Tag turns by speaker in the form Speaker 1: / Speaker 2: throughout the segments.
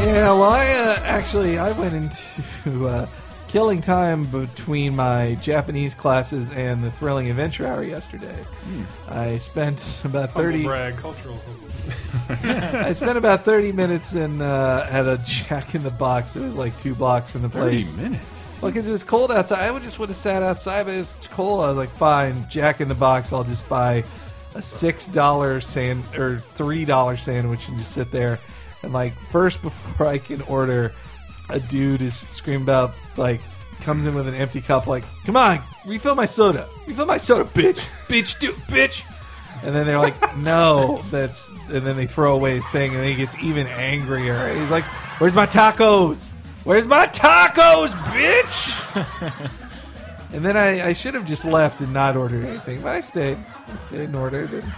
Speaker 1: Yeah, well, I uh, actually I went into uh, killing time between my Japanese classes and the thrilling adventure hour yesterday. I spent about
Speaker 2: Humble
Speaker 1: thirty.
Speaker 2: brag, cultural. humble-
Speaker 1: I spent about thirty minutes in uh, at a Jack in the Box. It was like two blocks from the
Speaker 3: Thirty
Speaker 1: place.
Speaker 3: minutes.
Speaker 1: Well, because it was cold outside, I would just would have sat outside, but it was cold. I was like, fine, Jack in the Box. I'll just buy a six dollar sand or three dollar sandwich and just sit there. And like first, before I can order, a dude is screaming about like comes in with an empty cup, like, come on, refill my soda, refill my soda, bitch, bitch, do, bitch. And then they're like, no, that's. And then they throw away his thing, and then he gets even angrier. He's like, where's my tacos? Where's my tacos, bitch? and then I, I should have just left and not ordered anything, but I stayed. I stayed and ordered and,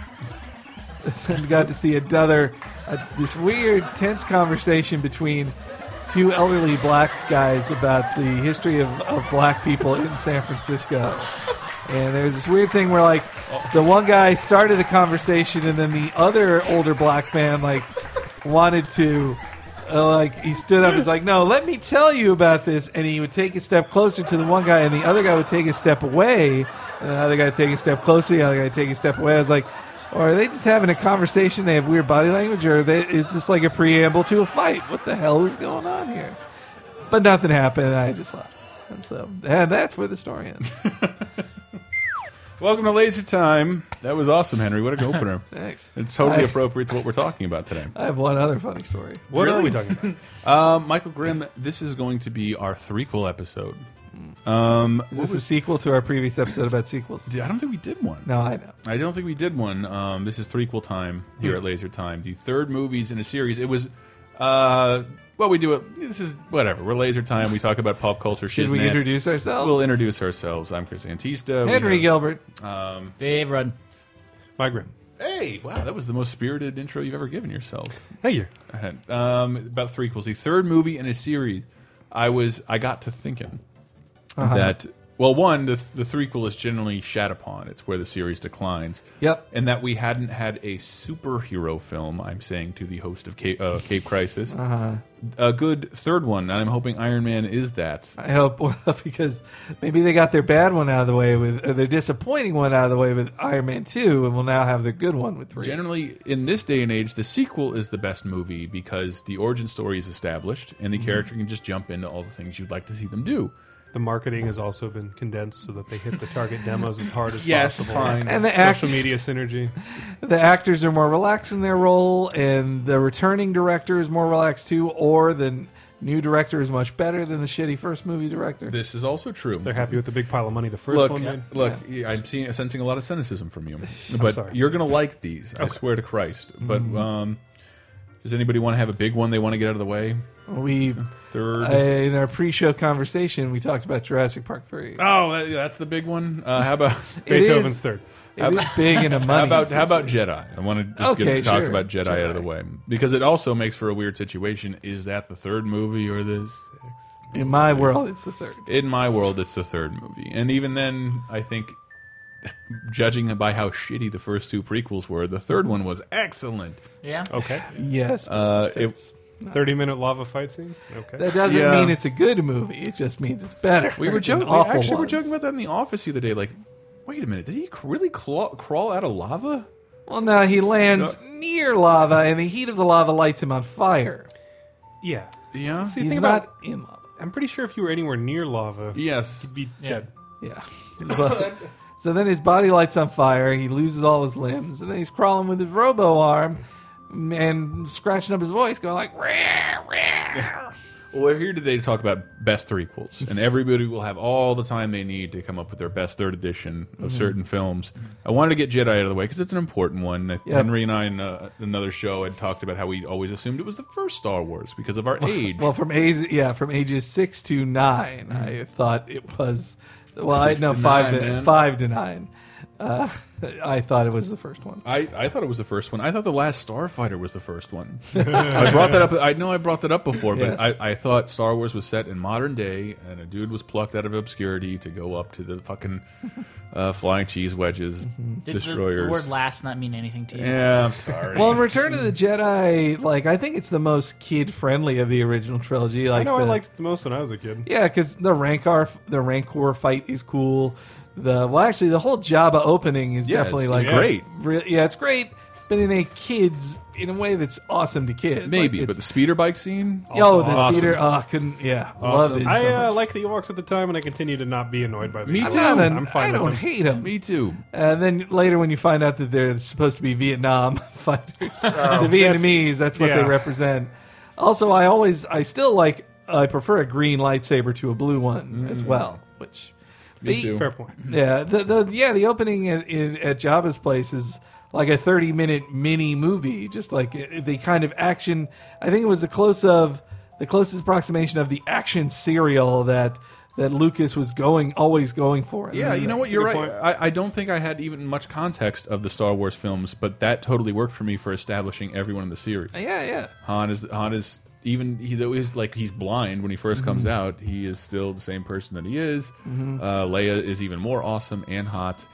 Speaker 1: and got to see another, uh, this weird, tense conversation between two elderly black guys about the history of, of black people in San Francisco. And there was this weird thing where, like, the one guy started the conversation, and then the other older black man, like, wanted to, uh, like, he stood up and was like, No, let me tell you about this. And he would take a step closer to the one guy, and the other guy would take a step away. And the other guy would take a step closer, the other guy would take a step away. I was like, or are they just having a conversation? They have weird body language, or they, is this like a preamble to a fight? What the hell is going on here? But nothing happened, and I just left. And so, and that's where the story ends.
Speaker 3: Welcome to Laser Time. That was awesome, Henry. What a good opener.
Speaker 1: Thanks.
Speaker 3: It's totally
Speaker 1: I-
Speaker 3: appropriate to what we're talking about today.
Speaker 1: I have one other funny story.
Speaker 2: What
Speaker 3: Really?
Speaker 2: are we talking about?
Speaker 3: Uh, Michael Grimm, this is going to be our threequel episode. Um,
Speaker 1: Is this a sequel to our previous episode about sequels?
Speaker 3: I don't think we did one.
Speaker 1: No, I know.
Speaker 3: I don't think we did one. Um, this is threequel time here at Laser Time. The third movies in a series. It was. Uh, well, we do it. This is whatever. We're Laser Time. We talk about pop culture.
Speaker 1: Did we
Speaker 3: shiznit.
Speaker 1: introduce ourselves?
Speaker 3: We'll introduce ourselves. I'm Chris Antista. We
Speaker 1: Henry
Speaker 3: have-
Speaker 1: Gilbert.
Speaker 4: Dave Rudd.
Speaker 2: My grim.
Speaker 3: Hey, wow, that was the most spirited intro you've ever given yourself.
Speaker 2: Hey, you.
Speaker 3: ahead. Um, about three equals the third movie in a series. I was I got to thinking that well, one the the threequel is generally shat upon. It's where the series declines.
Speaker 1: Yep.
Speaker 3: and that we hadn't had a superhero film. I'm saying to the host of Cape, uh, Cape Crisis, a good third one, and I'm hoping Iron Man is that.
Speaker 1: I hope well, because maybe they got their bad one out of the way with or their disappointing one out of the way with Iron Man Two, and we'll now have their good one with three.
Speaker 3: Generally, in this day and age, the sequel is the best movie because the origin story is established, and the character can just jump into all the things you'd like to see them do.
Speaker 2: The marketing has also been condensed so that they hit the target demos as hard as
Speaker 3: Yes,
Speaker 2: possible.
Speaker 3: fine.
Speaker 1: And the
Speaker 2: Social
Speaker 1: act-
Speaker 2: media synergy.
Speaker 1: the actors are more relaxed in their role, and the returning director is more relaxed too, or the new director is much better than the shitty first movie director.
Speaker 3: This is also true.
Speaker 2: They're happy with the big pile of money the first
Speaker 3: look,
Speaker 2: one made.
Speaker 3: look, I'm seeing, sensing a lot of cynicism from you, but
Speaker 2: sorry.
Speaker 3: you're gonna like these. I swear to Christ. But um, does anybody want to have a big one they want to get out of the way?
Speaker 1: We
Speaker 3: Third.
Speaker 1: uh, in our pre-show conversation, we talked about Jurassic Park three.
Speaker 3: oh, that- that's the big one. Uh, how about
Speaker 1: It is-
Speaker 2: Beethoven's third.
Speaker 1: It is big in a money.
Speaker 3: how about how about
Speaker 1: situation.
Speaker 3: Jedi? I want to just
Speaker 1: Okay,
Speaker 3: get talked
Speaker 1: sure.
Speaker 3: about Jedi, out of the way because it also makes for a weird situation. Is that the third movie or the sixth?
Speaker 1: in my world? It's the third.
Speaker 3: In my world, it's the third movie, and even then, I think. Judging by how shitty the first two prequels were, the third one was excellent.
Speaker 4: Yeah.
Speaker 2: Okay.
Speaker 1: Yes,
Speaker 3: Uh, it,
Speaker 2: 30 minute lava fight scene. Okay.
Speaker 1: that doesn't
Speaker 3: yeah.
Speaker 1: mean it's a good movie. It just means it's better.
Speaker 3: We were
Speaker 1: than
Speaker 3: joking. We
Speaker 1: awful
Speaker 3: actually were
Speaker 1: ones.
Speaker 3: joking about that in the office the other day. Like, wait a minute, did he c- really claw, crawl out of lava?
Speaker 1: Well, no, he lands near lava, and the heat of the lava lights him on fire.
Speaker 2: yeah.
Speaker 3: Yeah.
Speaker 2: See, the
Speaker 1: He's
Speaker 2: thing about,
Speaker 1: not in lava.
Speaker 2: I'm pretty sure if you were anywhere near lava, you'd
Speaker 3: Yes.
Speaker 2: be
Speaker 4: Yeah.
Speaker 2: dead.
Speaker 1: Yeah. But- so then his body lights on fire. He loses all his limbs, and then he's crawling with his robo arm and scratching up his voice, going like, "Rah, rah."
Speaker 3: Well, we're here today to talk about best three equals, and everybody will have all the time they need to come up with their best third edition of certain films. I wanted to get Jedi out of the way because it's an important one. Henry and I, in uh, another show, had talked about how we always assumed it was the first Star Wars because of our age.
Speaker 1: Well, from ages yeah, from ages six to nine, I thought it was. Well, I
Speaker 3: Mm-hmm. Six
Speaker 1: no
Speaker 3: to
Speaker 1: five
Speaker 3: nine,
Speaker 1: to
Speaker 3: man.
Speaker 1: five to nine. Uh, I thought it was the first one.
Speaker 3: I, I thought it was the first one. I thought the last Starfighter was the first one. I brought that up. I know I brought that up before, but
Speaker 1: Yes.
Speaker 3: I, I thought Star Wars was set in modern day, and a dude was plucked out of obscurity to go up to the fucking uh, flying cheese wedges
Speaker 1: Mm-hmm.
Speaker 4: Did the,
Speaker 3: destroyers.
Speaker 4: the word "last" not mean anything to you?
Speaker 3: yeah, I'm sorry.
Speaker 1: Well, in Return of the Jedi, like I think it's the most kid-friendly of the original trilogy. Like
Speaker 2: I know I
Speaker 1: the-
Speaker 2: liked it the most when I was a kid.
Speaker 1: Yeah, because the Rancor, the Rancor fight is cool. The well, actually, the whole Jabba opening is
Speaker 3: Yeah,
Speaker 1: definitely
Speaker 3: it's-
Speaker 1: like
Speaker 3: it's great.
Speaker 1: Re- yeah, it's great, but in a kids in a way that's awesome to kids.
Speaker 3: Maybe,
Speaker 1: like,
Speaker 3: but the
Speaker 1: it's-
Speaker 3: speeder bike scene.
Speaker 1: oh, the
Speaker 3: Awesome.
Speaker 1: theater, oh, couldn't, yeah, loved
Speaker 2: Awesome.
Speaker 1: it.
Speaker 2: I
Speaker 1: so
Speaker 2: uh,
Speaker 1: much.
Speaker 2: liked the Ewoks at the time, and I continue to not be annoyed by them.
Speaker 3: Me
Speaker 2: I'm
Speaker 3: too.
Speaker 2: fine-
Speaker 1: I'm not an-
Speaker 2: I'm fine
Speaker 1: I don't
Speaker 2: with them.
Speaker 1: hate them.
Speaker 3: Me too.
Speaker 1: And then later, when you find out that they're supposed to be Vietnam
Speaker 3: Oh.
Speaker 1: fighters, the Vietnamese, that's what they
Speaker 2: yeah.
Speaker 1: represent. Also, I always, I still like, I prefer a green lightsaber to a blue one as well. Which,
Speaker 3: Mm. Me
Speaker 1: the-
Speaker 3: too.
Speaker 2: Fair point.
Speaker 1: yeah, the, the yeah the opening at, in, at Jabba's place is like a thirty minute mini movie, just like it- the kind of action. I think it was the close of the closest approximation of the action serial that that Lucas was going always going for.
Speaker 3: Yeah, you know what? You're
Speaker 2: good
Speaker 3: right.
Speaker 2: point.
Speaker 3: I, I don't think I had even much context of the Star Wars films, but that totally worked for me for establishing everyone in the series.
Speaker 1: Yeah, yeah.
Speaker 3: Han is Han is even he though is like he's blind when he first comes
Speaker 2: Mm-hmm.
Speaker 3: out. He is still the same person that he is. Uh, Leia is even more awesome and hot,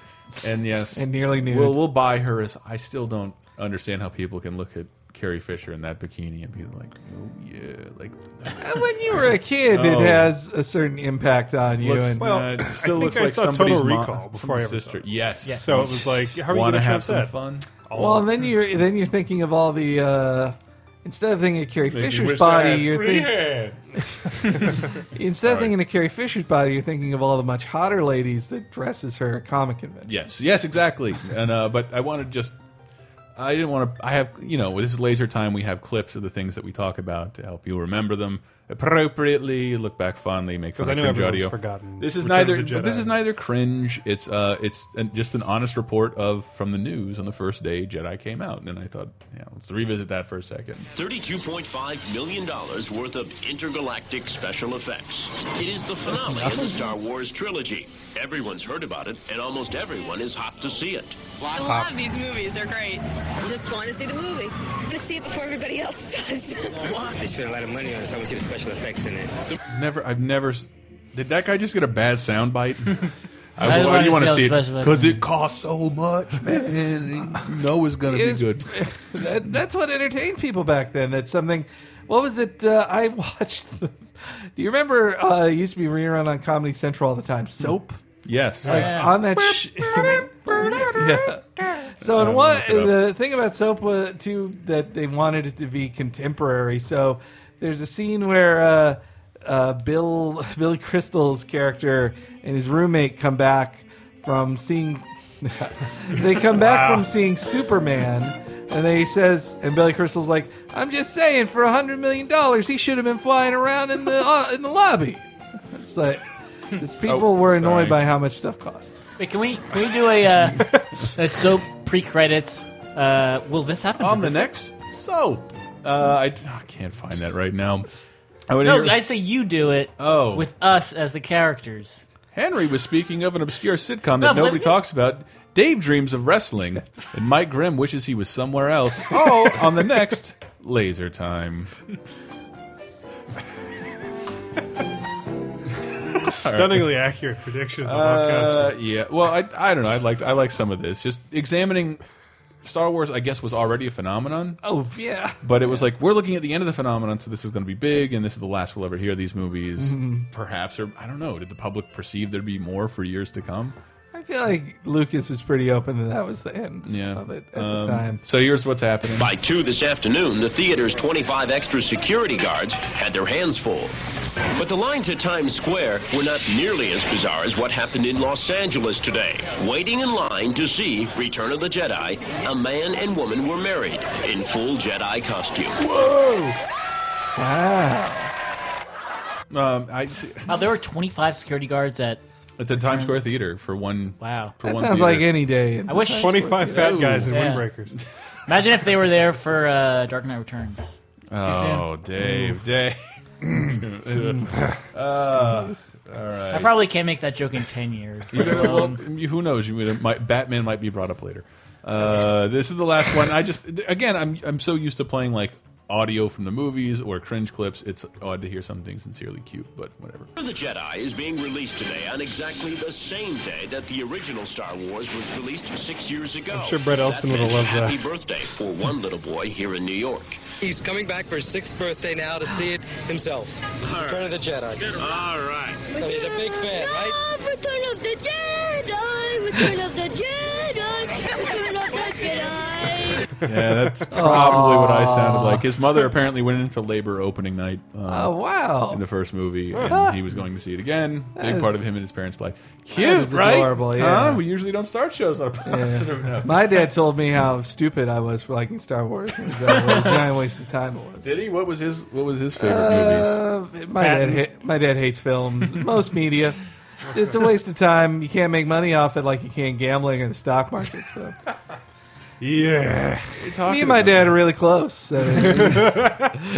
Speaker 3: and yes,
Speaker 1: And nearly nude.
Speaker 3: We'll we'll buy her. As I still don't understand how people can look at Carrie Fisher in that bikini and be like, oh yeah, like
Speaker 1: And when you were a kid,
Speaker 3: Oh.
Speaker 1: it has a certain impact on you.
Speaker 3: looks,
Speaker 1: and
Speaker 2: Well,
Speaker 3: uh, it
Speaker 2: I
Speaker 3: still
Speaker 2: think
Speaker 3: looks
Speaker 2: I
Speaker 3: like
Speaker 2: saw Total
Speaker 3: somebody's mom-
Speaker 2: Recall before I
Speaker 3: somebody's
Speaker 2: ever saw
Speaker 3: sister.
Speaker 2: it.
Speaker 3: Yes,
Speaker 4: Yes.
Speaker 2: So it was like, how are you
Speaker 3: want
Speaker 2: going
Speaker 3: to
Speaker 2: to
Speaker 3: have some
Speaker 2: that?
Speaker 3: fun?
Speaker 1: well, then you're then you're thinking of all the. Uh, Instead of thinking of Carrie
Speaker 3: Make me
Speaker 1: Fisher's
Speaker 3: wish I
Speaker 1: body,
Speaker 3: had
Speaker 1: you're thinking
Speaker 2: Three hands.
Speaker 1: Instead of
Speaker 3: Sorry.
Speaker 1: thinking of Carrie Fisher's body, you're thinking of all the much hotter ladies that dresses her at comic convention.
Speaker 3: Yes, yes, exactly. and uh, but I want to just, I didn't want to. I have you know, this is laser time. We have clips of the things that we talk about to help you remember them appropriately, look back fondly, make fun
Speaker 2: I
Speaker 3: of
Speaker 2: know
Speaker 3: cringe
Speaker 2: everyone's
Speaker 3: audio.
Speaker 2: forgotten
Speaker 3: This is
Speaker 2: Return of
Speaker 3: neither.
Speaker 2: the
Speaker 3: but This
Speaker 2: Jedi.
Speaker 3: is neither cringe. It's uh, it's an, just an honest report of from the news on the first day Jedi came out, and I thought, yeah, let's revisit that for a second.
Speaker 5: $32.5 million worth of intergalactic special effects. It is the finale of the Star Wars trilogy. Everyone's heard about it, and almost everyone is hot to see it.
Speaker 6: I love these movies. They're great. Just want to see the movie. I'm going to see it before everybody else does.
Speaker 7: They spent a lot of money on it, so I want to see the special effects in it.
Speaker 3: Never, I've never. s- Did that guy just get a bad sound bite? I,
Speaker 4: I
Speaker 3: why do you want
Speaker 4: wanted
Speaker 3: to
Speaker 4: to
Speaker 3: see
Speaker 4: see
Speaker 3: it?
Speaker 4: how special it
Speaker 3: Because
Speaker 4: is.
Speaker 3: it costs so much, man. You know it's gonna
Speaker 1: It is-
Speaker 3: be good.
Speaker 1: that, that's what entertained people back then. That's something. What was it? Uh, I watched. The, do you remember? Uh, it used to be rerun on Comedy Central all the time. Soap.
Speaker 3: Yes.
Speaker 1: Like,
Speaker 4: Yeah.
Speaker 1: on that. Sh- yeah. So in
Speaker 3: Um,
Speaker 1: one,
Speaker 3: look it up.
Speaker 1: the thing about soap was too that they wanted it to be contemporary. So there's a scene where uh, uh, Bill Billy Crystal's character and his roommate come back from seeing. they come back from seeing Superman, and they says, and Billy Crystal's like, "I'm just saying, for a hundred million dollars, he should have been flying around in the uh, in the lobby." It's like, it's people
Speaker 3: Oh,
Speaker 1: were annoyed
Speaker 3: sorry.
Speaker 1: by how much stuff cost.
Speaker 4: Wait, can we can we do a uh, a soap pre credits? Uh, will this happen?
Speaker 3: On
Speaker 4: to
Speaker 3: the
Speaker 4: this
Speaker 3: next soap. Uh, I, I can't find that right now. I would
Speaker 4: guy?
Speaker 3: hear-
Speaker 4: No, I say you do it.
Speaker 3: Oh.
Speaker 4: with us as the characters.
Speaker 3: Henry was speaking of an obscure sitcom
Speaker 4: No,
Speaker 3: that
Speaker 4: but
Speaker 3: nobody
Speaker 4: let me-
Speaker 3: talks about. Dave dreams of wrestling, and Mike Grimm wishes he was somewhere else. Oh, on the next laser time.
Speaker 2: Stunningly accurate predictions. of
Speaker 3: Uh,
Speaker 2: podcasts.
Speaker 3: yeah. Well, I, I don't know. I like I like some of this. Just examining Star Wars, I guess, was already a phenomenon,
Speaker 1: Oh yeah.
Speaker 3: but it was like we're looking at the end of the phenomenon, so this is going to be big, and this is the last we'll ever hear these movies,
Speaker 1: Mm-hmm.
Speaker 3: perhaps, or I don't know. Did the public perceive there'd be more for years to come?
Speaker 1: I feel like Lucas was pretty open that that was the end
Speaker 3: Yeah.
Speaker 1: of it at
Speaker 3: Um,
Speaker 1: the time.
Speaker 3: So here's what's happening.
Speaker 5: By 2 this afternoon, the theater's 25 extra security guards had their hands full. But the lines at Times Square were not nearly as bizarre as what happened in Los Angeles today. Waiting in line to see Return of the Jedi, a man and woman were married in full Jedi costume.
Speaker 1: Wow.
Speaker 3: Um, I see-
Speaker 4: Wow, there were twenty five security guards at.
Speaker 3: at the Times Square Theater for one.
Speaker 4: Wow.
Speaker 3: for
Speaker 1: That
Speaker 3: one
Speaker 1: sounds
Speaker 3: theater.
Speaker 1: like any day.
Speaker 4: I wish.
Speaker 2: 25 fat guys in
Speaker 4: Yeah.
Speaker 2: windbreakers.
Speaker 4: Imagine if they were there for uh, Dark Knight Returns. Too soon.
Speaker 3: Oh, Dave, Dave. Uh, all
Speaker 4: I
Speaker 3: right.
Speaker 4: probably can't make that joke in ten years.
Speaker 3: You
Speaker 4: let
Speaker 3: gotta- well,
Speaker 4: alone-
Speaker 3: who knows? You would- might, Batman might be brought up later. Uh, this is the last one. I just again, I'm I'm so used to playing like audio from the movies or cringe clips. It's odd to hear something sincerely cute, but whatever.
Speaker 5: Return of the Jedi is being released today on exactly the same day that the original Star Wars was released six years ago.
Speaker 2: I'm sure Brett Elston
Speaker 5: That
Speaker 2: would've
Speaker 5: meant
Speaker 2: loved that.
Speaker 5: Happy birthday for one little boy here in New York.
Speaker 7: He's coming back for his sixth birthday now to see it himself. Return of the Jedi.
Speaker 5: All right.
Speaker 7: So he's a big fan, right?
Speaker 6: Return of the Jedi! Return of the Jedi! Return of the Jedi!
Speaker 3: Yeah, that's probably what I sounded like. His mother apparently went into labor opening night. uh,
Speaker 1: Oh wow!
Speaker 3: in the first movie, and he was going to see it again. Big
Speaker 1: is-
Speaker 3: part of him and his parents' life.
Speaker 1: is
Speaker 3: Cute, right?
Speaker 1: adorable, yeah.
Speaker 3: Huh? We usually don't start shows on a positive note.
Speaker 1: My dad told me how stupid I was for liking Star Wars. and that was not a waste of time it was.
Speaker 3: Did he? What was his? What was his favorite movies?
Speaker 1: Uh, my dad, ha- my dad hates films, most media. It's a waste of time. You can't make money off it like you can gambling or the stock market. So
Speaker 2: Yeah.
Speaker 1: me and my dad are really close. So. uh,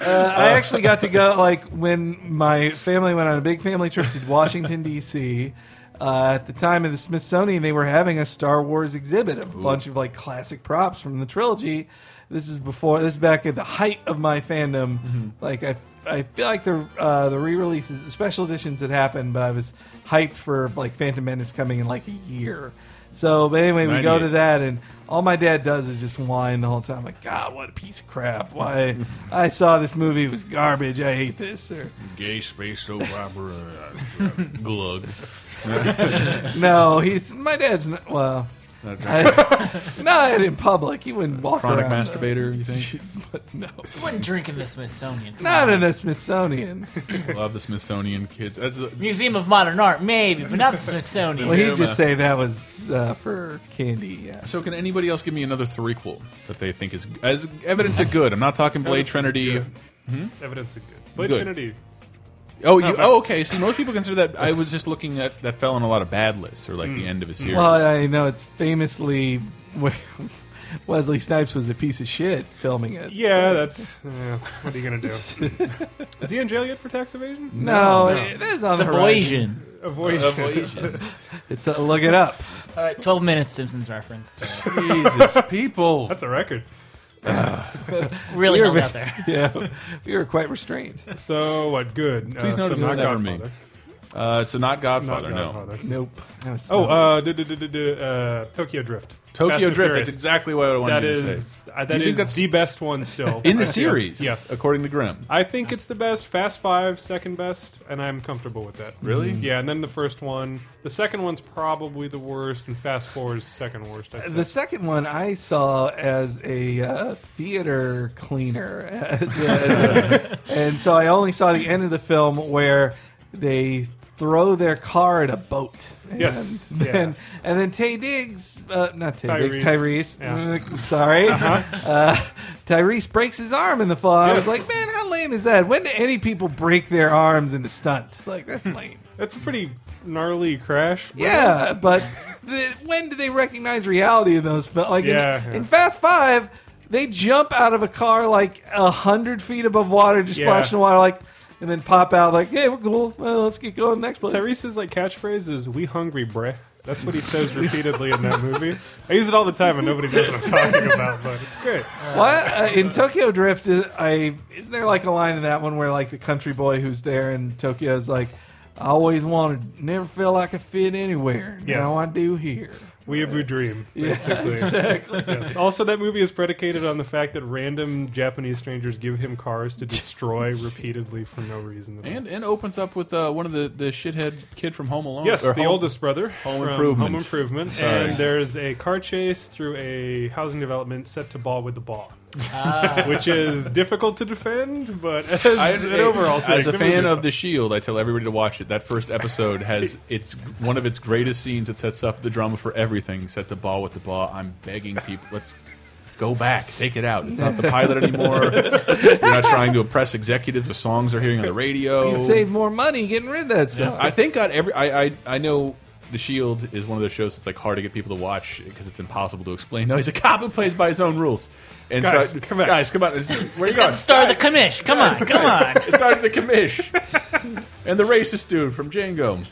Speaker 1: I actually got to go like when my family went on a big family trip to Washington D.C. Uh, at the time in the Smithsonian, they were having a Star Wars exhibit of a bunch of like classic props from the trilogy. This is before this is back at the height of my fandom. Like I, I feel like the uh, the re-releases, the special editions had happened, but I was hyped for like Phantom Menace coming in like a year. So, but anyway, we go to
Speaker 3: 98.
Speaker 1: that, and all my dad does is just whine the whole time. Like, God, what a piece of crap! Why I saw this movie it was garbage. I hate this. Or
Speaker 3: Gay space soap opera. Glug.
Speaker 1: no, he's my dad's. Not, well, I, not in public. He wouldn't walk
Speaker 3: Chronic
Speaker 1: around.
Speaker 3: masturbator. You think?
Speaker 1: But no,
Speaker 4: I wouldn't drink in the Smithsonian. Come
Speaker 1: not
Speaker 4: on.
Speaker 1: in the Smithsonian.
Speaker 3: Love the Smithsonian kids. That's the,
Speaker 4: Museum of Modern Art, maybe, but not the Smithsonian.
Speaker 1: Well,
Speaker 3: Yeah,
Speaker 1: he'd
Speaker 3: man.
Speaker 1: just say that was uh, for candy. Yeah.
Speaker 3: so can anybody else give me another threequel that they think is as evidence of good? I'm not talking
Speaker 2: Evidence
Speaker 3: Blade
Speaker 2: of
Speaker 3: Trinity.
Speaker 2: good. Evidence of good. Blade
Speaker 3: Good.
Speaker 2: Trinity.
Speaker 3: Oh, you, oh, okay. See, most people consider that. I was just looking at that fell on a lot of bad lists or like
Speaker 2: Hmm.
Speaker 3: the end of a series.
Speaker 1: Well, I know it's famously Wesley Snipes was a piece of shit filming it.
Speaker 2: Yeah, that's. yeah, what are you gonna do? Is he in jail yet for tax evasion?
Speaker 1: No, it- that's on
Speaker 4: It's a
Speaker 1: the horizon.
Speaker 4: Voyasian.
Speaker 3: Uh,
Speaker 2: Avoid.
Speaker 1: It's a, look it up.
Speaker 4: All right, 12 minutes Simpsons reference.
Speaker 3: Jesus, people.
Speaker 2: That's a record.
Speaker 4: Really
Speaker 1: We're
Speaker 4: held
Speaker 1: very-
Speaker 4: out there.
Speaker 1: yeah, we were quite restrained.
Speaker 2: So what? Good.
Speaker 3: Please
Speaker 2: uh,
Speaker 3: notice
Speaker 2: so
Speaker 3: it's
Speaker 2: not
Speaker 3: never me.
Speaker 2: Godfather.
Speaker 3: Uh, so not
Speaker 2: Not
Speaker 3: Godfather, no.
Speaker 2: Godfather.
Speaker 1: Nope. That was
Speaker 2: Oh, uh, duh, duh, duh, duh, duh, uh, Tokyo Drift. Fast
Speaker 3: Tokyo
Speaker 2: and
Speaker 3: Drift.
Speaker 2: Furious.
Speaker 3: That's exactly what I wanted
Speaker 2: That
Speaker 3: you to
Speaker 2: is,
Speaker 3: say.
Speaker 2: uh,
Speaker 3: You
Speaker 2: that
Speaker 3: think
Speaker 2: is
Speaker 3: that's-
Speaker 2: the best one still
Speaker 3: In the
Speaker 2: I feel.
Speaker 3: series,
Speaker 2: Yes,
Speaker 3: according to Grimm.
Speaker 2: I think it's the best. Fast Five, second best, and I'm comfortable with that.
Speaker 3: Really?
Speaker 2: Yeah, and then the first one. The second one's probably the worst, and Fast Four is second worst. I'd say.
Speaker 1: the second one I saw as a uh, theater cleaner, as a- as a- and so I only saw the end of the film where they throw their car at a boat. And
Speaker 2: Yes, yeah.
Speaker 1: Then, And then Tay Diggs, uh, not Tay Diggs,
Speaker 2: Tyrese.
Speaker 1: Tyrese.
Speaker 2: Yeah. Uh-huh.
Speaker 1: uh, sorry, uh Tyrese breaks his arm in the fall. I was
Speaker 2: Yes.
Speaker 1: like, man, how lame is that? When do any people break their arms into stunts? Like that's lame.
Speaker 2: That's a pretty gnarly crash.
Speaker 1: Yeah, but the, when do they recognize reality in those films? Like in-
Speaker 2: Yeah,
Speaker 1: in,
Speaker 2: yeah.
Speaker 1: Fast Five, they jump out of a car like a hundred feet above water, just
Speaker 2: Yeah.
Speaker 1: splashing the water, like, and then pop out like, "Hey, we're cool. Well, let's get going next place."
Speaker 2: Tyrese's like catchphrase is "We hungry, bruh." That's what he says repeatedly in that movie. I use it all the time, and nobody knows what I'm talking about, but it's great.
Speaker 1: What uh, in Tokyo Drift? Is, I isn't there like a line in that one where like the country boy who's there in Tokyo is like, "I always wanted, never felt like I fit anywhere.
Speaker 2: Yes.
Speaker 1: Now I do here."
Speaker 2: Weeaboo dream, basically. Yes. Also, that movie is predicated on the fact that random Japanese strangers give him cars to destroy repeatedly for no reason. At all.
Speaker 3: And and opens up with uh, one of the, the shithead kid from Home Alone.
Speaker 2: yes,
Speaker 3: or
Speaker 2: the
Speaker 3: Home-
Speaker 2: oldest brother,
Speaker 3: Home
Speaker 2: from
Speaker 3: Improvement.
Speaker 2: Home Improvement,
Speaker 3: Sorry.
Speaker 2: and there's a car chase through a housing development set to ball with the ball. Which is difficult to defend, but as
Speaker 3: I-
Speaker 2: an overall thing,
Speaker 3: as a
Speaker 2: the
Speaker 3: fan
Speaker 2: movie's
Speaker 3: of The Shield, I tell everybody to watch it. That first episode has it's one of its greatest scenes. It sets up the drama for everything. Set the ball with the ball. I'm begging people, let's go back, take it out. It's not the pilot anymore. You're not trying to impress executives. The songs are hearing on the radio.
Speaker 1: You'd save more money getting rid of that stuff.
Speaker 3: I think got every. I I, I know The Shield is one of those shows that's like hard to get people to watch because it's impossible to explain. No, he's a cop who plays by his own rules. And
Speaker 2: Guys,
Speaker 3: so,
Speaker 2: come on.
Speaker 3: guys, come on! It's- Where are you
Speaker 4: It's got
Speaker 3: going?
Speaker 4: the star of the commish. Come on, come on.
Speaker 3: It starts the commish and the racist dude from Django,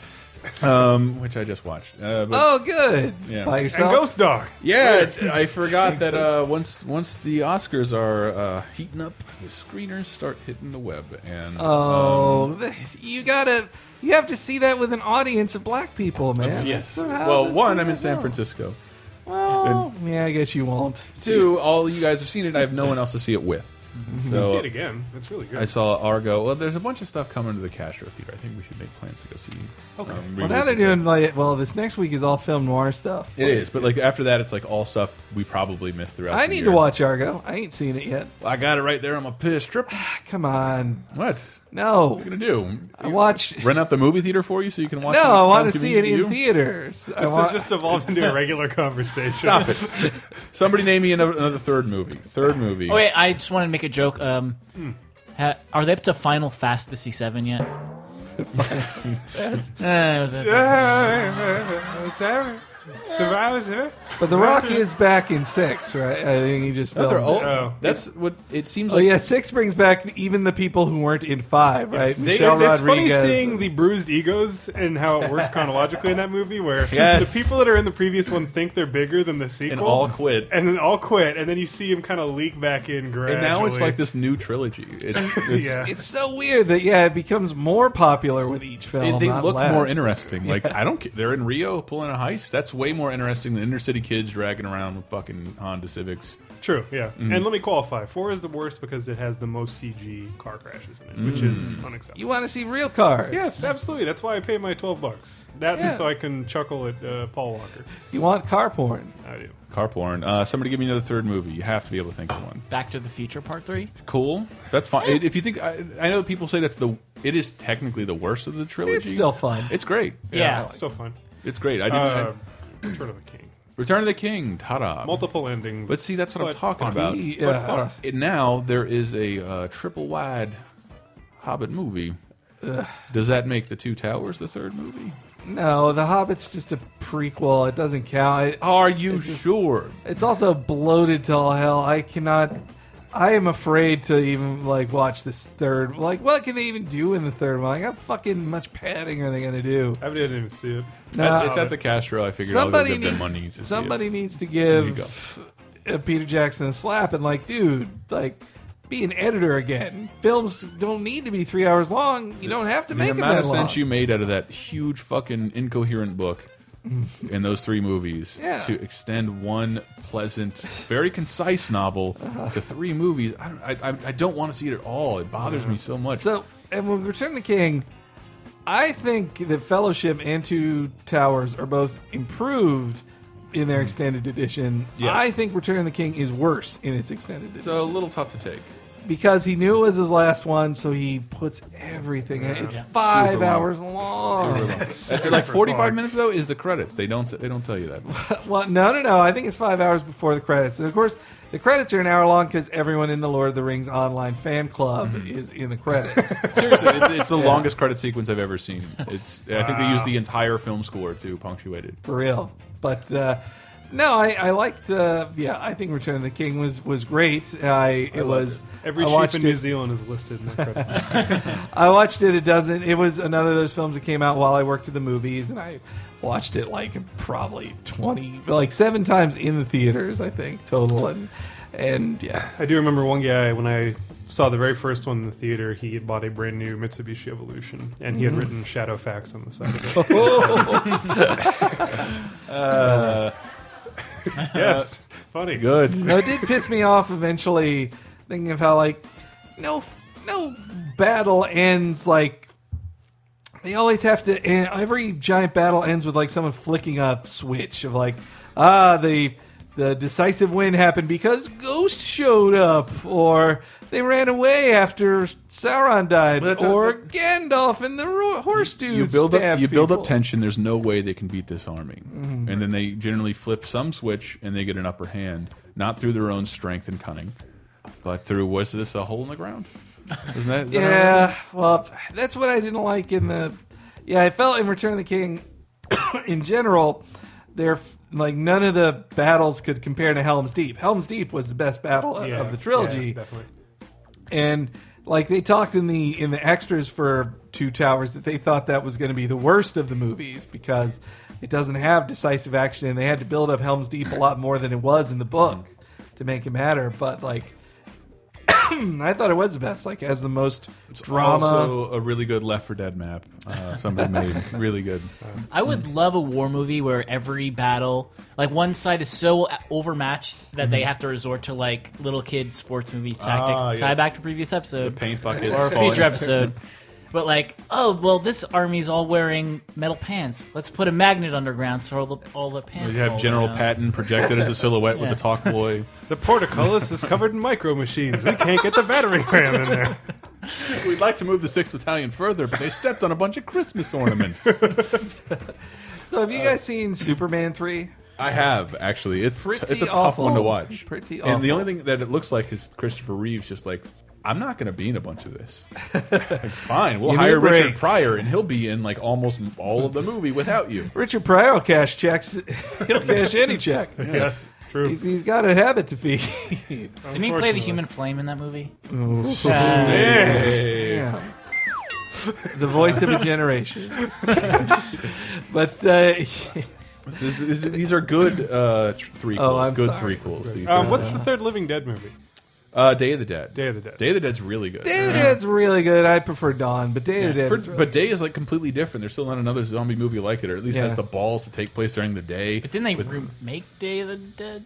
Speaker 3: um, which I just watched. Uh, but
Speaker 1: Oh, good.
Speaker 3: Yeah.
Speaker 1: By
Speaker 2: And
Speaker 3: And
Speaker 1: yourself.
Speaker 2: Ghost Dog.
Speaker 3: yeah, I forgot that uh, once once the Oscars are uh, heating up, the screeners start hitting the web, and
Speaker 1: oh, th- you gotta. You have to see that with an audience of black people, man.
Speaker 3: yes.
Speaker 1: That's not how
Speaker 3: Well,
Speaker 1: this
Speaker 3: one,
Speaker 1: is
Speaker 3: I'm in San
Speaker 1: done.
Speaker 3: Francisco.
Speaker 1: Well, yeah, I guess you won't.
Speaker 3: Two, all you guys have seen it. I have no one else to see it with. So
Speaker 2: See it again. That's really good.
Speaker 3: I saw Argo. Well, there's a bunch of stuff coming to the Castro Theater. I think we should make plans to go see. um, Okay.
Speaker 1: Well, now they're doing like. Well, this next week is all film noir stuff.
Speaker 3: It is, but like after that, it's like all stuff we probably missed throughout.
Speaker 1: I
Speaker 3: the
Speaker 1: need
Speaker 3: year.
Speaker 1: to watch Argo. I ain't seen it yet.
Speaker 3: I got it right there on my piss trip.
Speaker 1: Come on,
Speaker 3: What?
Speaker 1: no.
Speaker 3: What are you gonna do?
Speaker 1: I watch.
Speaker 3: Rent out the movie theater for you so you can watch.
Speaker 1: No,
Speaker 3: some-
Speaker 1: I want to
Speaker 3: some
Speaker 1: see it
Speaker 3: comedian
Speaker 1: in
Speaker 3: do?
Speaker 1: theaters. I
Speaker 2: this
Speaker 1: want,
Speaker 2: has just evolved into a regular conversation.
Speaker 3: Stop it. Somebody name me another, another third movie. Third movie.
Speaker 4: Oh, wait, I just wanted to make a joke. Um,
Speaker 3: Hmm.
Speaker 4: ha, are they up to Final Fantasy VII yet? Eh, the-
Speaker 2: Survivor. Survivor.
Speaker 1: but The Rock is back in six, right? I think he just.
Speaker 3: Another
Speaker 1: filmed it.
Speaker 3: old-
Speaker 2: Oh.
Speaker 3: That's what it seems
Speaker 1: Oh
Speaker 3: like.
Speaker 1: yeah, six brings back even the people who weren't in five, right?
Speaker 2: They-
Speaker 1: Michelle
Speaker 2: it's, it's funny
Speaker 1: Rodriguez.
Speaker 2: seeing the bruised egos and how it works chronologically in that movie, where
Speaker 3: Yes.
Speaker 2: the people that are in the previous one think they're bigger than the sequel,
Speaker 3: And all quit.
Speaker 2: and then all quit, and then you see him kind of leak back in gradually.
Speaker 3: And now it's like this new trilogy. It's, it's,
Speaker 2: yeah.
Speaker 1: It's so weird that yeah, it becomes more popular with each film.
Speaker 3: They- they
Speaker 1: not
Speaker 3: look
Speaker 1: less.
Speaker 3: more interesting. Like I don't care. They're in Rio pulling a heist. That's way more interesting than inner city kids dragging around with fucking Honda Civics.
Speaker 2: True, yeah.
Speaker 3: Mm.
Speaker 2: And let me qualify: four is the worst because it has the most CG car crashes in it, which
Speaker 3: Mm.
Speaker 2: is unacceptable.
Speaker 1: You want to see real cars?
Speaker 2: yes, absolutely. That's why I pay my twelve bucks. That and
Speaker 1: Yeah.
Speaker 2: so I can chuckle at uh, Paul Walker.
Speaker 1: You want car porn?
Speaker 2: I do.
Speaker 3: Car porn. Uh, somebody give me another third movie. You have to be able to think of one.
Speaker 4: Back to the Future Part Three.
Speaker 3: Cool. That's fine. If you think, I, I know people say that's the. It is technically the worst of the trilogy.
Speaker 1: It's still fun.
Speaker 3: It's great.
Speaker 4: Yeah.
Speaker 2: Still fun.
Speaker 3: it's great. I didn't.
Speaker 2: Uh,
Speaker 3: I-
Speaker 2: Return of the King.
Speaker 3: Return of the King. Ta-da.
Speaker 2: Multiple endings.
Speaker 3: But see, that's what I'm
Speaker 2: but
Speaker 3: talking
Speaker 2: fun.
Speaker 3: about.
Speaker 1: Yeah,
Speaker 3: But fun.
Speaker 1: uh.
Speaker 3: And now there is a uh, triple wide Hobbit movie. Does that make the Two Towers the third movie?
Speaker 1: No, The Hobbit's just a prequel. It doesn't count. It-
Speaker 3: Are you sure?
Speaker 1: It's also bloated to all hell. I cannot. I am afraid to even like watch this third. Like, what can they even do in the third one? Like, how fucking much padding are they gonna do?
Speaker 2: I didn't even see it.
Speaker 1: No.
Speaker 3: it's at the Castro. I figured I'll go
Speaker 1: somebody
Speaker 3: give them
Speaker 1: needs
Speaker 3: money. To
Speaker 1: somebody
Speaker 3: See
Speaker 1: needs to
Speaker 3: you go.
Speaker 1: give uh, Peter Jackson a slap and like, dude, like, be an editor again. Films don't need to be three hours long. You don't have to
Speaker 3: it.
Speaker 1: make
Speaker 3: The
Speaker 1: them
Speaker 3: amount
Speaker 1: that
Speaker 3: of
Speaker 1: long.
Speaker 3: sense you made out of that huge fucking incoherent book in those three movies
Speaker 1: Yeah.
Speaker 3: to extend one pleasant, very concise novel to three movies. I don't, I, I- I don't want to see it at all. It bothers me so much.
Speaker 1: so, and with Return of the King, I think that Fellowship and Two Towers are both improved in their extended edition.
Speaker 3: Hmm. Yes.
Speaker 1: I think Return of the King is worse in its extended edition.
Speaker 3: so a little tough to take.
Speaker 1: because he knew it was his last one, so he puts everything in. It's five
Speaker 3: Super long.
Speaker 1: hours long.
Speaker 3: After like 45 minutes though is the credits. They don't they don't tell you that.
Speaker 1: Well, no, no, no. I think it's five hours before the credits. And of course, the credits are an hour long because everyone in the Lord of the Rings online fan club
Speaker 2: Mm-hmm.
Speaker 1: is in the credits.
Speaker 3: Seriously, it, it's the longest credit sequence I've ever seen. It's I think they used the entire film score to punctuate it.
Speaker 1: for real. But uh, no, I, I liked. Uh, yeah, I think Return of the King was was great. I it was
Speaker 2: Every
Speaker 1: I
Speaker 2: sheep
Speaker 1: watched
Speaker 2: in
Speaker 1: it-
Speaker 2: New Zealand is listed in the credits.
Speaker 1: I watched it a dozen. It was another of those films that came out while I worked at the movies, and I watched it like probably twenty, like seven times in the theaters, I think total. And and yeah,
Speaker 2: I do remember one guy when I saw the very first one in the theater. He had bought a brand new Mitsubishi Evolution, and he had written Shadow Facts on the side of it. Uh, yes, funny.
Speaker 3: Good.
Speaker 1: No, it did piss me off eventually thinking of how like no no battle ends like they always have to end, every giant battle ends with like someone flicking a switch of like ah the the decisive win happened because ghost showed up or they ran away after Sauron died
Speaker 3: Well, that's a-
Speaker 1: or Gandalf and the ro- horse dude
Speaker 3: You build up
Speaker 1: stabbed
Speaker 3: you build up
Speaker 1: people. Mm-hmm.
Speaker 3: tension. There's no way they can beat this army, and then they generally flip some switch and they get an upper hand, not through their own strength and cunning, but through was this a hole in the ground? Isn't that? is that how it
Speaker 1: Yeah, well, that's what I didn't like in the. Yeah, I felt in Return of the King, in general, they're f- like none of the battles could compare to Helm's Deep. Helm's Deep was the best battle of-
Speaker 2: Yeah,
Speaker 1: of the trilogy,
Speaker 2: yeah, definitely.
Speaker 1: and like they talked in the in the extras for Two Towers that they thought that was going to be the worst of the movies because it doesn't have decisive action, and they had to build up Helm's Deep a lot more than it was in the book to make it matter. But like, I thought it was the best, like as the most drama.
Speaker 3: Also, a really good Left for Dead map. Uh, somebody made really good.
Speaker 4: I would
Speaker 3: Hmm.
Speaker 4: love a war movie where every battle, like one side is so overmatched that they have to resort to like little kid sports movie tactics.
Speaker 3: Hmm. Ah,
Speaker 4: Tie
Speaker 3: yes.
Speaker 4: back to previous episode
Speaker 3: Paint buckets.
Speaker 4: or a
Speaker 3: falling.
Speaker 4: future episode. But like, oh well, this army's all wearing metal pants. Let's put a magnet underground so all the all the pants.
Speaker 3: You have
Speaker 4: fall
Speaker 3: General
Speaker 4: down.
Speaker 3: Patton projected as a silhouette
Speaker 4: Yeah.
Speaker 3: with a talk boy.
Speaker 2: The portcullis is covered in micro machines. We can't get the battering ram in there.
Speaker 3: We'd like to move the 6th Battalion further, but they stepped on a bunch of Christmas ornaments.
Speaker 1: so, have you guys seen Superman three?
Speaker 3: I have actually. It's
Speaker 1: Pretty
Speaker 3: it's a tough
Speaker 1: awful.
Speaker 3: one to watch.
Speaker 1: Pretty
Speaker 3: And
Speaker 1: awful.
Speaker 3: the only thing that it looks like is Christopher Reeves just like, I'm not going to be in a bunch of this. Like, fine, we'll
Speaker 1: You need
Speaker 3: hire
Speaker 1: a break.
Speaker 3: Richard Pryor, and he'll be in like almost all of the movie without you.
Speaker 1: Richard Pryor will cash checks. He'll cash any check.
Speaker 2: Yes, true.
Speaker 1: He's, he's got a habit to feed.
Speaker 4: Didn't he play the human flame in that movie? Uh,
Speaker 2: Yeah.
Speaker 1: Yeah. the voice of a generation. but uh,
Speaker 3: This is- this is- these are good uh, tr- threequels.
Speaker 1: Oh, I'm
Speaker 3: good
Speaker 1: sorry.
Speaker 3: threequels. These
Speaker 2: Um,
Speaker 3: are-
Speaker 2: what's the third Living Dead movie?
Speaker 3: uh, Day of the Dead?
Speaker 2: Day of the Dead.
Speaker 3: Day of the Dead's really good.
Speaker 1: Day of the Dead's really good. I prefer Dawn, but Day of the Dead.
Speaker 3: For-
Speaker 1: is really-
Speaker 3: but Day is like completely different. There's still not another zombie movie like it, or at least
Speaker 1: Yeah.
Speaker 3: has the balls to take place during the day.
Speaker 4: but didn't they remake Day of the Dead?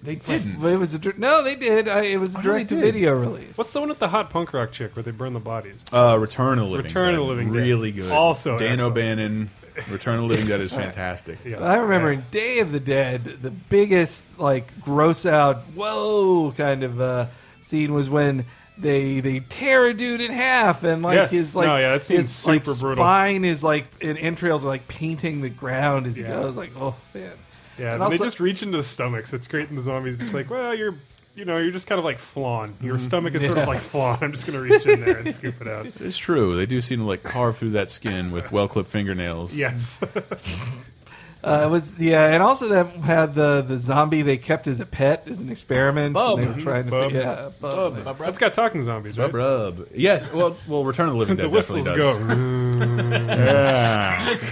Speaker 3: They didn't.
Speaker 1: but it was a dir- no. They did. I, it was
Speaker 2: Oh,
Speaker 1: a
Speaker 3: no, they
Speaker 1: direct to
Speaker 3: did.
Speaker 1: video release.
Speaker 2: What's the one with the hot punk rock chick where they burn the bodies?
Speaker 3: Uh, Return of the Living
Speaker 2: Return of the
Speaker 3: Dead.
Speaker 2: Living Dead.
Speaker 3: really good.
Speaker 2: Also
Speaker 3: Dan
Speaker 2: excellent.
Speaker 3: O'Bannon. Return of the Living Dead is fantastic.
Speaker 2: Yeah.
Speaker 1: I remember in Day of the Dead, the biggest like gross out whoa kind of uh, scene was when they they tear a dude in half and like
Speaker 2: Yes.
Speaker 1: his like
Speaker 2: No, yeah, that scene's
Speaker 1: his like
Speaker 2: super brutal.
Speaker 1: spine is like and entrails are like painting the ground as he
Speaker 2: Yeah.
Speaker 1: goes like oh man
Speaker 2: Yeah,
Speaker 1: And
Speaker 2: and they
Speaker 1: also-
Speaker 2: just reach into the stomachs. It's great in the zombies. It's like, well, you're, you know, you're just kind of like flan. Your stomach is sort of like flan. I'm just gonna reach in there and scoop it out.
Speaker 3: It's true. They do seem to like carve through that skin with well clipped fingernails.
Speaker 2: Yes,
Speaker 1: uh, it was yeah and also that had the the zombie they kept as a pet as an experiment
Speaker 3: Bub.
Speaker 1: and they were trying to
Speaker 2: Bub.
Speaker 1: figure- yeah Bub.
Speaker 2: that's got talking zombies, right?
Speaker 3: Rub rub. Yes. Well, well, Return of the Living Dead
Speaker 2: The
Speaker 3: definitely
Speaker 2: whistles
Speaker 3: does.
Speaker 2: go.
Speaker 3: Yeah.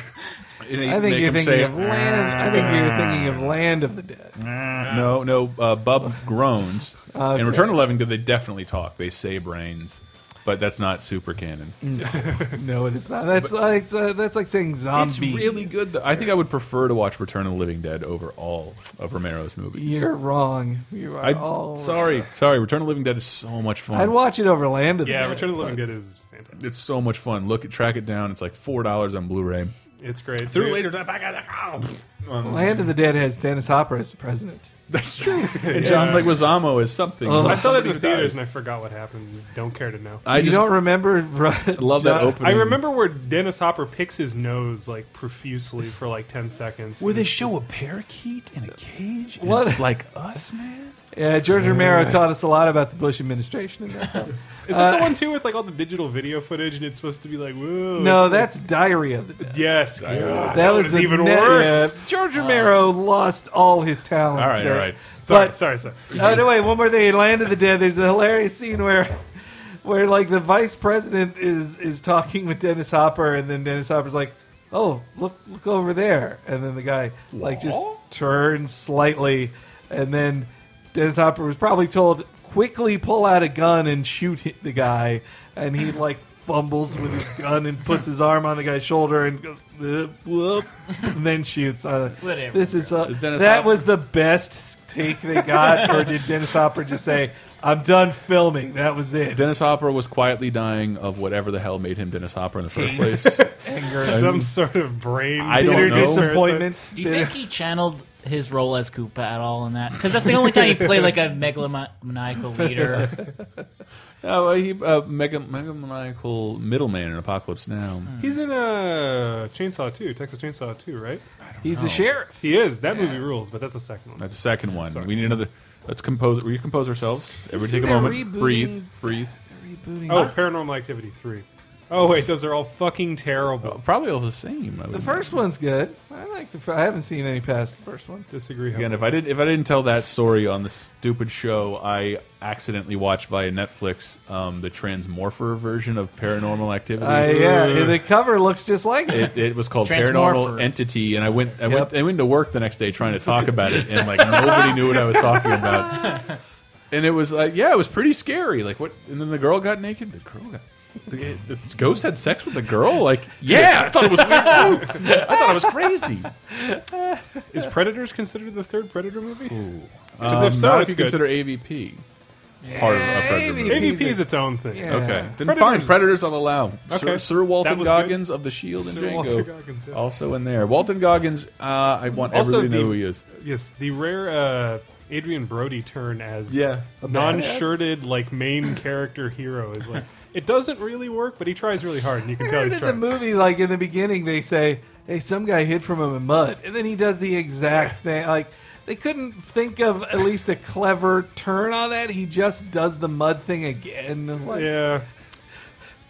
Speaker 3: And they
Speaker 1: I think
Speaker 3: make
Speaker 1: you're
Speaker 3: him
Speaker 1: thinking
Speaker 3: say, "Ah."
Speaker 1: of land I think you're thinking of Land of the Dead
Speaker 3: No, no. Uh, Bub groans.
Speaker 1: Okay.
Speaker 3: In Return of the Living Dead, they definitely talk. They say brains, but that's not super canon.
Speaker 1: Mm. no it's not that's like it's, uh, that's like saying
Speaker 3: It's
Speaker 1: zombie
Speaker 3: really good. Though. I think I would prefer to watch Return of the Living Dead over all of Romero's movies.
Speaker 1: You're wrong. You are
Speaker 3: I,
Speaker 1: all
Speaker 3: sorry, sorry. Return of the Living Dead is so much fun.
Speaker 1: I'd watch it over Land of the
Speaker 2: Yeah,
Speaker 1: Dead,
Speaker 2: Return of the Living
Speaker 1: but-
Speaker 2: Dead is fantastic.
Speaker 3: it's so much fun. Look, at track it down. It's like four dollars on Blu-ray.
Speaker 2: It's great.
Speaker 3: Through
Speaker 2: Dude,
Speaker 3: later, that back out.
Speaker 1: Land of the Dead has Dennis Hopper as the president.
Speaker 3: That's true. And John Leguizamo is something.
Speaker 1: Ugh.
Speaker 2: I saw that in the
Speaker 3: Somebody
Speaker 2: theaters
Speaker 3: dies.
Speaker 2: and I forgot what happened. Don't care to know.
Speaker 3: I
Speaker 1: Uh-huh. you
Speaker 3: just
Speaker 1: don't remember?
Speaker 3: love that opening.
Speaker 2: I remember where Dennis Hopper picks his nose like profusely for like ten seconds.
Speaker 3: where they show a parakeet in a cage. And
Speaker 1: What?
Speaker 3: It's like us, man.
Speaker 1: Yeah, George Romero taught us a lot about the Bush administration in that film.
Speaker 2: Is that the one too with like all the digital video footage and it's supposed to be like, whoa?
Speaker 1: No,
Speaker 2: it's like-
Speaker 1: that's Diary of the Dead.
Speaker 2: yes.
Speaker 1: That,
Speaker 2: God,
Speaker 1: was, the
Speaker 2: even
Speaker 1: net-
Speaker 2: worse.
Speaker 1: yeah, George Romero lost all his talent.
Speaker 3: All right,
Speaker 1: there.
Speaker 3: all right.
Speaker 2: Sorry,
Speaker 1: but
Speaker 2: sorry, sorry.
Speaker 1: Oh no! Wait, one more thing. In Land of the Dead, there's a hilarious scene where, where like the vice president is is talking with Dennis Hopper, and then Dennis Hopper's like, "Oh, look, look over there," and then the guy like just turns slightly, and then Dennis Hopper was probably told quickly pull out a gun and shoot hit the guy, and he like fumbles with his gun and puts his arm on the guy's shoulder and goes, "Whoop, whoop," and then shoots. Uh,
Speaker 4: Whatever.
Speaker 1: This is uh,
Speaker 3: Dennis
Speaker 1: that
Speaker 3: Hopper-
Speaker 1: was the best take they got, or did Dennis Hopper just say, "I'm done filming"? That was it.
Speaker 3: Dennis Hopper was quietly dying of whatever the hell made him Dennis Hopper in the first
Speaker 1: Hate.
Speaker 3: place. Uh,
Speaker 1: Anger,
Speaker 2: Some sort of brain.
Speaker 3: I don't
Speaker 1: bitter
Speaker 3: know.
Speaker 1: disappointment.
Speaker 4: Do you think he channeled his role as Koopa at all in that? Because that's the only time he played like a megalomaniacal leader.
Speaker 3: Oh, well, he uh, mega megamaniacal middleman in Apocalypse Now.
Speaker 2: He's in a Chainsaw 2, Texas Chainsaw 2, right?
Speaker 1: He's the sheriff.
Speaker 2: He is. That movie rules, but that's the second one.
Speaker 3: That's the second one.
Speaker 2: Sorry.
Speaker 3: We need another. Let's compose. Recompose ourselves. Everybody,
Speaker 1: Isn't
Speaker 3: take a
Speaker 1: that
Speaker 3: moment.
Speaker 1: rebooting-
Speaker 3: Breathe. Breathe.
Speaker 4: Oh.
Speaker 1: Rebooting.
Speaker 2: oh, Paranormal Activity 3. Oh wait, those are all fucking terrible.
Speaker 3: Probably all the same. I
Speaker 1: The
Speaker 3: would-
Speaker 1: first one's good. I like the. fir- I haven't seen any past the first one.
Speaker 2: Disagree.
Speaker 3: Again,
Speaker 2: Hunter.
Speaker 3: if I didn't if I didn't tell that story on the stupid show, I accidentally watched via Netflix um, the Transmorpher version of Paranormal Activity.
Speaker 1: I, Uh, yeah, the cover looks just like it.
Speaker 3: It, it was called
Speaker 4: Transmorpher.
Speaker 3: Paranormal Entity, and I went I
Speaker 1: Yep.
Speaker 3: went I went to work the next day trying to talk about it, and like nobody knew what I was talking about. And it was like, yeah, it was pretty scary. Like what? And then the girl got naked. The girl got. The, the ghost had sex with the girl. Like, yeah, I thought it was weird too. I thought it was crazy.
Speaker 2: Is Predators considered the third Predator movie?
Speaker 3: Because
Speaker 2: if so,
Speaker 3: Um, not if
Speaker 2: it's
Speaker 3: you
Speaker 2: good.
Speaker 3: consider AVP part of a predator
Speaker 1: AVP.
Speaker 3: movie.
Speaker 2: AVP is its own thing.
Speaker 1: Yeah.
Speaker 3: Okay. Then
Speaker 2: Predators.
Speaker 3: fine. Predators I'll allow.
Speaker 2: Okay.
Speaker 3: Sir, Sir Walton
Speaker 2: That was good.
Speaker 3: Goggins of The Shield and
Speaker 2: Sir
Speaker 3: Django.
Speaker 2: Walter Goggins, yeah.
Speaker 3: Also in there. Walton Goggins, uh, I want
Speaker 2: Also
Speaker 3: everybody to know
Speaker 2: the-
Speaker 3: who he is.
Speaker 2: Yes, the rare uh, Adrian Brody turn as
Speaker 1: Yeah, a
Speaker 2: non-shirted like main character hero is like it doesn't really work, but he tries really hard, and you can
Speaker 1: I
Speaker 2: tell
Speaker 1: heard
Speaker 2: he's
Speaker 1: in the
Speaker 2: trying.
Speaker 1: movie, like in the beginning, they say, "Hey, some guy hid from him in mud," and then he does the exact thing. Like they couldn't think of at least a clever turn on that. He just does the mud thing again. Like,
Speaker 2: Yeah.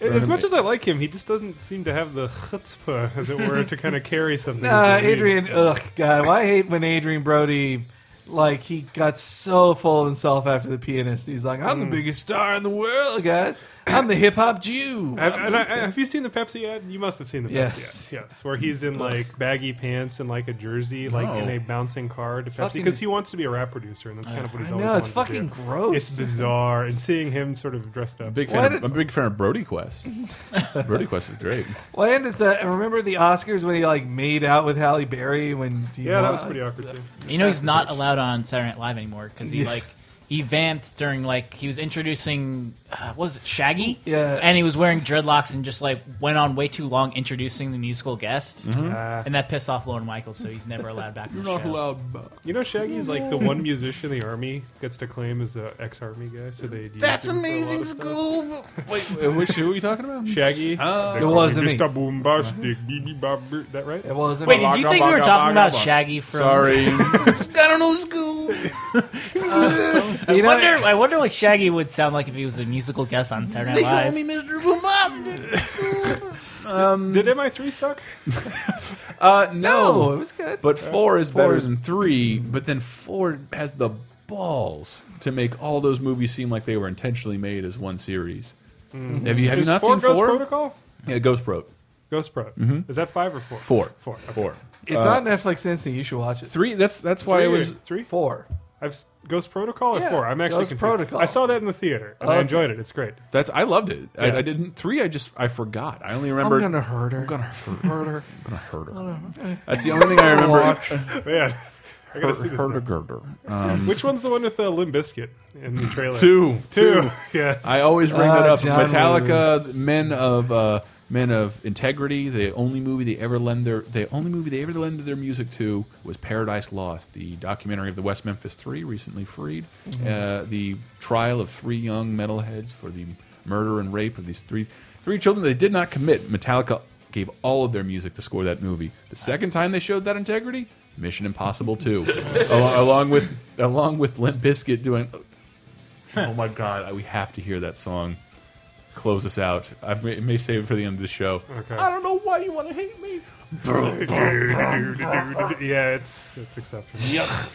Speaker 2: As much as I like him, he just doesn't seem to have the chutzpah, as it were, to kind of carry something.
Speaker 1: Nah,
Speaker 2: that we
Speaker 1: Uh,
Speaker 2: need.
Speaker 1: Adrian. Ugh, God, well, I hate when Adrian Brody. Like he got so full of himself after the pianist. He's like,
Speaker 3: Mm.
Speaker 1: "I'm the biggest star in the world, guys. I'm the hip hop Jew."
Speaker 2: Have, and I, I- have you seen the Pepsi ad? You must have seen the Pepsi
Speaker 1: Yes.
Speaker 2: ad. Yes, where he's in like baggy pants and like a jersey, like
Speaker 3: No.
Speaker 2: in a bouncing car to Pepsi,
Speaker 1: fucking-
Speaker 2: because he wants to be a rap producer, and that's kind of what he's always.
Speaker 1: no, it's
Speaker 2: wanted to
Speaker 1: fucking
Speaker 2: do.
Speaker 1: gross.
Speaker 2: It's bizarre, and seeing him sort of dressed up.
Speaker 3: Big
Speaker 1: Why
Speaker 3: fan of,
Speaker 1: did-
Speaker 3: I'm a big fan of Brody Quest. Brody Quest is great.
Speaker 1: Well, and at the I remember the Oscars when he like made out with Halle Berry when do you
Speaker 2: yeah, that
Speaker 1: want-
Speaker 2: was pretty awkward too.
Speaker 4: You know he's not allowed on Saturday Night Live anymore because he like he vamped during like he was introducing uh, what was it Shaggy?
Speaker 1: Yeah.
Speaker 4: and he was wearing dreadlocks and just like went on way too long introducing the musical guest,
Speaker 2: Ah.
Speaker 4: and that pissed off Lauren Michaels, so he's never allowed back. on the show.
Speaker 2: You know, Shaggy's like the one musician the army gets to claim as a ex-army guy, so they. That's amazing.
Speaker 3: Which who are you talking about?
Speaker 2: Shaggy.
Speaker 3: Oh.
Speaker 2: They
Speaker 1: It
Speaker 2: call
Speaker 1: wasn't me. Uh-huh.
Speaker 2: Mr. Boombastic. Beeby Bobber. That right?
Speaker 1: It wasn't.
Speaker 4: Wait, did you think we were talking about Shaggy from?
Speaker 3: Sorry.
Speaker 1: you know,
Speaker 4: I wonder, I wonder what Shaggy would sound like if he was a musical guest on Saturday Night Live.
Speaker 2: Did MI3 suck?
Speaker 3: Uh,
Speaker 1: No, it
Speaker 3: no.
Speaker 1: was good.
Speaker 3: But four is
Speaker 1: Four
Speaker 3: better
Speaker 1: is-
Speaker 3: than three, but then four has the balls to make all those movies seem like they were intentionally made as one series. Have you have
Speaker 2: Mm-hmm. Is
Speaker 3: you not
Speaker 2: four
Speaker 3: seen
Speaker 2: Ghost
Speaker 3: four?
Speaker 2: Protocol?
Speaker 3: Yeah, Ghost Pro.
Speaker 2: Ghost Pro. Is that five or four?
Speaker 3: Four.
Speaker 2: Four. Okay.
Speaker 3: Four.
Speaker 1: it's on Netflix Instant. You should watch it.
Speaker 3: Three. That's that's why it was.
Speaker 2: three.
Speaker 1: Four.
Speaker 2: I've s- Ghost Protocol or
Speaker 1: Yeah,
Speaker 2: four. I'm actually
Speaker 1: Ghost
Speaker 2: confused.
Speaker 1: Protocol.
Speaker 2: I saw that in the theater and I
Speaker 1: Okay.
Speaker 2: enjoyed it. It's great.
Speaker 3: That's I loved it.
Speaker 2: Yeah.
Speaker 3: I, I didn't three. I just I forgot. I only remember.
Speaker 1: I'm gonna hurt her. I'm
Speaker 3: gonna hurt.
Speaker 1: her.
Speaker 3: gonna hurt her. That's the only thing I remember.
Speaker 2: Man, I gotta see this.
Speaker 3: Hurt
Speaker 2: now.
Speaker 3: a girder. Um,
Speaker 2: Which one's the one with the uh, Limp Biscuit in the trailer?
Speaker 3: two.
Speaker 2: Two. yes.
Speaker 3: I always bring
Speaker 1: Ah,
Speaker 3: that up.
Speaker 1: John
Speaker 3: Metallica,
Speaker 1: Lewis.
Speaker 3: men of uh, men of integrity. The only movie they ever lend their the only movie they ever lended their music to was Paradise Lost, the documentary of the West Memphis Three, recently freed. Uh, the trial of three young metalheads for the murder and rape of these three three children they did not commit. Metallica gave all of their music to score that movie. The second time they showed that integrity, Mission Impossible Two, along, along with along with Limp Bizkit doing oh my god, I- we have to hear that song. Close us out. I may, may save it for the end of the show.
Speaker 2: Okay.
Speaker 3: I don't know why you want to hate me.
Speaker 2: yeah, it's it's exceptional. Oh,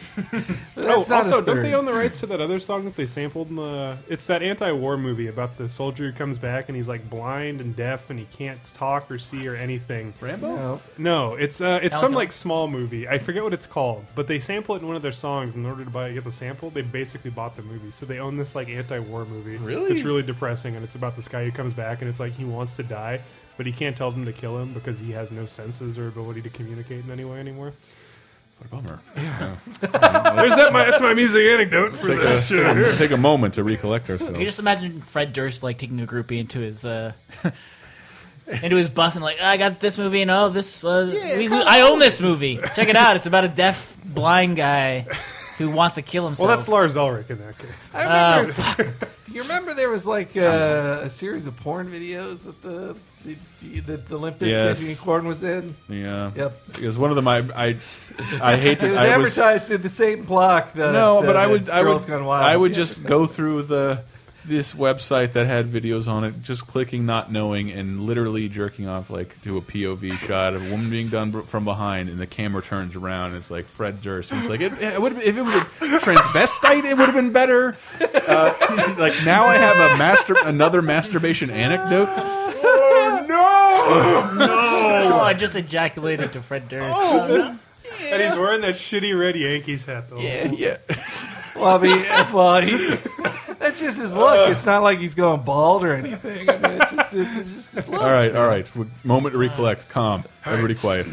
Speaker 1: That's not
Speaker 2: also,
Speaker 1: a
Speaker 2: don't they
Speaker 1: third.
Speaker 2: own the rights to that other song that they sampled in the? It's that anti-war movie about the soldier who comes back and he's like blind and deaf and he can't talk or see or anything.
Speaker 3: Rambo?
Speaker 1: No.
Speaker 2: No, it's uh, it's some
Speaker 4: Alec-
Speaker 2: like small movie. I forget what it's called, but they sample it in one of their songs. In order to buy get the sample, they basically bought the movie. So they own this like anti-war movie.
Speaker 3: Really?
Speaker 2: it's really depressing, and it's about this guy who comes back and it's like he wants to die, but he can't tell them to kill him because he has no senses or ability to communicate in any way anymore.
Speaker 3: What a bummer. Yeah.
Speaker 2: There's that. My, that's my music anecdote for
Speaker 3: Take,
Speaker 2: that.
Speaker 3: a, take, a, take a moment to recollect ourselves.
Speaker 4: You just imagine Fred Durst like taking a groupie into his uh, into his bus and like I got this movie and oh this uh, we, we- I own this movie. Check it out. It's about a deaf blind guy who wants to kill himself.
Speaker 2: Well, that's Lars Ulrich in that case.
Speaker 1: I remember.
Speaker 3: Uh,
Speaker 1: do you remember there was like uh, a series of porn videos that the the the, the Limp
Speaker 3: Yes.
Speaker 1: Bizkit Unicorn was in?
Speaker 3: yeah.
Speaker 1: Yep.
Speaker 3: Because one of them, I, I, I hate
Speaker 1: It
Speaker 3: to.
Speaker 1: was
Speaker 3: I was,
Speaker 1: advertised in the same block. The,
Speaker 3: no,
Speaker 1: the-
Speaker 3: but I
Speaker 1: the
Speaker 3: would. I
Speaker 1: Girls
Speaker 3: would.
Speaker 1: Gone Wild.
Speaker 3: I would
Speaker 1: Yeah.
Speaker 3: just go through the this website that had videos on it, just clicking, not knowing, and literally jerking off like to a POV shot of a woman being done b- from behind, and the camera turns around, and it's like Fred Durst. It's like it, it would if it was a transvestite, it would have been better. Uh, like now, I have a master another masturbation anecdote. Oh no!
Speaker 4: Oh, I just ejaculated to Fred Durst. Oh, no.
Speaker 2: And he's wearing that shitty red Yankees hat though.
Speaker 3: Yeah.
Speaker 1: Well, I mean, well, he, that's just his look.
Speaker 3: Uh.
Speaker 1: It's not like he's going bald or anything. I mean, it's just, it's just his look.
Speaker 3: All right, all right. Moment to recollect. Calm. Everybody quiet.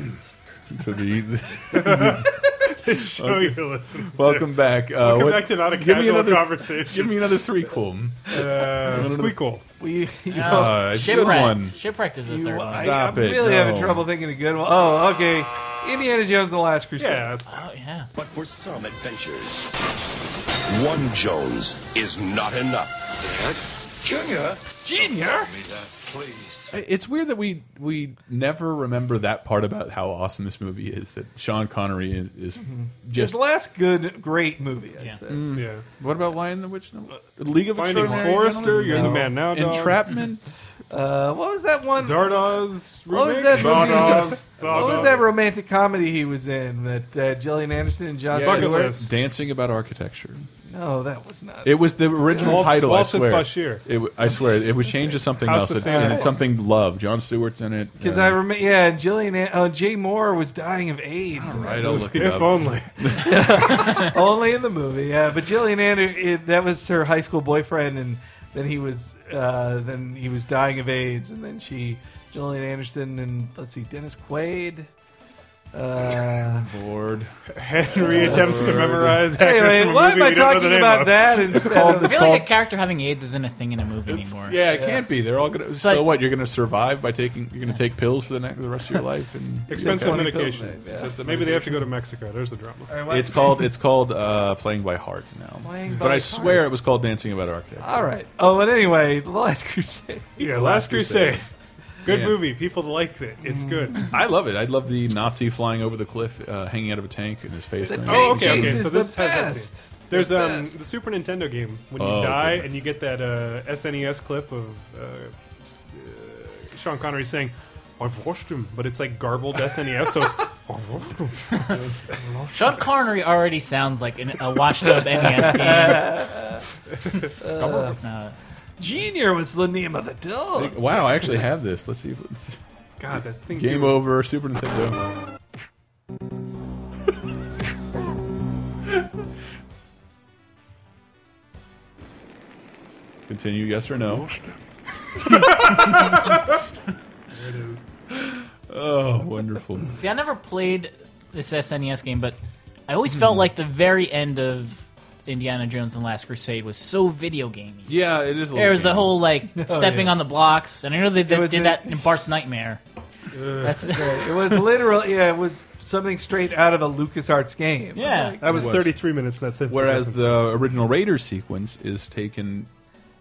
Speaker 3: To the
Speaker 2: Show your listeners.
Speaker 3: welcome back. Uh,
Speaker 2: Come
Speaker 3: what-
Speaker 2: back to not a
Speaker 3: give
Speaker 2: casual
Speaker 3: me another
Speaker 2: conversation.
Speaker 3: Give me another three cool.
Speaker 2: uh, squeakle.
Speaker 1: We, you
Speaker 2: Oh,
Speaker 1: know,
Speaker 3: Uh, it's a good
Speaker 4: Shipwrecked.
Speaker 3: one.
Speaker 4: Shipwrecked is the
Speaker 1: you,
Speaker 4: third one.
Speaker 1: I,
Speaker 3: Stop
Speaker 1: am
Speaker 3: it.
Speaker 1: really having
Speaker 3: No.
Speaker 1: trouble thinking of good one. Oh, okay. Indiana Jones and the Last Crusade.
Speaker 2: Yeah, it's-
Speaker 4: oh, yeah.
Speaker 5: But for some adventures, one Jones is not enough.
Speaker 3: It's weird that we we never remember that part about how awesome this movie is. That Sean Connery is, is
Speaker 2: Mm-hmm.
Speaker 1: His
Speaker 3: just. Mm.
Speaker 1: last good, great movie. I'd
Speaker 4: Yeah.
Speaker 1: say.
Speaker 2: yeah.
Speaker 3: What about Lion the Witch? No. League of
Speaker 2: Uh, Finding
Speaker 3: Extraordinary
Speaker 2: Forrester,
Speaker 3: Gentlemen?
Speaker 2: you're the man now. Dog.
Speaker 3: Entrapment.
Speaker 1: Uh, what was that one?
Speaker 2: Zardoz.
Speaker 1: What was
Speaker 2: remake?
Speaker 1: that
Speaker 2: Zardoz.
Speaker 1: what was that romantic comedy he was in that uh, Gillian Anderson and John
Speaker 2: Yeah. Bucket
Speaker 1: Stewart?
Speaker 2: List.
Speaker 3: Dancing about architecture.
Speaker 1: No, that was not.
Speaker 3: It was the original
Speaker 2: Waltz-
Speaker 3: title.
Speaker 2: Waltz
Speaker 3: I
Speaker 2: with
Speaker 3: swear.
Speaker 2: Bashir.
Speaker 3: It, w- I swear it was changed to something
Speaker 2: House
Speaker 3: else.
Speaker 2: of
Speaker 3: It's,
Speaker 2: Sand.
Speaker 3: and it's something love. John Stewart's in it.
Speaker 1: because
Speaker 3: Uh,
Speaker 1: I remember, yeah, and Gillian, An- oh, Jay Moore was dying of AIDS, in that
Speaker 3: Right, I'll look it
Speaker 2: If
Speaker 3: up.
Speaker 2: only.
Speaker 1: only in the movie. Yeah, but Gillian Anderson, that was her high school boyfriend, and then he was, uh, then he was dying of AIDS, and then she, Gillian Anderson, and let's see, Dennis Quaid. Uh,
Speaker 3: Bored.
Speaker 2: Henry attempts to memorize actors from
Speaker 1: anyway,
Speaker 2: a
Speaker 1: why
Speaker 2: movie
Speaker 1: am I
Speaker 2: we don't know
Speaker 1: talking
Speaker 2: the name
Speaker 1: about
Speaker 2: of.
Speaker 1: that instead
Speaker 3: called
Speaker 1: of
Speaker 4: I
Speaker 3: It's
Speaker 4: feel like a
Speaker 3: called-
Speaker 4: character having AIDS isn't a thing in a movie anymore.
Speaker 3: Yeah, it can't be. They're all gonna. so
Speaker 4: like-
Speaker 3: what? You're gonna survive by taking. You're gonna take pills for the next the rest of your life and
Speaker 2: Expensive
Speaker 3: Okay.
Speaker 2: medication. Maybe they have to go to Mexico. There's the drama.
Speaker 1: All right, why-
Speaker 3: It's called. It's called uh, playing by heart now.
Speaker 1: Playing
Speaker 3: but
Speaker 1: by
Speaker 3: I swear
Speaker 1: heart.
Speaker 3: it was called Dancing About Architecture.
Speaker 1: All right. Oh, but anyway, The Last Crusade.
Speaker 2: Yeah, Last Crusade. Good
Speaker 3: Yeah.
Speaker 2: movie. People liked it. It's
Speaker 1: Mm.
Speaker 2: good.
Speaker 3: I love it. I love the Nazi flying over the cliff, uh, hanging out of a tank, and his face.
Speaker 1: The
Speaker 3: going-
Speaker 1: tank
Speaker 2: Oh, okay, okay.
Speaker 1: chase
Speaker 2: So
Speaker 1: is
Speaker 2: this
Speaker 1: the
Speaker 2: has that
Speaker 1: best.
Speaker 2: There's
Speaker 1: The
Speaker 2: um, the
Speaker 1: best.
Speaker 2: Super Nintendo game when you
Speaker 3: Oh,
Speaker 2: die
Speaker 3: goodness.
Speaker 2: and you get that uh, SNES clip of uh, s- uh, Sean Connery saying, "I've washed him," but it's like garbled SNES, so it's "I've washed him."
Speaker 4: Sean Connery already sounds like an, a E washed up NES game. Uh,
Speaker 1: Junior was the name of the dog.
Speaker 3: Wow, I actually have this. Let's see. If it's
Speaker 2: God, that thing.
Speaker 3: game over. Super Nintendo. Continue. Yes or no?
Speaker 2: It is.
Speaker 3: Oh, wonderful.
Speaker 4: see, I never played this SNES game, but I always felt
Speaker 3: Hmm.
Speaker 4: like the very end of Indiana Jones and the Last Crusade was so video gamey.
Speaker 3: Yeah, it is. A
Speaker 4: There was the
Speaker 3: game. Oh,
Speaker 4: whole like stepping
Speaker 1: yeah.
Speaker 4: on the blocks, and I know they, they
Speaker 1: was
Speaker 4: did
Speaker 1: the-
Speaker 4: that in Bart's Nightmare. That's
Speaker 1: It was literal. Yeah, it was something straight out of a LucasArts game.
Speaker 4: yeah.
Speaker 2: That was
Speaker 3: Was.
Speaker 2: 33 minutes. That's it.
Speaker 3: Whereas the original Raiders sequence is taken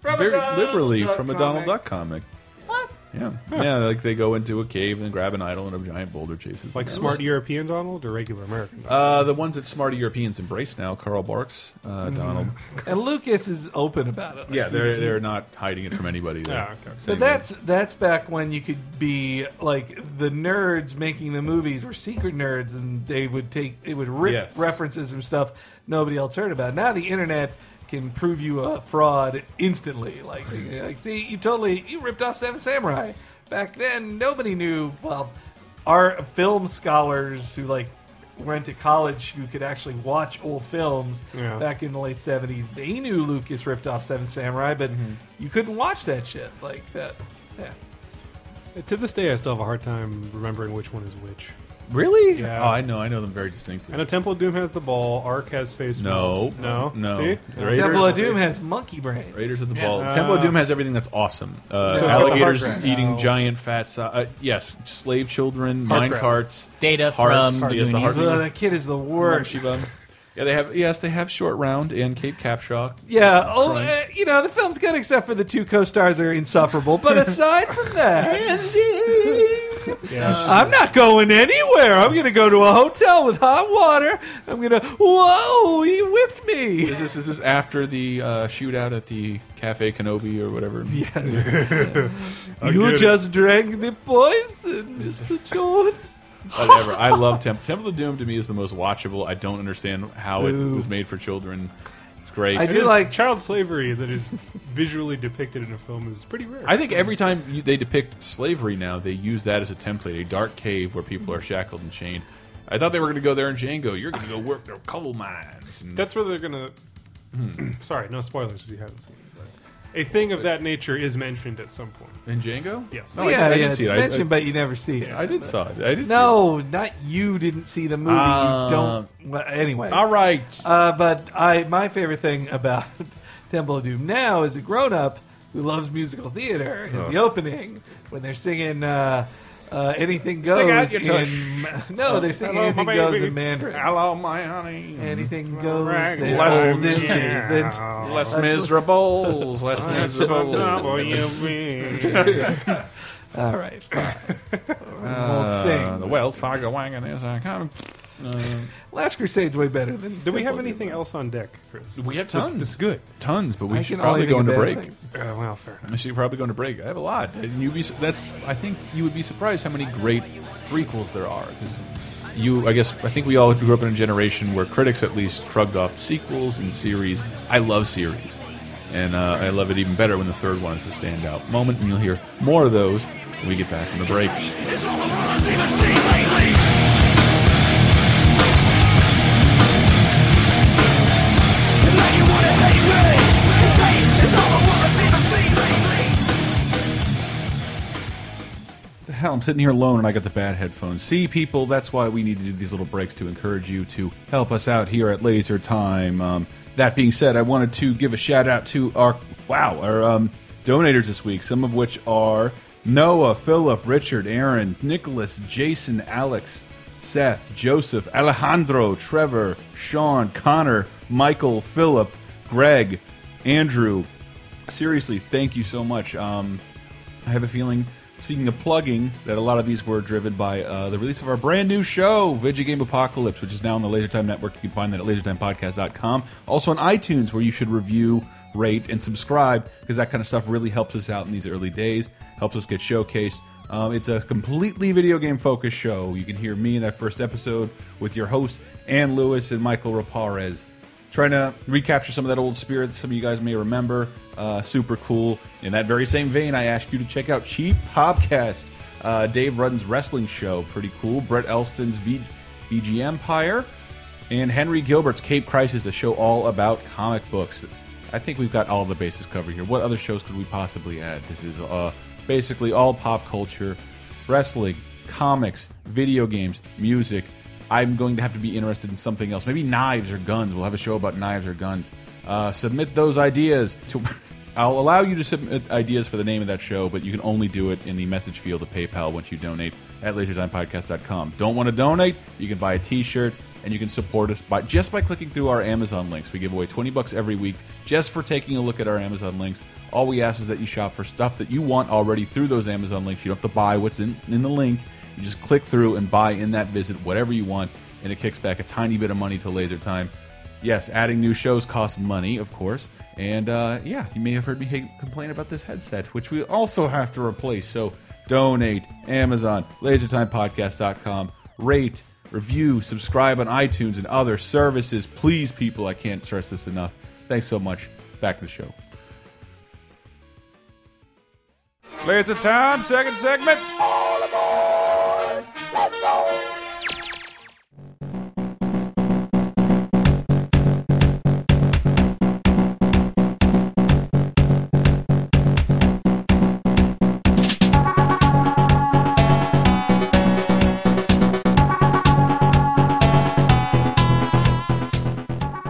Speaker 1: From a
Speaker 3: very
Speaker 1: Donald
Speaker 3: liberally
Speaker 1: Duck
Speaker 3: from a
Speaker 1: comic.
Speaker 3: Donald Duck comic. What? Yeah, yeah. Like they go into a cave and grab an idol, and a giant boulder chases.
Speaker 2: like
Speaker 3: them.
Speaker 2: smart European Donald or regular American. Donald?
Speaker 3: Uh, the ones that smart Europeans embrace now, Carl Barks,
Speaker 2: Mm-hmm.
Speaker 3: uh, Donald.
Speaker 1: And Lucas is open about it.
Speaker 3: Yeah, they're they're not hiding it from anybody. They're
Speaker 2: Yeah, okay.
Speaker 3: saying
Speaker 1: But that's that's back when you could be like the nerds making the movies were secret nerds, and they would take it would rip
Speaker 3: Yes.
Speaker 1: references from stuff nobody else heard about. Now the internet can prove you a fraud instantly. Like, like see, you totally you ripped off Seven Samurai. Back then, nobody knew. Well, our film scholars who like went to college who could actually watch old films
Speaker 2: Yeah.
Speaker 1: back in the late 70s they knew lucas ripped off seven samurai but
Speaker 3: Mm-hmm.
Speaker 1: you couldn't watch that shit like that yeah.
Speaker 2: to this day, I still have a hard time remembering which one is which.
Speaker 3: really.
Speaker 2: Yeah.
Speaker 3: Oh, I know, I know them very
Speaker 2: I know
Speaker 3: distinctly.
Speaker 2: Temple of Doom has the ball. Ark has face.
Speaker 3: No,
Speaker 2: melts. no,
Speaker 3: no.
Speaker 2: See?
Speaker 3: The Raiders,
Speaker 1: temple of doom has monkey brains
Speaker 3: Raiders of the
Speaker 4: Yeah.
Speaker 3: Ball. Temple of
Speaker 2: Uh,
Speaker 3: Doom has everything that's awesome. Uh,
Speaker 2: So it's
Speaker 3: alligators
Speaker 2: got the heart
Speaker 3: eating
Speaker 2: No.
Speaker 3: giant fat. Si uh, yes, slave children,
Speaker 2: Heart
Speaker 3: mine
Speaker 2: grab.
Speaker 3: carts,
Speaker 4: Data
Speaker 3: hearts,
Speaker 4: from
Speaker 3: yes, the heart-
Speaker 1: Ugh, that kid is the worst
Speaker 3: Munchie Bum. Yeah, they have. Yes, they have short round and Cape Capshaw.
Speaker 1: yeah oh
Speaker 3: Crime.
Speaker 1: uh, you know the film's good except for the two co-stars are insufferable but aside from that I'm not going anywhere. I'm going to go to a hotel with hot water. I'm going to, whoa, he whipped me.
Speaker 3: Is this is this after the uh, shootout at the Cafe Kenobi or whatever?
Speaker 1: you
Speaker 2: get it.
Speaker 1: just drank the poison, Mr. Jones.
Speaker 3: Whatever. I love Temple. Temple of Doom to me is the most watchable. I don't understand how it
Speaker 1: Ooh.
Speaker 3: was made for children. It's great.
Speaker 1: I
Speaker 2: It
Speaker 1: do
Speaker 2: is-
Speaker 1: like-
Speaker 2: child slavery that is visually depicted in a film is pretty rare.
Speaker 3: I think every time you, they depict slavery now, they use that as a template, a dark cave where people are shackled and chained. I thought they were going to go there in Django. You're going to go work their coal mines. And
Speaker 2: That's where they're gonna. Sorry, no spoilers if you haven't seen it. But a thing of that nature is mentioned at some point.
Speaker 3: in Django?
Speaker 2: Yes.
Speaker 3: No,
Speaker 1: yeah,
Speaker 3: I,
Speaker 1: yeah,
Speaker 3: did- I did
Speaker 1: it's
Speaker 3: see it. I- I-
Speaker 1: mentioned, but you never see it.
Speaker 3: I, did saw it. I did.
Speaker 1: no, not you didn't see the movie.
Speaker 3: Uh,
Speaker 1: you don't. Well, anyway.
Speaker 3: See it. All right.
Speaker 1: Uh, but I, my favorite thing about Temple of Doom now is a grown up who loves musical theater is the opening when they're singing uh, uh, "Anything Goes."
Speaker 3: out your tush.
Speaker 1: in, no, they're singing
Speaker 2: Hello,
Speaker 1: "Anything
Speaker 2: my
Speaker 1: Goes"
Speaker 2: baby.
Speaker 1: in Mandarin.
Speaker 3: Hello, my honey.
Speaker 1: Anything goes "Oh,
Speaker 2: Right.
Speaker 1: in
Speaker 3: Bless
Speaker 1: olden
Speaker 3: him.
Speaker 1: days. And-
Speaker 3: Less miserables. Less
Speaker 1: "Oh,
Speaker 3: miserables.
Speaker 2: Double
Speaker 1: all right, fine.
Speaker 3: Uh,
Speaker 1: won't sing.
Speaker 3: The Wells Fargo wagon is uh, a come.
Speaker 1: Last Crusade's way better than.
Speaker 2: Do we have anything else on deck, Chris?
Speaker 3: We have tons.
Speaker 2: It's good.
Speaker 3: Tons, but we
Speaker 1: I
Speaker 3: should
Speaker 1: can
Speaker 3: probably
Speaker 1: only
Speaker 3: go
Speaker 1: think of bad
Speaker 3: into break.
Speaker 1: things.
Speaker 2: Uh, well, fair enough.
Speaker 3: I should probably go into break. I have a lot. And you'd be su- that's I think you would be surprised how many great prequels there are. 'Cause You, I guess, I think we all grew up in a generation where critics at least shrugged off sequels and series. I love series, and uh, I love it even better when the third one is the standout moment. And you'll hear more of those when we get back from the break. the hell? I'm sitting here alone and I got the bad headphones. See, people, that's why we need to do these little breaks to encourage you to help us out here at Laser Time. Um, that being said, I wanted to give a shout out to our wow our um, donators this week, some of which are Noah, Philip, Richard, Aaron, Nicholas, Jason, Alex, Seth, Joseph, Alejandro, Trevor, Sean, Connor, Michael, Philip, Greg, Andrew. Seriously, thank you so much. Um, I have a feeling, speaking of plugging, that a lot of these were driven by uh, the release of our brand new show, Video Game Apocalypse, which is now on the Lasertime Network. You can find that at lasertimepodcast.com. Also on iTunes, where you should review, rate, and subscribe, because that kind of stuff really helps us out in these early days, helps us get showcased. Um, it's a completely video game focused show. You can hear me in that first episode with your hosts, Ann Lewis and Michael Raparez trying to recapture some of that old spirit that some of you guys may remember. Uh, super cool. In that very same vein, I ask you to check out Cheap Podcast, uh, Dave Rudden's wrestling show. Pretty cool. Brett Elston's v- VG Empire, and Henry Gilbert's Cape Crisis, a show all about comic books. I think we've got all the bases covered here. What other shows could we possibly add? This is uh, basically all pop culture, wrestling, comics, video games, music. I'm going to have to be interested in something else. Maybe knives or guns. We'll have a show about knives or guns. Uh, submit those ideas to. I'll allow you to submit ideas for the name of that show, but you can only do it in the message field of PayPal once you donate at lasertimepodcast.com. Don't want to donate? You can buy a T-shirt and you can support us by just by clicking through our Amazon links. We give away 20 bucks every week just for taking a look at our Amazon links. All we ask is that you shop for stuff that you want already through those Amazon links. You don't have to buy what's in, in the link. You just click through and buy in that visit whatever you want, and it kicks back a tiny bit of money to Laser Time. Yes, adding new shows costs money, of course. And uh, yeah, you may have heard me ha- complain about this headset, which we also have to replace. So donate, Amazon, lasertimepodcast.com, rate, review, subscribe on iTunes and other services. Please, people, I can't stress this enough. Thanks so much. Back to the show. Laser Time, second segment.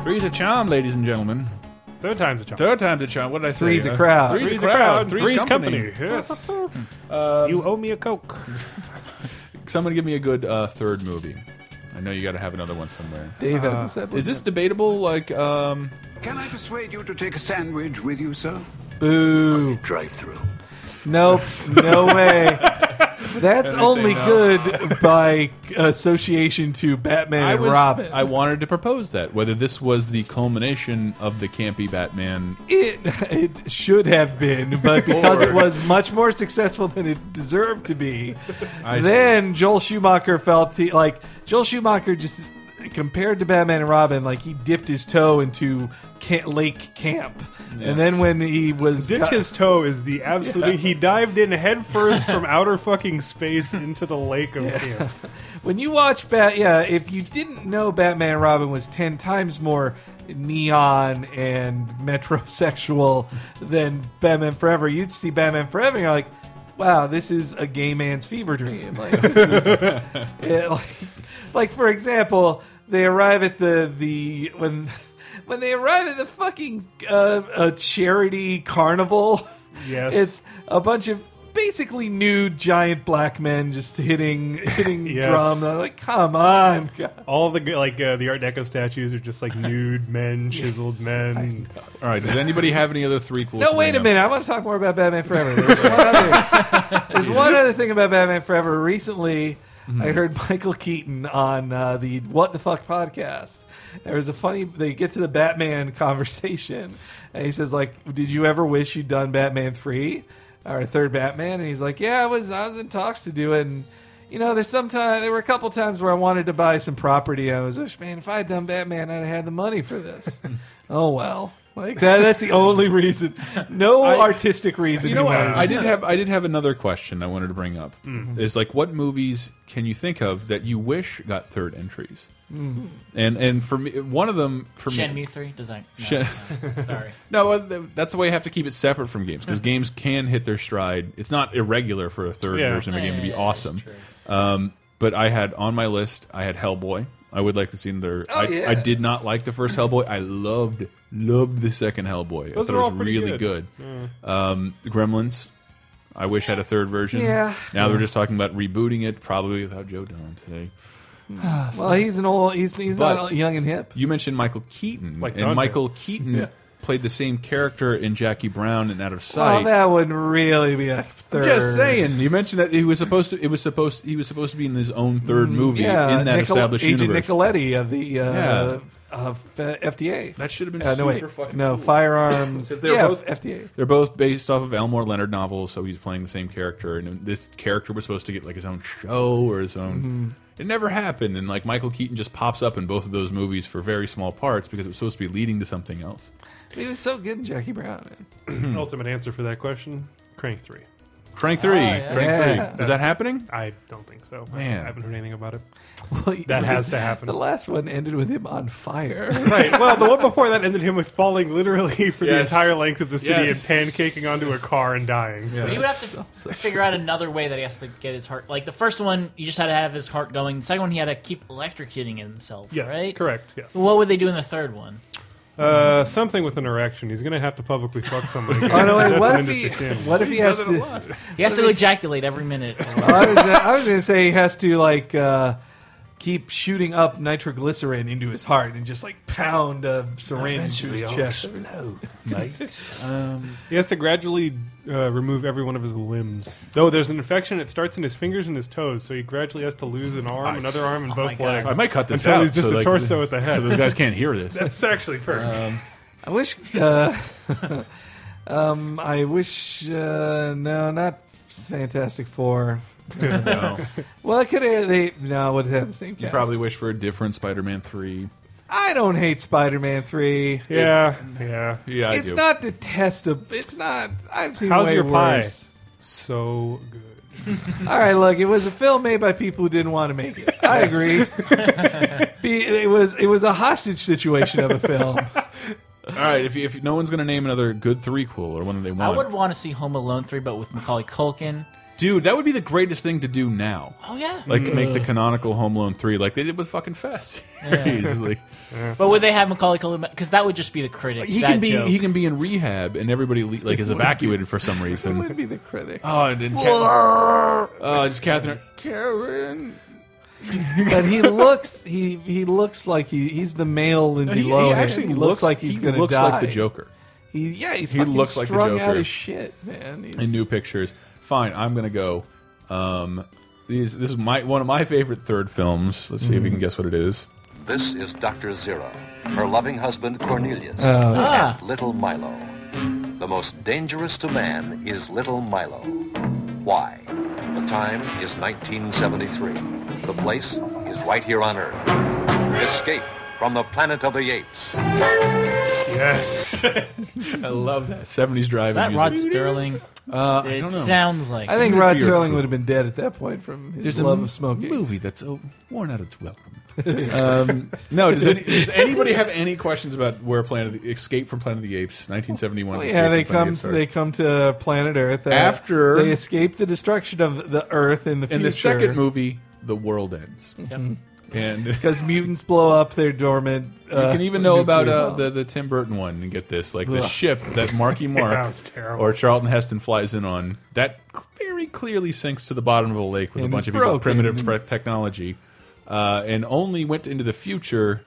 Speaker 3: Three's a charm, ladies and gentlemen.
Speaker 2: Third time's a charm.
Speaker 3: Third time's a charm. What did I say?
Speaker 1: Three's a
Speaker 3: Uh,
Speaker 1: crowd.
Speaker 3: Three's,
Speaker 2: Three's
Speaker 3: a crowd.
Speaker 2: Three's, company. Yes.
Speaker 1: Hmm.
Speaker 2: Um, you owe me a coke.
Speaker 3: Someone give me a good uh, third movie. I know you got to have another one somewhere.
Speaker 1: Dave has a separate.
Speaker 3: Uh, Is this debatable? Like, um,
Speaker 8: Can I persuade you to take a sandwich with you, sir?
Speaker 1: boo?
Speaker 8: Drive through.
Speaker 1: Nope. No way. That's
Speaker 3: And they say
Speaker 1: only
Speaker 3: no.
Speaker 1: good by association to Batman
Speaker 3: I
Speaker 1: and
Speaker 3: was,
Speaker 1: Robin.
Speaker 3: I wanted to propose that whether this was the culmination of the campy Batman.
Speaker 1: It it should have been, but because
Speaker 3: Or-
Speaker 1: it was much more successful than it deserved to be,
Speaker 3: I see.
Speaker 1: then Joel Schumacher felt he, like Joel Schumacher just compared to Batman and Robin, like he dipped his toe into ca lake camp, and then when he was
Speaker 2: Dipped his toe is the absolute. He dived in headfirst from outer fucking space into the lake of camp.
Speaker 1: When you watch Bat, yeah, if you didn't know Batman and Robin was ten times more neon and metrosexual than Batman Forever, you'd see Batman Forever, and you're like, wow, this is a gay man's fever dream. Like, this is, yeah, like, like for example, they arrive at the the when when they arrive at the fucking uh, a charity carnival.
Speaker 2: Yes.
Speaker 1: it's a bunch of. Basically, nude giant black men just hitting hitting
Speaker 2: Yes.
Speaker 1: drum. I'm like, come on, God.
Speaker 2: All the g- like uh, the Art Deco statues are just like nude men, chiseled men.
Speaker 3: All right, does anybody have any other three
Speaker 1: No, wait a minute. I want to talk more about Batman Forever. There's one other, there's one other thing about Batman Forever. Recently,
Speaker 3: Mm-hmm.
Speaker 1: I heard Michael Keaton on uh, the What the Fuck podcast. There was a funny. They get to the Batman conversation, and he says, "Like, did you ever wish you'd done Batman three or third Batman?" And he's like, "Yeah, I was. I was in talks to do it." and you know, there's sometimes there were a couple times where I wanted to buy some property. I was, "Wish, man, if I had done Batman, I'd have had the money for this. oh well, like that, that's the only reason. No artistic reason.
Speaker 3: You know
Speaker 1: he
Speaker 3: what?
Speaker 1: wanted to
Speaker 3: I
Speaker 1: do
Speaker 3: did have I did have another question I wanted to bring up. Is like what movies can you think of that you wish got third entries? And and for me, one of them for me.
Speaker 4: Shenmue three does that? No, no, sorry.
Speaker 3: No, uh, th- that's the way you have to keep it separate from games because games can hit their stride. It's not irregular for a third
Speaker 2: Yeah.
Speaker 3: version of a game to be
Speaker 4: Yeah,
Speaker 3: awesome.
Speaker 4: that's
Speaker 3: Um, but I had on my list, I had Hellboy. I would like to see another.
Speaker 1: Oh,
Speaker 3: I,
Speaker 1: yeah.
Speaker 3: I did not like the first Hellboy. I loved loved the second Hellboy.
Speaker 2: Those
Speaker 3: I
Speaker 2: are
Speaker 3: thought
Speaker 2: all
Speaker 3: it was
Speaker 2: pretty
Speaker 3: really
Speaker 2: good.
Speaker 3: good. Um, the Gremlins. I wish had a third version.
Speaker 1: Yeah.
Speaker 3: Now they're just talking about rebooting it, probably without Joe Don today.
Speaker 1: well, he's an old. He's he's
Speaker 3: But-
Speaker 1: not young and hip.
Speaker 3: You mentioned Michael Keaton,
Speaker 2: Like Dante.
Speaker 3: and Michael Keaton played the same character in Jackie Brown and Out of Sight.
Speaker 1: Well, Oh, that would really be a third.
Speaker 3: Just saying. You mentioned that he was supposed to. It was supposed. He was supposed to be in his own third movie
Speaker 1: Yeah,
Speaker 3: in that
Speaker 1: Nicol-
Speaker 3: established
Speaker 1: Agent
Speaker 3: universe.
Speaker 1: Nicoletti of the uh,
Speaker 3: Yeah.
Speaker 1: of uh, FDA.
Speaker 3: That should have been
Speaker 1: Uh, no wait,
Speaker 3: super fucking
Speaker 1: no
Speaker 3: cool.
Speaker 1: firearms.
Speaker 3: 'Cause they're
Speaker 1: yeah,
Speaker 3: both-
Speaker 1: FDA.
Speaker 3: They're both based off of Elmore Leonard novels, so he's playing the same character, and this character was supposed to get like his own show or his own. It never happened, and like Michael Keaton just pops up in both of those movies for very small parts because it was supposed to be leading to something else.
Speaker 1: He was so good in Jackie Brown. Man.
Speaker 2: Ultimate answer for that question: Crank Three.
Speaker 3: Crank three,
Speaker 4: yeah.
Speaker 3: Crank
Speaker 1: Yeah.
Speaker 3: three. Is that happening?
Speaker 2: I don't think so. I-
Speaker 3: Man.
Speaker 2: I haven't heard anything about it.
Speaker 1: Well, you-
Speaker 2: That has to happen.
Speaker 1: The last one ended with him on fire.
Speaker 2: Right. Well, the one before that ended him with falling literally for the
Speaker 3: Yes.
Speaker 2: entire length of the city
Speaker 3: Yes.
Speaker 2: and pancaking onto a car and dying. So.
Speaker 4: But he would have to figure out another way that he has to get his heart. Like the first one, you just had to have his heart going. The second one, he had to keep electrocuting himself.
Speaker 2: Yes,
Speaker 4: right?
Speaker 2: correct. Yes.
Speaker 1: Hmm.
Speaker 4: What would they do in the third one?
Speaker 2: Uh, something with an erection. He's going to have to publicly fuck somebody.
Speaker 1: Oh no! Wait,
Speaker 2: That's
Speaker 1: what
Speaker 2: an
Speaker 1: if he?
Speaker 2: industry standard.
Speaker 1: What if he, has to?
Speaker 4: He has to ejaculate every minute.
Speaker 1: I was, gonna- I was gonna say he has to like uh, keep shooting up nitroglycerin into his heart and just like pound a syringe to his chest.
Speaker 2: He has to gradually uh, remove every one of his limbs. Though there's an infection, it starts in his fingers and his toes, so he gradually has to lose an arm, another arm, and
Speaker 4: my
Speaker 2: both
Speaker 4: God.
Speaker 2: legs.
Speaker 3: I might cut this
Speaker 2: Until
Speaker 3: out.
Speaker 2: he's just
Speaker 3: so,
Speaker 2: a
Speaker 3: like,
Speaker 2: torso with a
Speaker 3: So
Speaker 2: head.
Speaker 3: those guys can't hear this.
Speaker 2: That's actually perfect.
Speaker 1: I wish. Uh, um, I wish. Uh, no, not Fantastic Four.
Speaker 3: No.
Speaker 1: Well, could have they? No, would have the same.
Speaker 3: You
Speaker 1: Cast.
Speaker 3: probably wish for a different Spider-Man three.
Speaker 1: I don't hate Spider-Man Three.
Speaker 2: yeah, yeah.
Speaker 3: Yeah,
Speaker 1: It's not detestable. It's not. I've seen
Speaker 2: How's
Speaker 1: way
Speaker 2: your pie?
Speaker 1: worse.
Speaker 2: So good.
Speaker 1: All right, look, it was a film made by people who didn't want to make it. I agree. Be, it was it was a hostage situation of a film.
Speaker 3: All right, if, you- if no one's gonna name another good threequel or one that they
Speaker 4: I
Speaker 3: want,
Speaker 4: would want to see Home Alone three, but with Macaulay Culkin.
Speaker 3: dude, that would be the greatest thing to do now.
Speaker 4: Oh yeah.
Speaker 3: Like make the canonical Home Alone three, like they did with fucking Fest. He's like,
Speaker 4: but would they have Macaulay Culkin? Because that would just be the critic.
Speaker 3: he
Speaker 4: that
Speaker 3: can be
Speaker 4: joke.
Speaker 3: he can be in rehab, and everybody le- like is evacuated for some
Speaker 1: It would
Speaker 3: reason.
Speaker 1: be the critic.
Speaker 3: Oh, and then Catherine, oh, just Catherine. Karen.
Speaker 1: But he looks he he looks like he he's the male Lindsay Lohan. he looks, like he's
Speaker 3: he
Speaker 1: gonna
Speaker 3: looks
Speaker 1: die.
Speaker 3: like the Joker
Speaker 1: He, yeah, he's
Speaker 3: He
Speaker 1: fucking
Speaker 3: looks like the
Speaker 1: strung out
Speaker 3: Joker.
Speaker 1: as shit, man. He's-
Speaker 3: in new pictures. Fine, I'm gonna go. Um, these this is my one of my favorite third films. Let's see if you can guess what it is.
Speaker 9: This is Dr. Zero, her loving husband Cornelius,
Speaker 4: Ah.
Speaker 9: and little Milo. The most dangerous to man is little Milo. Why? The time is 1973. The place is right here on Earth. Escape from the planet of the apes.
Speaker 2: Yes.
Speaker 3: I love that seventies driving.
Speaker 4: that
Speaker 3: music.
Speaker 4: Rod Sterling.
Speaker 3: Uh, I
Speaker 4: It
Speaker 3: don't know.
Speaker 4: sounds like.
Speaker 1: I think
Speaker 3: Even if
Speaker 1: Rod
Speaker 3: you're
Speaker 1: Sterling
Speaker 3: cool.
Speaker 1: would have been dead at that point from his
Speaker 3: There's a
Speaker 1: love
Speaker 3: m-
Speaker 1: of smoking.
Speaker 3: movie that's uh, worn out its welcome. um, no, does, any, does anybody have any questions about where Planet of the, Escape from Planet of the Apes, 1971? Escape
Speaker 1: Yeah,
Speaker 3: from
Speaker 1: they
Speaker 3: Planet of the
Speaker 1: come.
Speaker 3: Apes, sorry.
Speaker 1: They come to planet Earth uh,
Speaker 3: After-
Speaker 1: they escape the destruction of the Earth in the future.
Speaker 3: in the second movie, the world ends,
Speaker 1: Hmm.
Speaker 3: and you
Speaker 1: because mutants blow up their dormant. uh,
Speaker 3: can even know about
Speaker 1: nuclear
Speaker 3: uh,
Speaker 1: bomb.
Speaker 3: the the Tim Burton one and get this, like the
Speaker 1: Ugh.
Speaker 3: ship that Marky Mark
Speaker 2: That was terrible.
Speaker 3: or Charlton Heston flies in on. That cl- very clearly sinks to the bottom of a lake with
Speaker 1: And
Speaker 3: a
Speaker 1: it's
Speaker 3: bunch of people with
Speaker 1: broken.
Speaker 3: primitive pre- technology, uh, and only went into the future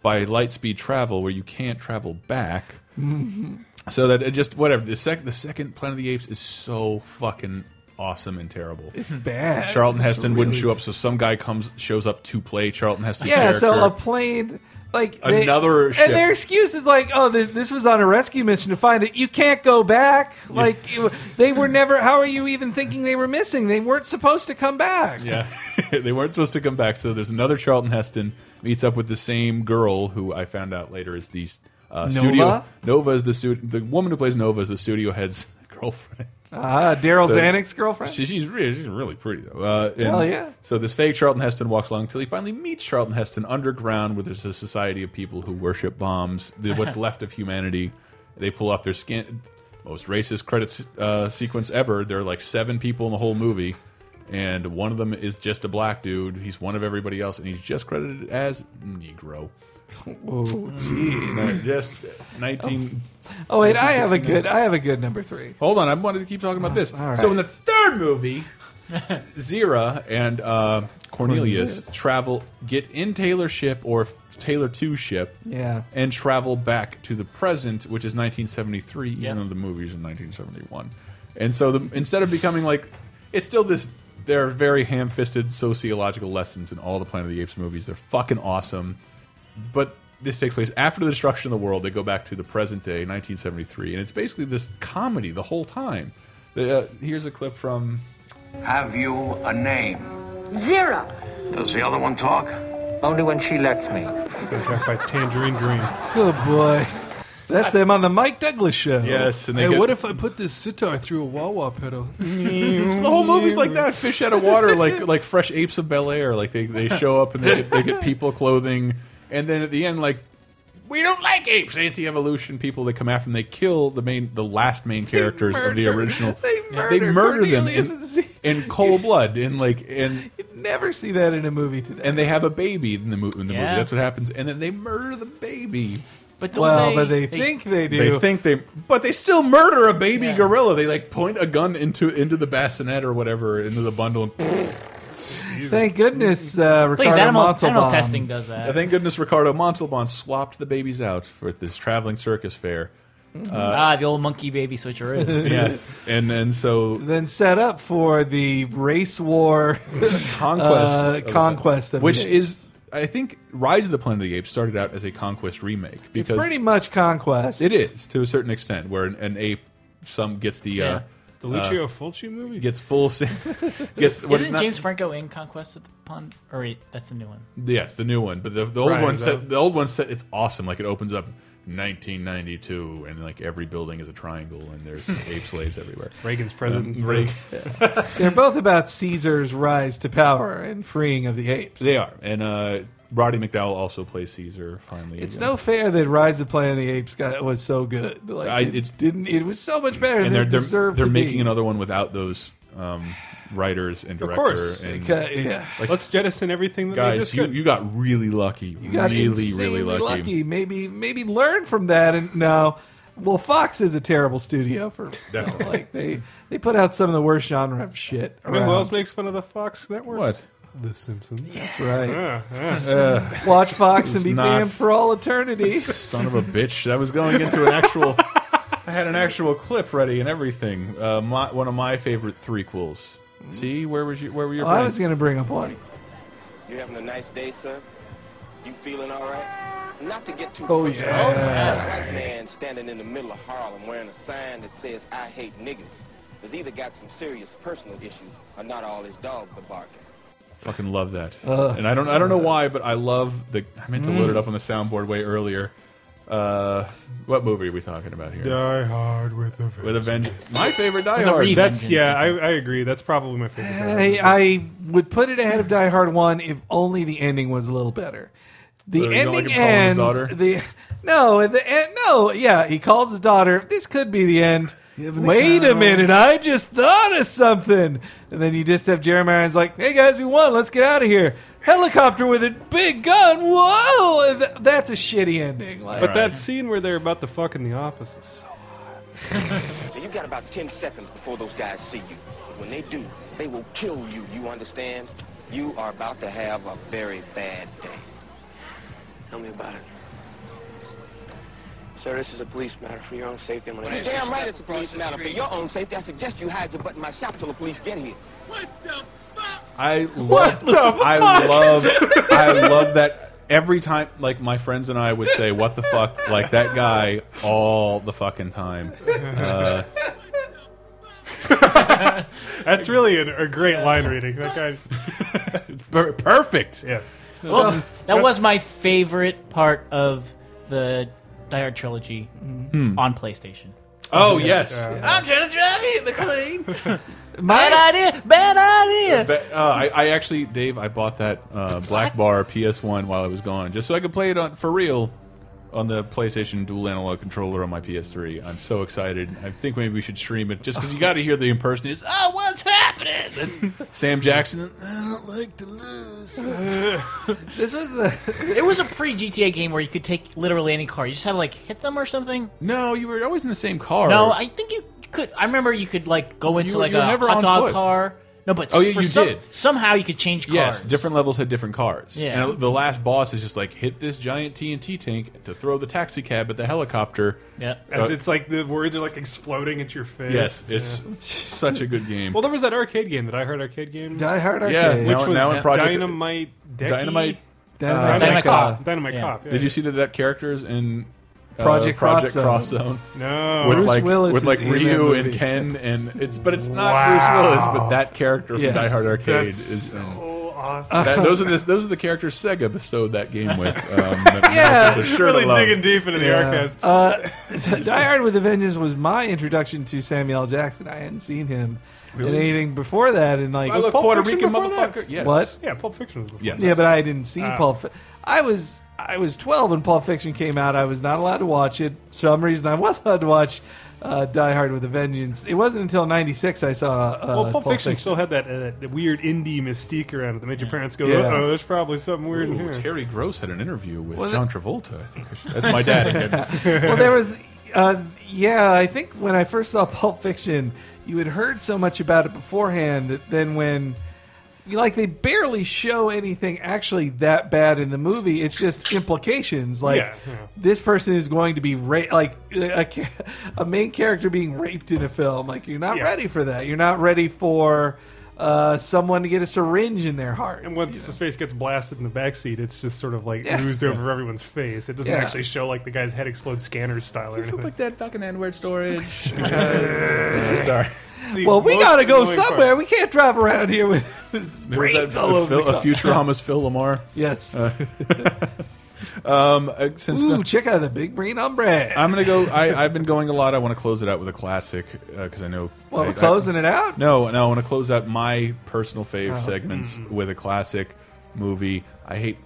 Speaker 3: by light speed travel, where you can't travel back.
Speaker 1: Mm-hmm.
Speaker 3: So that it just whatever the sec the second Planet of the Apes is so fucking awesome and terrible.
Speaker 1: It's bad.
Speaker 3: Charlton
Speaker 1: It's
Speaker 3: Heston wouldn't
Speaker 1: really
Speaker 3: show up, so some guy comes shows up to play Charlton Heston.
Speaker 1: Yeah, so a
Speaker 3: character.
Speaker 1: plane, like
Speaker 3: Another
Speaker 1: they,
Speaker 3: ship.
Speaker 1: and their excuse is like, oh, this, this was on a rescue mission to find it. You can't go back. Like you- they were never. How are you even thinking they were missing? They weren't supposed to come back.
Speaker 3: yeah, they weren't supposed to come back. So there's another Charlton Heston meets up with the same girl who I found out later is the uh, studio
Speaker 1: Nova?
Speaker 3: Nova is the studio. The woman who plays Nova is the studio head's girlfriend.
Speaker 1: Ah, Daryl
Speaker 3: So-
Speaker 1: Zanuck's girlfriend.
Speaker 3: She, she's really, she's really pretty though. Uh, and
Speaker 1: Hell yeah.
Speaker 3: So this fake Charlton Heston walks along until he finally meets Charlton Heston underground, where there's a society of people who worship bombs, the, what's left of humanity. They pull off their skin, most racist credits uh, sequence ever. There are like seven people in the whole movie, and one of them is just a black dude. He's one of everybody else, and he's just credited as Negro. Uh,
Speaker 1: Whoa, jeez.
Speaker 3: Just nineteen.
Speaker 1: Oh wait, I have a good. I have a good number three.
Speaker 3: Hold on, I wanted to keep talking about this.
Speaker 1: Oh, all right.
Speaker 3: So in the third movie, Zira and uh, Cornelius,
Speaker 1: Cornelius.
Speaker 3: travel, get in Taylor's ship or Taylor Two ship,
Speaker 1: Yeah.
Speaker 3: and travel back to the present, which is 1973,
Speaker 4: Yeah.
Speaker 3: even though the movie's in 1971. And so the, instead of becoming like, it's still this. There are very ham-fisted sociological lessons in all the Planet of the Apes movies. They're fucking awesome but this takes place after the destruction of the world. They go back to the present day, 1973, and it's basically this comedy the whole time. The, uh, here's a clip from.
Speaker 9: Have you a name?
Speaker 6: Zero.
Speaker 9: Does the other one talk? Only when she lets me.
Speaker 2: Soundtrack by Tangerine Dream.
Speaker 1: Good boy. That's them on the Mike Douglas show.
Speaker 3: Yes, and they
Speaker 10: Hey,
Speaker 3: get,
Speaker 10: what if I put this sitar through a wah-wah pedal?
Speaker 3: the whole movie's like that? Fish out of water, like like fresh apes of Bel Air. Like they, they show up and they get, they get people clothing, and then at the end, like we don't like apes, anti-evolution people. They come after them. They kill the main, the last main characters of the
Speaker 1: murder-
Speaker 3: original.
Speaker 1: they
Speaker 3: they
Speaker 1: murder
Speaker 3: murder them
Speaker 1: Cornelius and
Speaker 3: in,
Speaker 1: Z-
Speaker 3: in cold blood, in like in
Speaker 1: You'd never see that in a movie today.
Speaker 3: and they have a baby in the, mo in the
Speaker 4: Yeah.
Speaker 3: movie. That's what happens, and then they murder the baby.
Speaker 4: but don't
Speaker 1: well,
Speaker 4: they,
Speaker 1: but they, think they do.
Speaker 3: They think they, but they still murder a baby
Speaker 4: Yeah.
Speaker 3: gorilla. They like point a gun into into the bassinet or whatever into the bundle. And
Speaker 1: Thank goodness, uh, Ricardo
Speaker 4: Please, animal, animal
Speaker 1: Montalban.
Speaker 4: testing does that.
Speaker 3: thank goodness Ricardo Montalban swapped the babies out for this traveling circus fair. Uh,
Speaker 4: ah, the old monkey baby switcheroo.
Speaker 3: Yes, and and so
Speaker 1: Then set up for the race war
Speaker 3: conquest
Speaker 1: Uh,
Speaker 3: of the-
Speaker 1: Conquest of the
Speaker 3: which
Speaker 1: Apes.
Speaker 3: is I think Rise of the Planet of the Apes started out as a conquest remake
Speaker 1: It's
Speaker 3: because
Speaker 1: pretty much conquest.
Speaker 3: it is to a certain extent where an, an ape some gets the
Speaker 4: Yeah.
Speaker 3: uh,
Speaker 2: The Lucio Fulci movie?
Speaker 3: gets full sa- gets what
Speaker 4: Isn't
Speaker 3: not-
Speaker 4: James Franco in Conquest of the Pond? Or wait, that's the new one.
Speaker 3: yes the new one but the, the old
Speaker 2: Right,
Speaker 3: one
Speaker 2: that-
Speaker 3: said the old one said it's awesome like it opens up 1992 and like every building is a triangle and there's ape slaves everywhere
Speaker 2: Reagan's president.
Speaker 3: Reagan-
Speaker 1: They're both about Caesar's rise to power and freeing of the apes.
Speaker 3: they are and uh Roddy McDowell also plays Caesar finally
Speaker 1: It's
Speaker 3: again.
Speaker 1: no fair that Rise of Planet of the Apes got was so good. Like
Speaker 3: I-
Speaker 1: it,
Speaker 3: it's-
Speaker 1: didn't. It was so much better
Speaker 3: and
Speaker 1: than
Speaker 3: they're
Speaker 1: it
Speaker 3: they're,
Speaker 1: deserved
Speaker 3: they're
Speaker 1: to
Speaker 3: making
Speaker 1: be.
Speaker 3: another one without those um writers and director
Speaker 2: course.
Speaker 3: and
Speaker 1: Ca- yeah.
Speaker 2: Let's jettison everything that made this
Speaker 3: guys you,
Speaker 2: good.
Speaker 3: you got really lucky
Speaker 1: You got
Speaker 3: really
Speaker 1: insanely
Speaker 3: really lucky,
Speaker 1: Maybe maybe learn from that and no. Well, Fox is a terrible studio for you know,
Speaker 3: Definitely.
Speaker 1: like they they put out some of the worst genre of shit.
Speaker 2: I mean, who
Speaker 1: around.
Speaker 2: else makes fun of the Fox Network?
Speaker 3: what
Speaker 2: The Simpsons.
Speaker 1: That's right.
Speaker 2: Yeah, yeah.
Speaker 1: Watch Fox and
Speaker 3: was
Speaker 1: be
Speaker 3: not-
Speaker 1: damned for all eternity.
Speaker 3: Son of a bitch! That was going into an actual. I had an actual clip ready and everything. Uh, my, one of my favorite threequels. See, where was you? Where were your?
Speaker 1: Oh, Mm-hmm. I
Speaker 3: brain?
Speaker 1: was gonna bring up one.
Speaker 11: You having a nice day, sir? You feeling all right? Not to get too
Speaker 1: Oh,
Speaker 11: personal,
Speaker 1: yeah.
Speaker 11: but a
Speaker 1: Yes.
Speaker 11: white man standing in the middle of Harlem wearing a sign that says "I hate niggas" has either got some serious personal issues or not all his dogs are barking.
Speaker 3: Fucking love that.
Speaker 11: Ugh.
Speaker 3: and I don't I don't know why, but I love the. I meant to load
Speaker 2: Mm.
Speaker 3: it up on the soundboard way earlier. Uh, what movie are we talking about here?
Speaker 2: Die Hard with a
Speaker 3: With a vengeance. My favorite Die Hard.
Speaker 2: That's yeah, I, I agree. That's probably my favorite.
Speaker 1: I, I would put it ahead of Die Hard One if only the ending was a little better. The
Speaker 2: Uh, you don't
Speaker 1: ending
Speaker 2: like him calling his
Speaker 1: ends.
Speaker 2: daughter?
Speaker 1: The no, the end, no, yeah. He calls his daughter. This could be the end.
Speaker 10: an
Speaker 1: Wait a
Speaker 10: account.
Speaker 1: minute, I just thought of something. And then you just have Jeremy Irons like, "Hey guys, we won. Let's get out of here." Helicopter with a big gun. Whoa, And th- that's a shitty ending. Like,
Speaker 2: But that scene where they're about to fuck in the office is so
Speaker 11: Now, you got about 10 seconds before those guys see you. When they do, they will kill you. You understand? You are about to have a very bad day.
Speaker 12: Tell me about it. Sir, this is a police matter for your own safety. I'm
Speaker 11: You're damn right it's a police matter. For your own safety, I suggest you hide your butt in my shop till the police get here.
Speaker 3: I love.
Speaker 11: What the
Speaker 3: I
Speaker 11: fuck?
Speaker 3: love. I love that every time. Like my friends and I would say, "What the fuck?" Like that guy all the fucking time. Uh,
Speaker 2: That's really a, a great line reading. That guy.
Speaker 3: it's perfect.
Speaker 2: Yes.
Speaker 4: Well, that was my favorite part of the Die Hard trilogy
Speaker 3: Hmm.
Speaker 4: on PlayStation.
Speaker 3: Oh, yes.
Speaker 4: I'm trying to drive you, McLean.
Speaker 1: My-
Speaker 4: bad idea. Bad idea.
Speaker 3: But, uh, I, I actually, Dave, I bought that uh, Black Bar PS1 while I was gone, just so I could play it on for real on the PlayStation Dual Analog Controller on my PS3. I'm so excited. I think maybe we should stream it, just because you got to hear the impersonators. Ah, what's happening? That's Sam Jackson. I don't like to lose.
Speaker 1: this was a.
Speaker 4: it was a pre GTA game where you could take literally any car. You just had to like hit them or something.
Speaker 3: No, you were always in the same car.
Speaker 4: No, I think you could. I remember you could like go into
Speaker 3: You-
Speaker 4: like
Speaker 3: you were
Speaker 4: a
Speaker 3: never on
Speaker 4: hot dog
Speaker 3: foot.
Speaker 4: car. No, but
Speaker 3: Oh, yeah,
Speaker 4: for
Speaker 3: you
Speaker 4: some-
Speaker 3: did.
Speaker 4: Somehow you could change cars.
Speaker 3: Yes, different levels had different cars.
Speaker 4: Yeah.
Speaker 3: And the last boss is just like hit this giant TNT tank to throw the taxi cab at the helicopter.
Speaker 2: As
Speaker 3: Uh,
Speaker 2: it's like the words are like exploding into your face.
Speaker 3: Yes, it's
Speaker 2: Yeah.
Speaker 3: such a good game.
Speaker 2: Well, there was that arcade game that I heard arcade game.
Speaker 1: Die Hard
Speaker 3: Yeah, Arcade. now-
Speaker 2: which was uh,
Speaker 3: now in Project-
Speaker 2: Dynamite. Decky?
Speaker 3: Dynamite.
Speaker 2: Dynamite,
Speaker 3: Dynamite
Speaker 2: Cop.
Speaker 3: Cop.
Speaker 2: Dynamite Cop.
Speaker 3: Did you see that that character is in uh,
Speaker 1: Project
Speaker 3: Project
Speaker 1: Cross
Speaker 3: Cross
Speaker 1: Zone?
Speaker 3: Zone?
Speaker 2: No.
Speaker 3: with
Speaker 2: Bruce
Speaker 3: like
Speaker 2: Willis
Speaker 3: with
Speaker 2: is
Speaker 3: like
Speaker 2: in that
Speaker 3: Ryu and
Speaker 2: movie.
Speaker 3: Ken, and it's but it's not
Speaker 2: Wow.
Speaker 3: Bruce Willis, but that character
Speaker 2: Yes.
Speaker 3: from Die Hard Arcade
Speaker 2: That's
Speaker 3: is. in-
Speaker 2: so Oh, awesome.
Speaker 3: That- those are the, those are the characters Sega bestowed that game with. Um, that
Speaker 1: Yeah.
Speaker 3: Masters are sure to
Speaker 2: Really
Speaker 3: love.
Speaker 2: digging deep into the
Speaker 1: Yeah.
Speaker 2: archives.
Speaker 1: Uh, Die Hard with a Vengeance was my introduction to Samuel L. Jackson. I hadn't seen him in
Speaker 2: Really?
Speaker 1: anything before that, and like
Speaker 2: I Was look Pulp Puerto Fiction Rican before that? motherfucker.
Speaker 1: Yes.
Speaker 2: Yes.
Speaker 1: What?
Speaker 2: Yeah, Pulp Fiction was before
Speaker 3: Yes. that.
Speaker 1: Yeah, but I didn't see
Speaker 2: Ah.
Speaker 1: Pulp. Fi- I was I was twelve when Pulp Fiction came out. I was not allowed to watch it. For some reason I was allowed to watch uh, Die Hard with a Vengeance. It wasn't until '96 I saw. Uh,
Speaker 2: well, Pulp, Fiction, still had that, uh, that weird indie mystique around it that made your parents go,
Speaker 1: Yeah.
Speaker 2: "Oh, there's probably something weird in
Speaker 3: Ooh,
Speaker 2: here."
Speaker 3: Terry Gross had an interview with
Speaker 2: Was it-
Speaker 3: John Travolta. I think I should- that's my dad. Again.
Speaker 1: well, there was, uh, yeah, I think when I first saw Pulp Fiction, you had heard so much about it beforehand that then when, you like, they barely show anything actually that bad in the movie. It's just implications, like
Speaker 2: Yeah, yeah.
Speaker 1: this person is going to be ra- like a, ca- a main character being raped in a film. Like you're not
Speaker 2: Yeah.
Speaker 1: ready for that. You're not ready for uh, someone to get a syringe in their heart.
Speaker 2: And once his face gets blasted in the backseat, it's just sort of like oozed over everyone's face. It doesn't
Speaker 1: Yeah.
Speaker 2: actually show like the guy's head explodes scanner style or
Speaker 3: Just look
Speaker 2: anything.
Speaker 3: like that fucking N word storage. because- Sorry.
Speaker 2: the
Speaker 1: Well, we
Speaker 2: most
Speaker 1: gotta go
Speaker 2: annoying part.
Speaker 1: somewhere. We can't drive around here with, with
Speaker 3: There was
Speaker 1: brains
Speaker 3: that-
Speaker 1: all
Speaker 3: a
Speaker 1: over
Speaker 3: Phil-
Speaker 1: the
Speaker 3: a
Speaker 1: car.
Speaker 3: Futurama's Phil Lamar.
Speaker 1: Yes.
Speaker 3: Uh, um, uh, since
Speaker 1: Ooh,
Speaker 3: the-
Speaker 1: check out the big brain ombre.
Speaker 3: I'm gonna go. I, I've been going a lot. I want to close it out with a classic because I know.
Speaker 1: Well,
Speaker 3: I-
Speaker 1: we're closing
Speaker 3: I-
Speaker 1: it out?
Speaker 3: No, no. I want to close out my personal fave
Speaker 1: Oh.
Speaker 3: segments with a classic movie. I hate.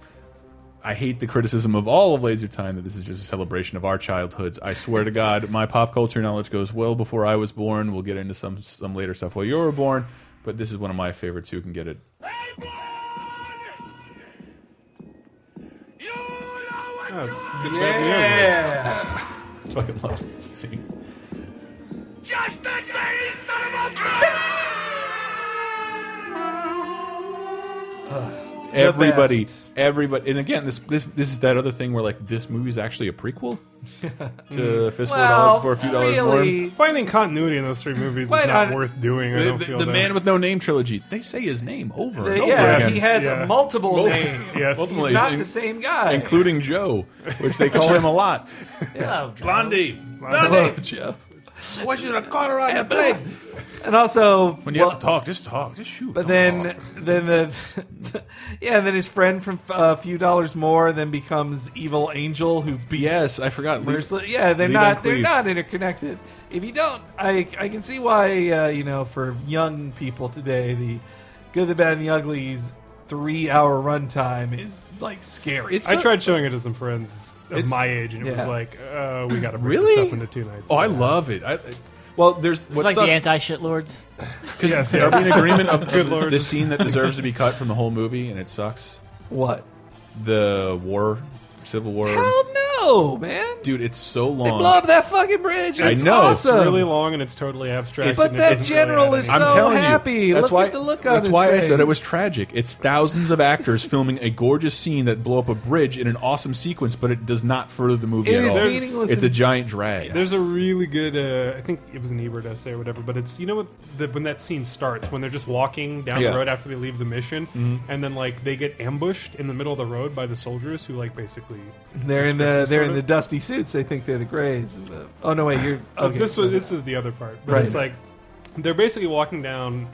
Speaker 3: I hate the criticism of all of Laser Time that this is just a celebration of our childhoods. I swear to God, my pop culture knowledge goes well before I was born. We'll get into some some later stuff while you were born, but this is one of my favorites. You can get it
Speaker 2: Oh, it's good
Speaker 3: Yeah. Fucking love this scene. everybody, everybody, and again, this this this is that other thing where like this movie's actually a prequel to Fistful of Dollars for a few dollars more.
Speaker 2: Finding continuity in those three movies
Speaker 3: Why
Speaker 2: is not
Speaker 3: not?
Speaker 2: worth doing. I
Speaker 3: The-
Speaker 2: don't
Speaker 3: the-
Speaker 2: feel
Speaker 3: the
Speaker 2: that.
Speaker 3: Man with No Name trilogy. They say his name over.
Speaker 1: The-
Speaker 3: and over
Speaker 1: yeah,
Speaker 3: again.
Speaker 1: he has Yeah. multiple
Speaker 3: Mul-
Speaker 1: names. He's not the same guy.
Speaker 3: including Joe, which they call him a lot.
Speaker 1: Hello, Joe.
Speaker 3: Blondie,
Speaker 1: Hello,
Speaker 3: Blondie, Joe. Why should I caught her on the plane?
Speaker 1: And also,
Speaker 3: When you have to talk, just talk, just shoot.
Speaker 1: But
Speaker 3: Don't
Speaker 1: then, then the yeah, and then his friend from uh, a few dollars more then becomes evil angel who beats.
Speaker 3: Yes, I forgot. Lee-
Speaker 1: mercil- yeah, they're
Speaker 3: Lee
Speaker 1: not
Speaker 3: Van
Speaker 1: they're
Speaker 3: Cleef.
Speaker 1: not interconnected. If you don't, I I can see why uh, you know for young people today the good, the bad, and the ugly's three hour runtime is like scary.
Speaker 2: I tried showing it to some friends of
Speaker 1: It's-
Speaker 2: my age, and it
Speaker 1: yeah.
Speaker 2: was like, uh, we got to break
Speaker 3: Really?
Speaker 2: this up into two nights.
Speaker 3: Oh, I love it. I, I- well, there's
Speaker 4: It's like the anti shitlords.
Speaker 3: Because are we in agreement of of the, the scene that deserves to be cut from the whole movie and it sucks?
Speaker 1: What?
Speaker 3: The war, Civil War.
Speaker 1: Hell no, man!
Speaker 3: Dude, it's so long.
Speaker 1: They blow up that fucking bridge.
Speaker 3: I
Speaker 1: It's
Speaker 3: know.
Speaker 1: awesome.
Speaker 2: It's really long and it's totally abstract.
Speaker 1: But
Speaker 2: and it
Speaker 1: that
Speaker 2: doesn't
Speaker 1: general
Speaker 2: really add
Speaker 1: is
Speaker 2: anything.
Speaker 1: so
Speaker 3: I'm telling
Speaker 1: happy.
Speaker 3: you, that's
Speaker 1: Look
Speaker 3: why
Speaker 1: at the look on
Speaker 3: that's
Speaker 1: his
Speaker 3: why I said it
Speaker 1: face.
Speaker 3: was tragic. It's thousands of actors filming a gorgeous scene that blow up a bridge in an awesome sequence, but it does not further the movie
Speaker 2: It
Speaker 3: at
Speaker 2: is
Speaker 3: all.
Speaker 2: meaningless
Speaker 3: It's a
Speaker 2: and-
Speaker 3: giant drag.
Speaker 2: There's a really good, uh, I think it was an Ebert essay or whatever, but it's you know what the, when that scene starts when they're just walking down
Speaker 3: Yeah.
Speaker 2: the road after they leave the mission,
Speaker 1: Mhm.
Speaker 2: and then like they get ambushed in the middle of the road by the soldiers who like basically
Speaker 1: They're in the
Speaker 2: sort
Speaker 1: they're in
Speaker 2: of.
Speaker 1: the dusty suits. They think they're the Greys. And the, oh no, wait, you're
Speaker 2: Uh,
Speaker 1: okay.
Speaker 2: this was this is the other part. But
Speaker 1: Right.
Speaker 2: it's like they're basically walking down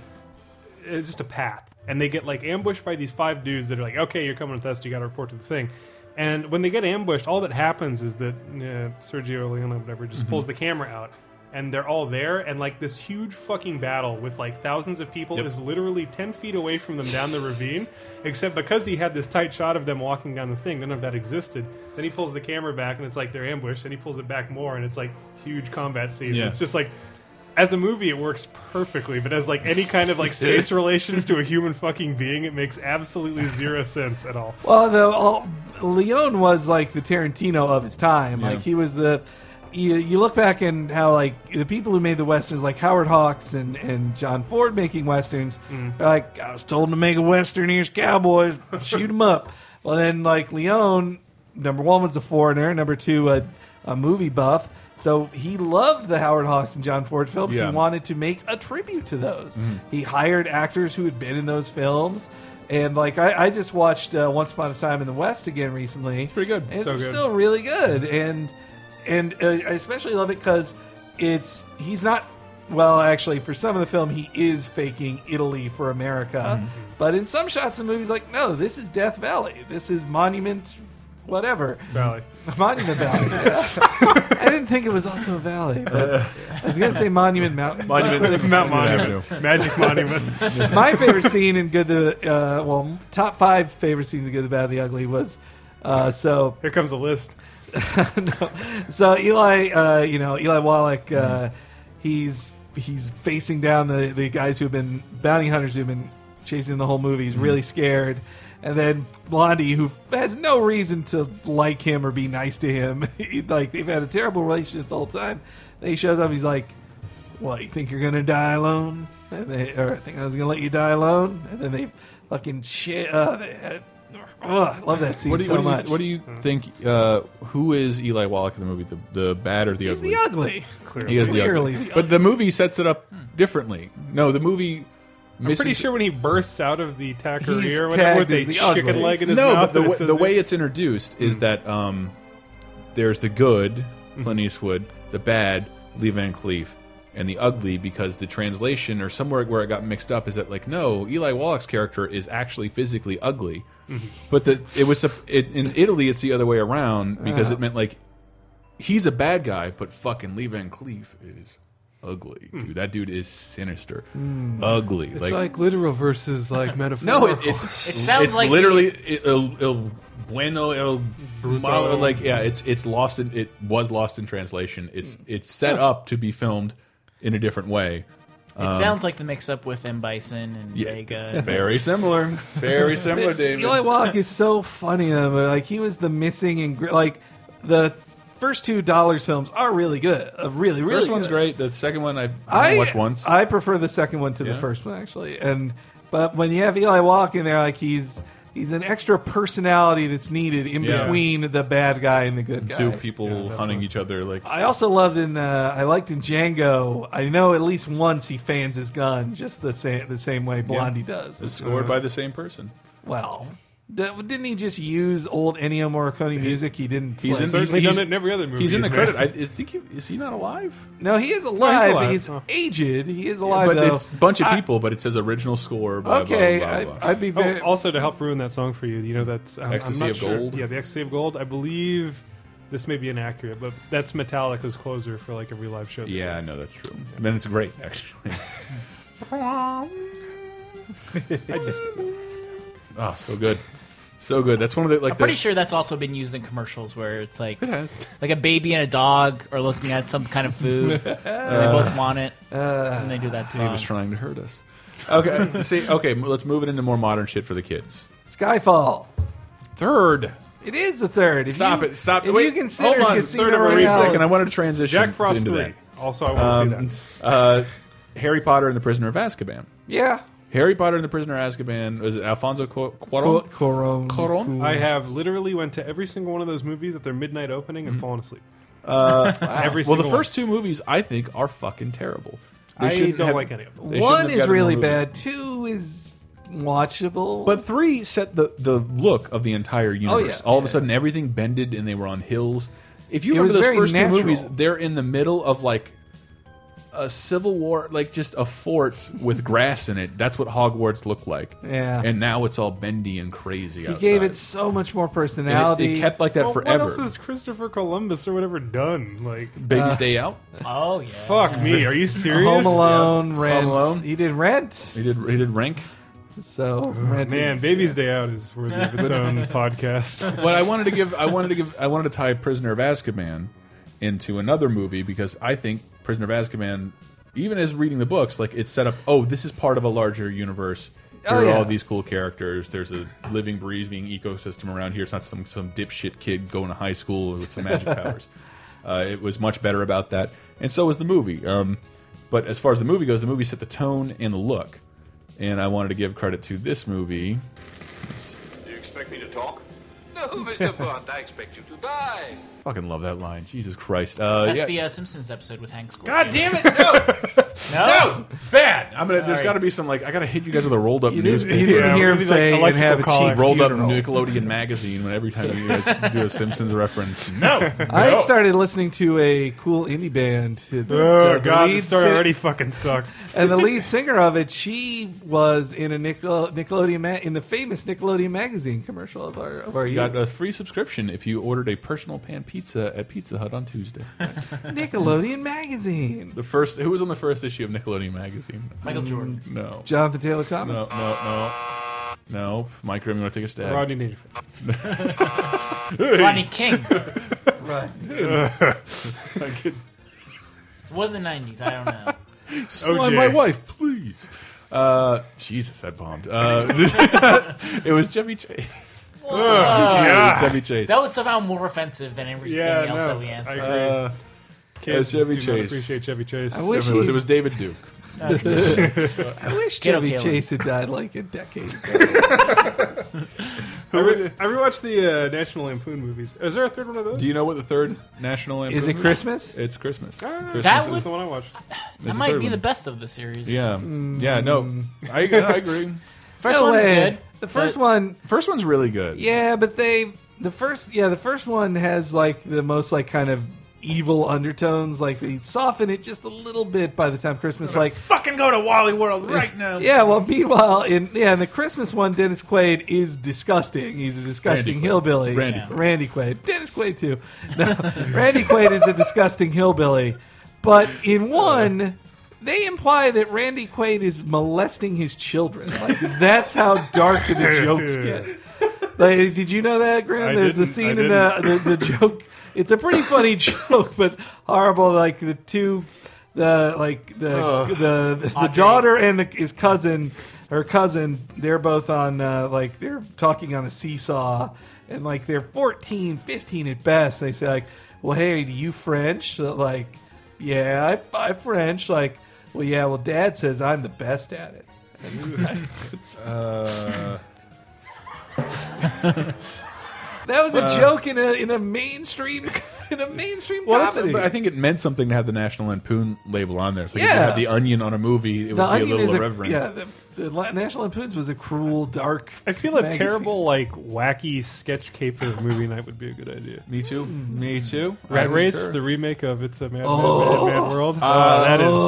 Speaker 2: uh, just a path, and they get like ambushed by these five dudes that are like, "Okay, you're coming with us. You got to report to the thing." And when they get ambushed, all that happens is that uh, Sergio Leone, whatever, just
Speaker 3: Mhm.
Speaker 2: pulls the camera out, and they're all there, and like this huge fucking battle with like thousands of people
Speaker 3: Yep.
Speaker 2: is literally ten feet away from them down the ravine. Except because he had this tight shot of them walking down the thing, none of that existed. Then he pulls the camera back, and it's like they're ambushed. And he pulls it back more, and it's like huge combat scene.
Speaker 3: Yeah.
Speaker 2: It's just like. As a movie, it works perfectly, but as like any kind of like space relations to a human fucking being, it makes absolutely zero sense at all.
Speaker 1: Well, the all, Leone was like the Tarantino of his time.
Speaker 2: Yeah.
Speaker 1: Like he was the. You, you look back and how like the people who made the westerns, like Howard Hawks and, and John Ford making westerns,
Speaker 10: Mm.
Speaker 1: they're like I was told to make a western. Here's cowboys, shoot them up. Well, then like Leone, number one was a foreigner, number two a, a movie buff. So he loved the Howard Hawks and John Ford films.
Speaker 3: Yeah.
Speaker 1: He wanted to make a tribute to those.
Speaker 3: Mhm.
Speaker 1: He hired actors who had been in those films. And like I, I just watched uh, Once Upon a Time in the West again recently. It's pretty good. It's
Speaker 2: So good.
Speaker 1: still really good. And and uh, I especially love it because it's he's not well actually for some of the film he is faking Italy for America,
Speaker 10: Mhm.
Speaker 1: but in some shots of movies like no this is Death Valley this is Monument whatever
Speaker 2: Valley
Speaker 1: Monument Valley. yeah. I didn't think it was also a valley, but I was gonna say Monument Mountain.
Speaker 2: Monument- Mount Monument. Avenue. Magic Monument.
Speaker 1: My favorite scene in Good the uh, well, top five favorite scenes in Good the Bad and the Ugly was uh, so.
Speaker 2: Here comes a list.
Speaker 1: no. So Eli, uh, you know Eli Wallach, uh, he's he's facing down the the guys who've been bounty hunters who've been chasing him the whole movie.
Speaker 3: Mm-hmm.
Speaker 1: He's really scared. And then Blondie, who has no reason to like him or be nice to him, he- like they've had a terrible relationship the whole time. Then he shows up. He's like, "What? You think you're gonna die alone?" And they, or I think I was gonna let you die alone. And then they fucking shit. Uh, they, uh, ugh, I love that scene
Speaker 3: What do you,
Speaker 1: so
Speaker 3: what do you-
Speaker 1: much. Mm.
Speaker 3: what do you think? Uh, who is Eli Wallach in the movie? The, the bad or the
Speaker 1: He's
Speaker 3: ugly?
Speaker 1: the ugly.
Speaker 3: He is the
Speaker 1: Clearly
Speaker 3: ugly.
Speaker 1: the
Speaker 3: But the movie sets it up differently. No, the movie.
Speaker 2: I'm pretty sure when he bursts out of the
Speaker 3: He's
Speaker 2: taqueria or whatever, with
Speaker 3: tagged
Speaker 2: a
Speaker 3: as the
Speaker 2: chicken
Speaker 3: ugly.
Speaker 2: leg in his
Speaker 3: no,
Speaker 2: mouth,
Speaker 3: but the,
Speaker 2: and it
Speaker 3: wa-
Speaker 2: says Hmm.
Speaker 3: the
Speaker 2: it-
Speaker 3: way it's introduced is that um, there's the good
Speaker 2: Hmm.
Speaker 3: Clint Eastwood, the bad Lee Van Cleef, and the ugly because the translation or somewhere where it got mixed up is that like no, Eli Wallach's character is actually physically ugly,
Speaker 2: Hmm.
Speaker 10: Mhm.
Speaker 3: but the it was sup- it, in Italy it's the other way around because
Speaker 10: Ah.
Speaker 3: it meant like he's a bad guy, but fucking Lee Van Cleef is. Ugly,
Speaker 2: Hmm.
Speaker 3: dude. That dude is sinister.
Speaker 10: Mm.
Speaker 3: Ugly.
Speaker 10: It's like literal versus like metaphorical.
Speaker 3: No, it, it's
Speaker 10: It
Speaker 3: it
Speaker 10: sounds
Speaker 3: sounds it's
Speaker 10: like
Speaker 3: literally el, el bueno el
Speaker 10: Brutal.
Speaker 3: malo, like yeah, it's it's lost in it was lost in translation. It's it's set
Speaker 4: Huh.
Speaker 3: up to be filmed in a different way.
Speaker 4: It sounds like the mix up with M. Bison and
Speaker 3: Um, Yeah.
Speaker 4: Vega.
Speaker 3: Very similar. Very similar, David.
Speaker 1: Eli Wallach is so funny. in that movie. Like he was the missing and like the first two dollars films are really good. Uh, really, really.
Speaker 3: First one's
Speaker 1: good.
Speaker 3: great. The second one I,
Speaker 1: I
Speaker 3: I watched once.
Speaker 1: I prefer the second one to
Speaker 3: Yeah.
Speaker 1: the first one actually. And but when you have Eli Wallach in there, like he's he's an extra personality that's needed in
Speaker 3: Yeah.
Speaker 1: between the bad guy and the good guy.
Speaker 3: Two people hunting each other like
Speaker 1: I also loved in uh, I liked in Django. I know at least once he fans his gun just the same the same way Blondie
Speaker 3: Yeah.
Speaker 1: does.
Speaker 3: It's scored by the same person.
Speaker 1: Well, that- didn't he just use old Ennio Morricone music? He didn't.
Speaker 3: He's
Speaker 1: play?
Speaker 3: in, he's- He's in the credit. I is, think he, is he not alive?
Speaker 1: No, he is alive. but he's aged. He is alive.
Speaker 3: Oh. but
Speaker 1: though.
Speaker 3: it's a bunch of
Speaker 1: I-
Speaker 3: people. but it says original score. Blah,
Speaker 1: Okay,
Speaker 3: blah, blah,
Speaker 1: I-
Speaker 3: blah.
Speaker 1: I'd be very-
Speaker 2: Oh, also to help ruin that song for you. You know that's um,
Speaker 3: Ecstasy
Speaker 2: I'm not
Speaker 3: of
Speaker 2: sure.
Speaker 3: Gold?
Speaker 2: Yeah, the ecstasy of gold. I believe this may be inaccurate, but that's Metallica's closer for like every live show.
Speaker 3: Yeah, I know that's true. Then it's great, actually.
Speaker 2: I just
Speaker 3: oh, so good, so good. That's one of the like.
Speaker 4: I'm pretty
Speaker 3: the,
Speaker 4: sure that's also been used in commercials where it's like like a baby and a dog are looking at some kind of food and they both want it and they do that
Speaker 3: He
Speaker 4: song.
Speaker 3: was trying to hurt us. Okay, see, okay, m- let's move it into more modern shit for the kids.
Speaker 1: Skyfall.
Speaker 3: Third.
Speaker 1: It is the third. If
Speaker 3: Stop
Speaker 1: you,
Speaker 3: it! Stop!
Speaker 1: If
Speaker 3: Wait,
Speaker 1: you consider
Speaker 3: hold on.
Speaker 1: Casino
Speaker 3: Third of a
Speaker 1: Royale-
Speaker 3: second. I wanted to transition.
Speaker 2: Jack Frost
Speaker 3: into
Speaker 2: three.
Speaker 3: That. Um,
Speaker 2: Also, I want to see
Speaker 3: that. Uh, Harry Potter and the Prisoner of Azkaban.
Speaker 1: Yeah.
Speaker 3: Harry Potter and the Prisoner of Azkaban. Was it Alfonso Cu- Cuarón?
Speaker 1: Cuarón.
Speaker 3: Cuarón?
Speaker 2: I have literally went to every single one of those movies at their midnight opening and fallen asleep.
Speaker 3: Uh,
Speaker 2: every
Speaker 3: well,
Speaker 2: single
Speaker 3: the
Speaker 2: one.
Speaker 3: first two movies I think are fucking terrible.
Speaker 2: I
Speaker 3: shouldn't
Speaker 2: don't like any of them.
Speaker 3: they shouldn't
Speaker 1: One
Speaker 3: have
Speaker 1: is
Speaker 3: gotten a
Speaker 1: really
Speaker 3: movie.
Speaker 1: bad. Two is watchable.
Speaker 3: But three set the the look of the entire universe.
Speaker 1: Oh, yeah.
Speaker 3: All of a sudden, everything bended, and they were on hills. If you
Speaker 1: It
Speaker 3: remember
Speaker 1: was
Speaker 3: those
Speaker 1: very
Speaker 3: first
Speaker 1: natural.
Speaker 3: two movies, they're in the middle of like a civil war, like just a fort with grass in it. That's what Hogwarts looked like.
Speaker 1: Yeah.
Speaker 3: and now it's all bendy and crazy.
Speaker 1: he
Speaker 3: Outside.
Speaker 1: gave it so much more personality.
Speaker 3: And it- it kept like that
Speaker 2: Well,
Speaker 3: forever.
Speaker 2: What else has Christopher Columbus or whatever done? Like
Speaker 1: Uh.
Speaker 3: Baby's Day Out.
Speaker 4: Oh yeah.
Speaker 2: Fuck me. Are you serious?
Speaker 1: Home Alone,
Speaker 2: Yeah.
Speaker 1: Rent.
Speaker 2: Home Alone.
Speaker 1: He did Rent.
Speaker 3: He did. He did Rank. Oh,
Speaker 1: So Rent
Speaker 2: Man,
Speaker 1: is-
Speaker 2: Baby's Day Out is worthy of its own podcast.
Speaker 3: But I wanted to give I wanted to give I wanted to tie Prisoner of Azkaban into another movie because I think Prisoner of Azkaban, even as reading the books, like it's set up. Oh, this is part of a larger universe. There
Speaker 1: Oh,
Speaker 3: are
Speaker 1: yeah.
Speaker 3: all these cool characters. There's a living, breathing ecosystem around here. It's not some some dipshit kid going to high school with some magic powers. Uh, it was much better about that, and so was the movie. Um, but as far as the movie goes, the movie set the tone and the look. And I wanted to give credit to this movie.
Speaker 13: Do you expect me to talk? No, Mr. Bond, I expect you to die.
Speaker 3: Fucking love that line. Jesus Christ. Uh,
Speaker 4: That's
Speaker 3: yeah.
Speaker 4: the uh, Simpsons episode with Hank Scorpio.
Speaker 3: God damn it! No,
Speaker 4: No?
Speaker 3: no, bad. I'm gonna. There's
Speaker 4: Sorry.
Speaker 3: got to be some like I gotta hit you guys with a rolled up
Speaker 1: You
Speaker 3: newspaper.
Speaker 1: didn't- you didn't Yeah, hear him maybe, like, say, "And
Speaker 3: like
Speaker 1: electrical have a cheap collar.
Speaker 3: rolled up
Speaker 1: funeral."
Speaker 3: Nickelodeon magazine. When every time you guys do a Simpsons reference, no,
Speaker 1: I
Speaker 3: No.
Speaker 1: started listening to a cool indie band. The-
Speaker 2: Oh,
Speaker 1: the
Speaker 2: God,
Speaker 1: lead
Speaker 2: this story
Speaker 1: si-
Speaker 2: already fucking sucks.
Speaker 1: and the lead singer of it, she was in a Nickel- Nickelodeon ma- in the famous Nickelodeon magazine commercial of our of our
Speaker 3: You
Speaker 1: youth.
Speaker 3: got a free subscription if you ordered a personal pan pizza at Pizza Hut on Tuesday.
Speaker 1: Nickelodeon magazine.
Speaker 3: The first. Who was on the first issue of Nickelodeon magazine?
Speaker 1: Michael Jordan.
Speaker 3: No.
Speaker 1: Jonathan Taylor Thomas.
Speaker 3: No. No. No. No. Mike Grimm, you want to take a stab?
Speaker 2: Rodney
Speaker 3: Dangerfield.
Speaker 4: Rodney King.
Speaker 1: Right.
Speaker 4: It was the 90s. I don't know.
Speaker 3: Slime my wife, please. Uh, Jesus, that bombed. Uh, it was Chevy Chase.
Speaker 4: Whoa.
Speaker 3: Yeah. Chevy Chase.
Speaker 4: That was somehow more offensive than everything
Speaker 2: Yeah,
Speaker 4: else
Speaker 2: no,
Speaker 4: that we
Speaker 2: I
Speaker 4: answered.
Speaker 2: agree.
Speaker 3: Uh,
Speaker 2: Kids
Speaker 3: uh, Chevy
Speaker 2: do not
Speaker 3: Chase.
Speaker 2: appreciate Chevy Chase.
Speaker 1: I wish
Speaker 3: it, was,
Speaker 1: he-
Speaker 3: it was David Duke.
Speaker 1: Okay. I wish
Speaker 2: Get
Speaker 1: Chevy
Speaker 2: okay,
Speaker 1: Chase
Speaker 2: Lynn.
Speaker 1: had died like a decade ago.
Speaker 2: I, re- I rewatched the uh, National Lampoon movies. Is there a third one of those?
Speaker 3: Do you know what the third national anthem
Speaker 1: Is it
Speaker 3: is?
Speaker 1: Christmas?
Speaker 3: It's Christmas.
Speaker 1: Ah.
Speaker 3: Christmas
Speaker 4: that
Speaker 3: is-
Speaker 4: would,
Speaker 2: the one I watched.
Speaker 4: That
Speaker 3: It's the
Speaker 4: might
Speaker 3: third
Speaker 4: be
Speaker 3: one.
Speaker 4: the best of the series.
Speaker 3: Yeah, yeah. No, I, I agree.
Speaker 4: First
Speaker 1: No
Speaker 4: one was
Speaker 1: way.
Speaker 4: good.
Speaker 1: The first one,
Speaker 3: first one's really good.
Speaker 1: Yeah, but they the first yeah the first one has like the most like kind of evil undertones. Like they soften it just a little bit by the time Christmas. Like
Speaker 3: Fucking go to Wally World right now.
Speaker 1: yeah, well meanwhile in yeah in the Christmas one, Dennis Quaid is disgusting. He's a disgusting
Speaker 3: Randy Quaid.
Speaker 1: hillbilly.
Speaker 3: Randy Yeah. Quaid.
Speaker 1: Randy Quaid. Dennis Quaid too. No, Randy Quaid is a disgusting hillbilly. But in
Speaker 3: Uh.
Speaker 1: one. They imply that Randy Quaid is molesting his children. Like that's how dark the jokes get. Like, did you know that, Graham?
Speaker 2: I
Speaker 1: There's a
Speaker 2: didn't, I
Speaker 1: scene in the, the the joke. It's a pretty funny joke, but horrible. Like the two, the like the
Speaker 10: Ugh.
Speaker 1: the the, the daughter and the, his cousin, her cousin. They're both on uh, like they're talking on a seesaw, and like they're 14, 15 at best. They say like, "Well, hey, do you French?" So, like, yeah, I, I French. Like, well, yeah, well, Dad says I'm the best at it. And it's-
Speaker 3: Uh,
Speaker 1: That was a
Speaker 3: Uh,
Speaker 1: joke in a in a mainstream in a mainstream
Speaker 3: Well, that's,
Speaker 1: comedy.
Speaker 3: but I think it meant something to have the National Lampoon label on there. So if you
Speaker 1: Yeah.
Speaker 3: had the Onion on a movie, it
Speaker 1: The
Speaker 3: would be a
Speaker 1: Onion is a-
Speaker 3: little irreverent.
Speaker 1: yeah, the, the La- National Lampoon's was a cruel, dark.
Speaker 2: I feel a
Speaker 1: magazine.
Speaker 2: terrible, like wacky sketch cape for movie night would be a good idea.
Speaker 3: Me too. Me too.
Speaker 2: Rat
Speaker 3: I
Speaker 2: Race,
Speaker 3: concur.
Speaker 2: the remake of It's a Mad,
Speaker 3: Oh.
Speaker 2: Mad, Mad, Mad World.
Speaker 3: Uh,
Speaker 2: Oh, that is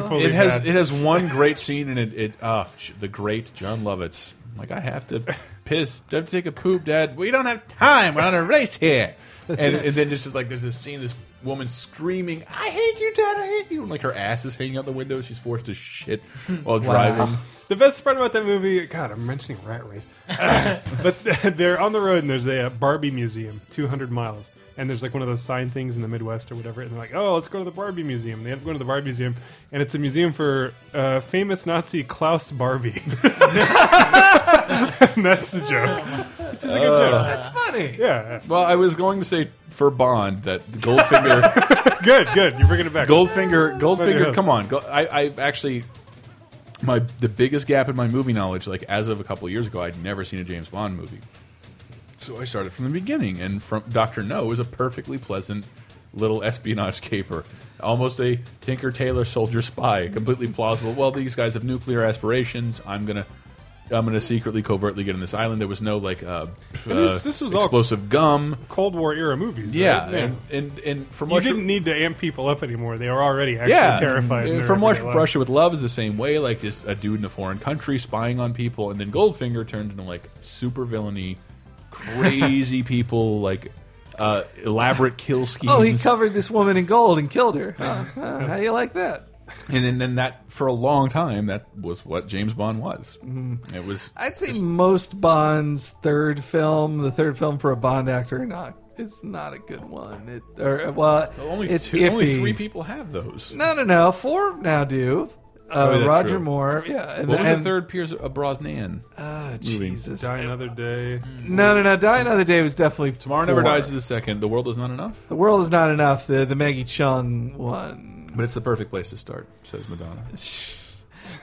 Speaker 2: painfully
Speaker 3: It has
Speaker 2: bad.
Speaker 3: it has one great scene in it. It ah sh the great John Lovitz. Like I have to piss. I have to take a poop, Dad. We don't have time. We're on a race here. And, and then just like there's this scene, this woman screaming, "I hate you, Dad! I hate you!" And like her ass is hanging out the window. She's forced to shit while driving.
Speaker 2: The best part about that movie, God, I'm mentioning Rat Race, but they're on the road and there's a uh, Barbie museum, 200 miles, and there's like one of those sign things in the Midwest or whatever, and they're like, oh, let's go to the Barbie museum. They end up going to the Barbie museum, and it's a museum for uh, famous Nazi Klaus Barbie. and that's the joke, which is a good
Speaker 3: Uh,
Speaker 2: joke.
Speaker 3: That's
Speaker 1: Oh, funny.
Speaker 2: Yeah.
Speaker 3: Well, I was going to say for Bond that Goldfinger.
Speaker 2: good, good. You're bringing it back.
Speaker 3: Goldfinger, Goldfinger.
Speaker 2: Funny.
Speaker 3: Come on. Go, I, I actually my the biggest gap in my movie knowledge. Like as of a couple of years ago, I'd never seen a James Bond movie, so I started from the beginning. And from Doctor No is a perfectly pleasant little espionage caper, almost a Tinker Tailor Soldier Spy, completely plausible. Well, these guys have nuclear aspirations. I'm gonna. I'm gonna secretly, covertly get on this island. There was no like uh,
Speaker 2: And this-
Speaker 3: uh,
Speaker 2: this was all
Speaker 3: explosive gum.
Speaker 2: Cold War era movies.
Speaker 3: Yeah,
Speaker 2: right?
Speaker 3: and, and and from
Speaker 2: you
Speaker 3: what
Speaker 2: didn't need to amp people up anymore. They were already actually
Speaker 3: yeah,
Speaker 2: terrified. in
Speaker 3: and
Speaker 2: their
Speaker 3: From Russia,
Speaker 2: everyday life.
Speaker 3: Russia with Love is the same way, like just a dude in a foreign country spying on people, and then Goldfinger turned into like super villainy, crazy people, like uh, elaborate kill schemes.
Speaker 1: Oh, he covered this woman in gold and killed her. Huh, huh, how you like that?
Speaker 3: and then, then that for a long time that was what James Bond was.
Speaker 1: Mhm.
Speaker 3: It was
Speaker 1: I'd say most Bond's third film, the third film for a Bond actor, not it's not a good one. It or well,
Speaker 3: only
Speaker 1: it's
Speaker 3: two, only
Speaker 1: iffy.
Speaker 3: three people have those.
Speaker 1: No, no, no. Four now do.
Speaker 3: Oh,
Speaker 1: Uh,
Speaker 3: that's
Speaker 1: Roger
Speaker 3: true.
Speaker 1: Moore. Yeah. and-
Speaker 3: what was the
Speaker 1: and-
Speaker 3: third Piers uh, Brosnan?
Speaker 1: Ah,
Speaker 3: movie?
Speaker 1: Jesus.
Speaker 2: Die Another Day.
Speaker 1: No, no, no. Die Another Day was definitely
Speaker 3: Tomorrow Never
Speaker 1: four.
Speaker 3: Dies is the second. The world is not enough.
Speaker 1: The world is not enough. The the Maggie Chung one.
Speaker 3: But it's the perfect place to start, says Madonna.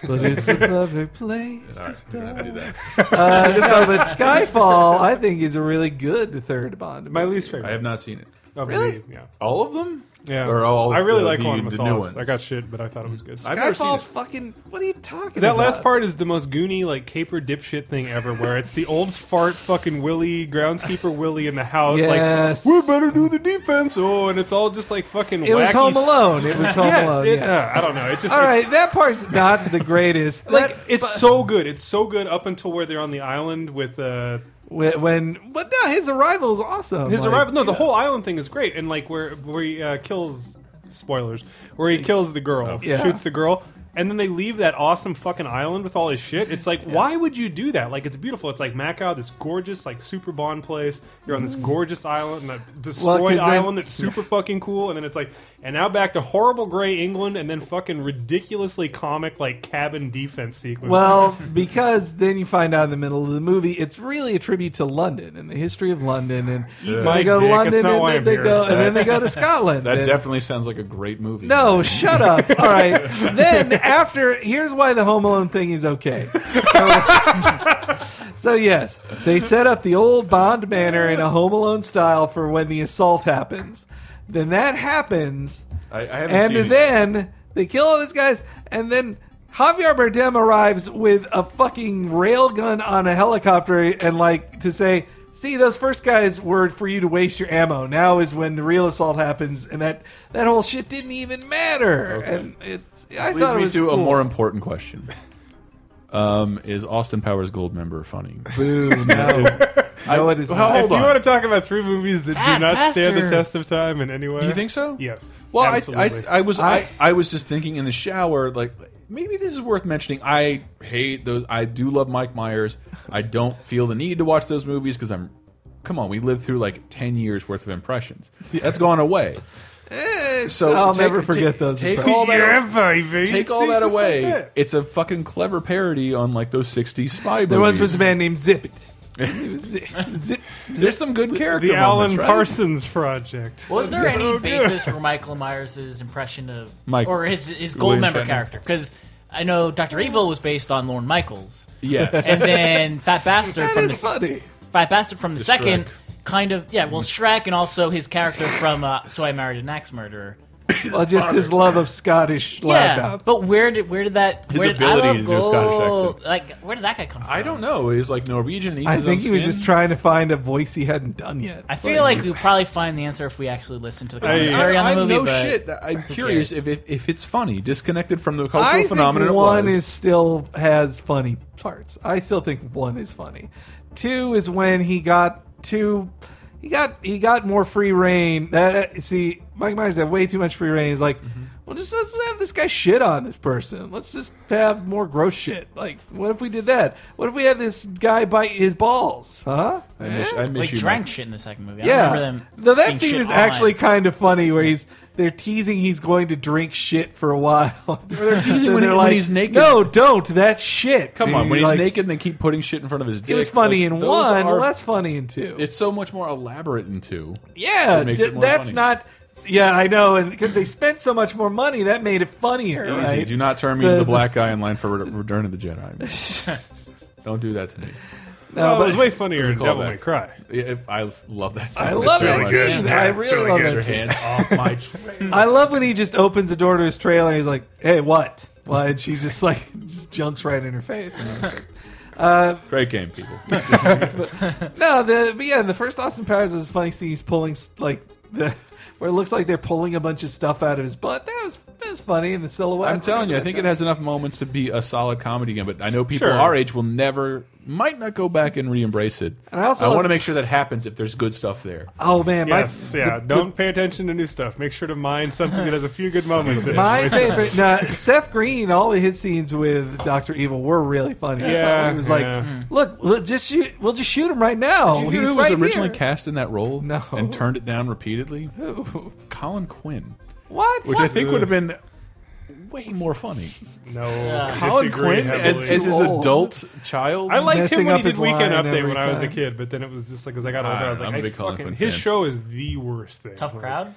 Speaker 1: But it's the perfect place to
Speaker 3: All right, we're gonna
Speaker 1: start.
Speaker 3: have to do that.
Speaker 1: Uh, no, but Skyfall, I think, is a really good third Bond.
Speaker 2: My least favorite.
Speaker 3: I have not seen it.
Speaker 2: Of
Speaker 1: Really?
Speaker 2: the- yeah.
Speaker 3: All of them?
Speaker 2: Yeah.
Speaker 3: Or all
Speaker 2: I really
Speaker 3: the-
Speaker 2: like
Speaker 3: the-
Speaker 2: Quantum of
Speaker 3: the new
Speaker 2: Solace.
Speaker 3: ones?
Speaker 2: I got shit, but I thought it was good.
Speaker 3: I've never seen
Speaker 1: Skyfall's fucking. What are you talking
Speaker 2: That
Speaker 1: about?
Speaker 2: last part is the most goony, like caper dipshit thing ever. Where it's the old fart fucking Willie groundskeeper Willie in the house,
Speaker 1: Yes.
Speaker 2: like we better do the defense. Oh, and it's all just like fucking.
Speaker 1: It was
Speaker 2: wacky
Speaker 1: Home Alone.
Speaker 2: stu-
Speaker 1: It was Home
Speaker 2: Yes,
Speaker 1: Alone.
Speaker 2: it-
Speaker 1: yes.
Speaker 2: uh, I don't know. It just
Speaker 1: All
Speaker 2: it-
Speaker 1: right, that part's not the greatest.
Speaker 2: like
Speaker 1: That-
Speaker 2: it's so good. It's so good up until where they're on the island with uh,
Speaker 1: when, when- but no, his arrival is awesome.
Speaker 2: His
Speaker 1: Like,
Speaker 2: arrival. No, the whole island thing is great, and like where where he uh, kills spoilers, where he kills the girl,
Speaker 1: Yeah.
Speaker 2: shoots the girl, and then they leave that awesome fucking island with all his shit. It's like, why would you do that? Like, it's beautiful. It's like Macau, this gorgeous like super Bond place. You're on this gorgeous island, that destroyed
Speaker 1: Mm. 'cause then-
Speaker 2: island that's super fucking cool, and then it's like, and now back to horrible gray England, and then fucking ridiculously comic like cabin defense sequence.
Speaker 1: Well, because then you find out in the middle of the movie, it's really a tribute to London and the history of London. And
Speaker 3: Yeah.
Speaker 1: they
Speaker 3: My
Speaker 1: go to
Speaker 3: dick,
Speaker 1: London,
Speaker 3: that's not
Speaker 1: and
Speaker 3: why
Speaker 1: then
Speaker 3: I'm
Speaker 1: they
Speaker 3: here.
Speaker 1: go, and then they go to Scotland.
Speaker 3: That
Speaker 1: and-
Speaker 3: definitely sounds like a great movie.
Speaker 1: No, shut up. All right. then after, here's why the Home Alone thing is okay. So, so yes, they set up the old Bond manor in a Home Alone style for when the assault happens. Then that happens,
Speaker 3: I, I haven't
Speaker 1: and
Speaker 3: seen it.
Speaker 1: then they kill all these guys, and then. Javier Bardem arrives with a fucking railgun on a helicopter and like to say, "See, those first guys were for you to waste your ammo. Now is when the real assault happens, and that that whole shit didn't even matter."
Speaker 3: Okay.
Speaker 1: And it's
Speaker 3: This
Speaker 1: I
Speaker 3: leads
Speaker 1: thought
Speaker 3: me
Speaker 1: it was
Speaker 3: to a
Speaker 1: cool.
Speaker 3: more important question. Um, is Austin Powers Gold member funny?
Speaker 1: Boo, no. No, it is
Speaker 2: Well,
Speaker 1: not.
Speaker 2: if you want to talk about three movies that
Speaker 1: Fat
Speaker 2: do not stand the
Speaker 1: bastard.
Speaker 2: test of time in any way,
Speaker 3: You think so?
Speaker 2: Yes.
Speaker 3: Well, I, I,
Speaker 2: absolutely.
Speaker 3: I was I, I was just thinking in the shower, like maybe this is worth mentioning. I hate those. I do love Mike Myers. I don't feel the need to watch those movies because I'm. Come on, we lived through like ten years worth of impressions. That's gone away.
Speaker 1: Eh, so I'll never forget those
Speaker 3: Take
Speaker 1: impressions.
Speaker 3: all that.
Speaker 1: Yeah,
Speaker 2: baby.
Speaker 3: Take all
Speaker 1: See,
Speaker 3: that
Speaker 1: just like
Speaker 3: away.
Speaker 1: that.
Speaker 3: It's a fucking clever parody on like those '60s spy movies.
Speaker 1: There once was a man named Zip It.
Speaker 3: There's some good character.
Speaker 2: the Alan
Speaker 3: moments, right?
Speaker 2: Parsons Project.
Speaker 4: Was there any
Speaker 2: So good.
Speaker 4: basis for Michael Myers' impression of
Speaker 3: Mike-
Speaker 4: or his his
Speaker 2: William
Speaker 4: gold member
Speaker 2: Shatner.
Speaker 4: character? Because I know Doctor Evil was based on Lorne Michaels.
Speaker 3: Yes.
Speaker 4: and then Fat Bastard
Speaker 3: That
Speaker 4: from the
Speaker 3: is funny.
Speaker 4: Fat Bastard from the,
Speaker 3: The
Speaker 4: second
Speaker 3: Shrek.
Speaker 4: kind of yeah. Well, Shrek and also his character from uh, So I Married an Axe Murderer.
Speaker 1: well, just his love of Scottish
Speaker 4: Yeah,
Speaker 1: loudmouth.
Speaker 4: but where did where did that
Speaker 3: His
Speaker 4: where did,
Speaker 3: ability
Speaker 4: I love
Speaker 3: to do a Scottish
Speaker 4: gold.
Speaker 3: accent.
Speaker 4: Like where did that guy come from?
Speaker 3: I don't know. He's like Norwegian. Eats
Speaker 1: I
Speaker 3: his
Speaker 1: think
Speaker 3: own
Speaker 1: he was
Speaker 3: skin.
Speaker 1: just trying to find a voice he hadn't done yet.
Speaker 4: I feel like we will probably find the answer if we actually listen to the
Speaker 3: I,
Speaker 4: commentary
Speaker 3: I-
Speaker 4: on the
Speaker 3: I
Speaker 4: movie.
Speaker 3: know
Speaker 4: but
Speaker 3: shit. I'm
Speaker 4: who
Speaker 3: curious
Speaker 4: cares?
Speaker 3: if, if if it's funny, disconnected from the cultural
Speaker 1: I think
Speaker 3: phenomenon. it
Speaker 1: one
Speaker 3: was.
Speaker 1: is still has funny parts. I still think one is funny. Two is when he got two. He got he got more free reign. That see, Mike Myers had way too much free reign. He's like, well, just let's have this guy shit on this person. Let's just have more gross shit. Like, what if we did that? What if we had this guy bite his balls? Huh?
Speaker 3: I miss, I miss
Speaker 4: like
Speaker 3: you.
Speaker 4: drank
Speaker 3: Mike.
Speaker 4: shit in the second movie. I
Speaker 1: Yeah.
Speaker 4: remember them.
Speaker 1: Though that
Speaker 4: being
Speaker 1: scene
Speaker 4: shit
Speaker 1: is
Speaker 4: on.
Speaker 1: actually kind of funny, where he's they're teasing he's going to drink shit for a while.
Speaker 3: they're teasing
Speaker 1: And
Speaker 3: when he-
Speaker 1: they're
Speaker 3: when
Speaker 1: like,
Speaker 3: he's naked.
Speaker 1: No, don't. That's shit.
Speaker 3: Come on, when he's
Speaker 1: Like,
Speaker 3: naked, they keep putting shit in front of his dick.
Speaker 1: It was funny
Speaker 3: Like,
Speaker 1: in
Speaker 3: those
Speaker 1: one.
Speaker 3: are-
Speaker 1: well, that's funny in two.
Speaker 3: It's so much more elaborate in two.
Speaker 1: Yeah,
Speaker 3: It makes
Speaker 1: d-
Speaker 3: it more
Speaker 1: that's
Speaker 3: funny.
Speaker 1: not. Yeah, I know, and because they spent so much more money, that made it funnier.
Speaker 3: Easy.
Speaker 1: right?
Speaker 3: Do not turn me into
Speaker 1: The-
Speaker 3: the black guy in line for Re- Return of the Jedi. Don't do that to me.
Speaker 1: No, Well, it but- was
Speaker 2: way funnier
Speaker 3: It was a
Speaker 2: in Devil
Speaker 3: callback.
Speaker 2: May Cry.
Speaker 3: Yeah, I love that scene.
Speaker 1: I
Speaker 3: It's
Speaker 1: love
Speaker 3: really
Speaker 1: that
Speaker 3: good.
Speaker 1: scene. I really
Speaker 3: Really
Speaker 1: love
Speaker 3: gets
Speaker 1: that
Speaker 3: your
Speaker 1: scene.
Speaker 3: hand off my trailer.
Speaker 1: I love when he just opens the door to his trailer and he's like, "Hey, what?" What? And she just like just junks right in her face. Uh,
Speaker 3: Great game, people.
Speaker 1: but- no, the but yeah, in the first Austin Powers is a funny scene. He's pulling s- like the where it looks like they're pulling a bunch of stuff out of his butt. That was that was funny in the silhouette.
Speaker 3: I'm telling you, I think it has enough moments to be a solid comedy game. But I know people
Speaker 1: Sure.
Speaker 3: our age will never, might not go back and re-embrace it.
Speaker 1: And I also-
Speaker 3: want to make sure that happens if there's good stuff there.
Speaker 1: Oh man, my-
Speaker 2: yes, yeah.
Speaker 1: the-
Speaker 2: Don't pay attention to new stuff. Make sure to mind something that has a few good moments. in it.
Speaker 1: My favorite, no, Seth Green. All of his scenes with Doctor Evil were really funny. I thought
Speaker 2: Yeah,
Speaker 1: he was
Speaker 2: yeah.
Speaker 1: like, "Look, look, just shoot. We'll just shoot him right now."
Speaker 3: Do you know
Speaker 1: He's
Speaker 3: who was
Speaker 1: Oh, right
Speaker 3: originally
Speaker 1: here."
Speaker 3: cast in that role
Speaker 1: No.
Speaker 3: and turned it down repeatedly?
Speaker 1: Who?
Speaker 3: Colin Quinn.
Speaker 1: What?
Speaker 3: Which I think would have been way more funny.
Speaker 2: No,
Speaker 3: Colin
Speaker 2: disagree
Speaker 3: Quinn as,
Speaker 2: heavily.
Speaker 3: as his adult child.
Speaker 2: I liked him
Speaker 1: messing
Speaker 2: when
Speaker 1: up
Speaker 2: he did
Speaker 1: his
Speaker 2: Weekend
Speaker 1: line
Speaker 2: Update when I was a
Speaker 1: every time.
Speaker 2: kid, but then it was just like as I got
Speaker 3: I
Speaker 2: older, I,
Speaker 3: don't
Speaker 2: was
Speaker 3: know,
Speaker 2: like,
Speaker 3: Ah, I'm a
Speaker 2: I
Speaker 3: big Colin
Speaker 2: fucking,
Speaker 3: Quinn
Speaker 2: his
Speaker 3: fan.
Speaker 2: show is the worst thing.
Speaker 4: Tough
Speaker 2: Like,
Speaker 4: crowd?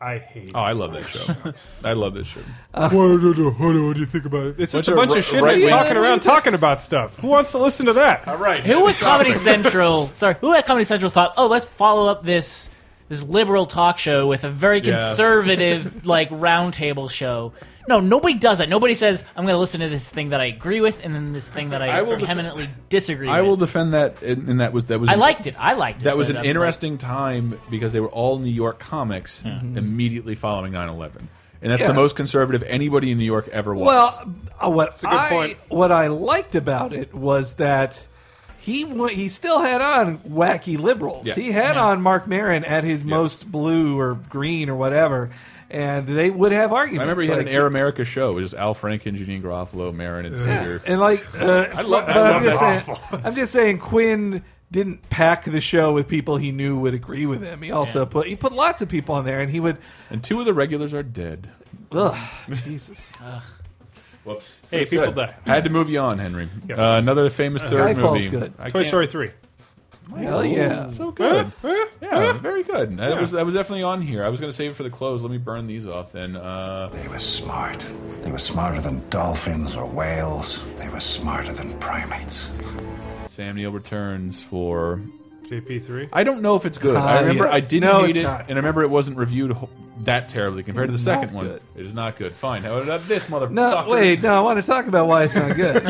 Speaker 2: I hate.
Speaker 3: Oh, I love that show. I love this show.
Speaker 2: what, do you- what do you think about it? It's just a bunch of shit
Speaker 3: right
Speaker 2: that's
Speaker 3: wing-
Speaker 2: talking around talking about stuff. Who wants to listen to that? All
Speaker 3: right.
Speaker 4: Who at Comedy Central? Sorry, who at Comedy Central thought, oh, let's follow up this this liberal talk show with a very
Speaker 3: Yeah.
Speaker 4: conservative like roundtable show. No, nobody does that. Nobody says I'm going to listen to this thing that I agree with and then this thing that I,
Speaker 3: I will def-
Speaker 4: vehemently disagree
Speaker 3: I
Speaker 4: with.
Speaker 3: will defend that, and, and that was that was.
Speaker 4: I liked it. I liked it.
Speaker 3: That was
Speaker 4: but uh,
Speaker 3: an
Speaker 4: I'm
Speaker 3: interesting time because they were all New York comics
Speaker 2: Mm-hmm.
Speaker 3: immediately following 9-11. and that's
Speaker 1: Hmm. Yeah.
Speaker 3: the most conservative anybody in New York ever was.
Speaker 1: Well, uh, what
Speaker 3: a good
Speaker 1: I
Speaker 3: point.
Speaker 1: what I liked about it was that he wa- he still had on wacky liberals.
Speaker 3: Yes.
Speaker 1: He had on Mark Maron at his most blue or green or whatever, and they would have arguments.
Speaker 3: I remember he had an
Speaker 1: like-
Speaker 3: Air America show. It was just Al Franken, Janine Garofalo, Marin, and Caesar.
Speaker 1: And like, uh,
Speaker 3: I love that.
Speaker 1: but
Speaker 3: I
Speaker 1: I'm,
Speaker 3: love
Speaker 1: just
Speaker 3: that.
Speaker 1: saying, I'm just saying, Quinn didn't pack the show with people he knew would agree with him. He also put he put lots of people on there, and he would.
Speaker 3: And two of the regulars are dead.
Speaker 1: Ugh, Jesus.
Speaker 3: Whoops.
Speaker 2: Hey,
Speaker 3: So
Speaker 2: people
Speaker 3: sad.
Speaker 2: die.
Speaker 3: I had to move you on, Henry.
Speaker 2: Yes.
Speaker 3: Uh, another famous third
Speaker 1: Skyfall's
Speaker 3: movie.
Speaker 1: good.
Speaker 3: I
Speaker 2: Toy
Speaker 3: can't-
Speaker 2: Story three.
Speaker 1: Hell yeah.
Speaker 3: So good.
Speaker 2: Huh? Huh?
Speaker 3: Yeah, very good. That
Speaker 2: Yeah.
Speaker 3: was that was definitely on here. I was going to save it for the close. Let me burn these off then. Uh,
Speaker 8: They were smart. They were smarter than dolphins or whales. They were smarter than primates.
Speaker 3: Sam Neill returns for.
Speaker 2: JP three.
Speaker 3: I don't know if it's good.
Speaker 1: Ah,
Speaker 3: I remember
Speaker 1: yes.
Speaker 3: I didn't
Speaker 1: No,
Speaker 3: hate
Speaker 1: it's
Speaker 3: it,
Speaker 1: not.
Speaker 3: and I remember it wasn't reviewed ho- that terribly compared to the
Speaker 1: It's
Speaker 3: second
Speaker 1: not
Speaker 3: one.
Speaker 1: good.
Speaker 3: It is not good. Fine. How about this motherfucker?
Speaker 1: No, wait, no. I want to talk about why it's not good.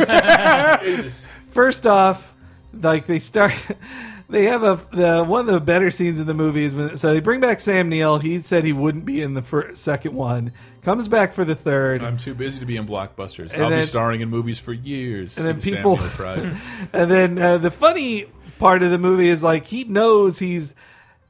Speaker 3: Jesus.
Speaker 1: First off, like they start, they have a the one of the better scenes in the movie is when so they bring back Sam Neill. He said he wouldn't be in the first, second one. Comes back for the third.
Speaker 3: I'm too busy to be in blockbusters.
Speaker 1: And
Speaker 3: I'll
Speaker 1: then-
Speaker 3: be starring in movies for years.
Speaker 1: and then
Speaker 3: Sam
Speaker 1: people
Speaker 3: Neill cried.
Speaker 1: and then uh, the funny part of the movie is like he knows he's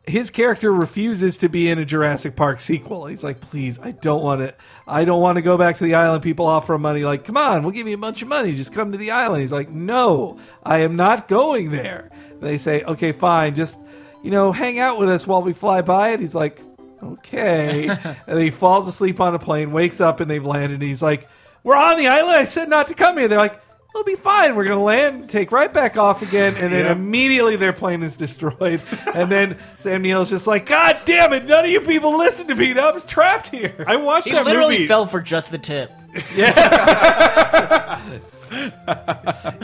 Speaker 1: his character refuses to be in a Jurassic Park sequel. He's like, "Please, I don't want to. I don't want to go back to the island." People offer him money, like, "Come on, we'll give you a bunch of money. Just come to the island." He's like, "No, I am not going there." They say, "Okay, fine. Just you know, hang out with us while we fly by it." He's like, "Okay," and he falls asleep on a plane, wakes up, and they've landed. And he's like, "We're on the island. I said not to come here." They're like, "It'll be fine. We're gonna land, take right back off again, and then."
Speaker 2: Yeah.
Speaker 1: immediately their plane is destroyed. and then Sam Neill's just like, God damn it, none of you people listen to me. Now I'm trapped here.
Speaker 2: I watched
Speaker 4: He
Speaker 2: that
Speaker 4: literally
Speaker 2: movie.
Speaker 4: fell for just the tip.
Speaker 1: Yeah.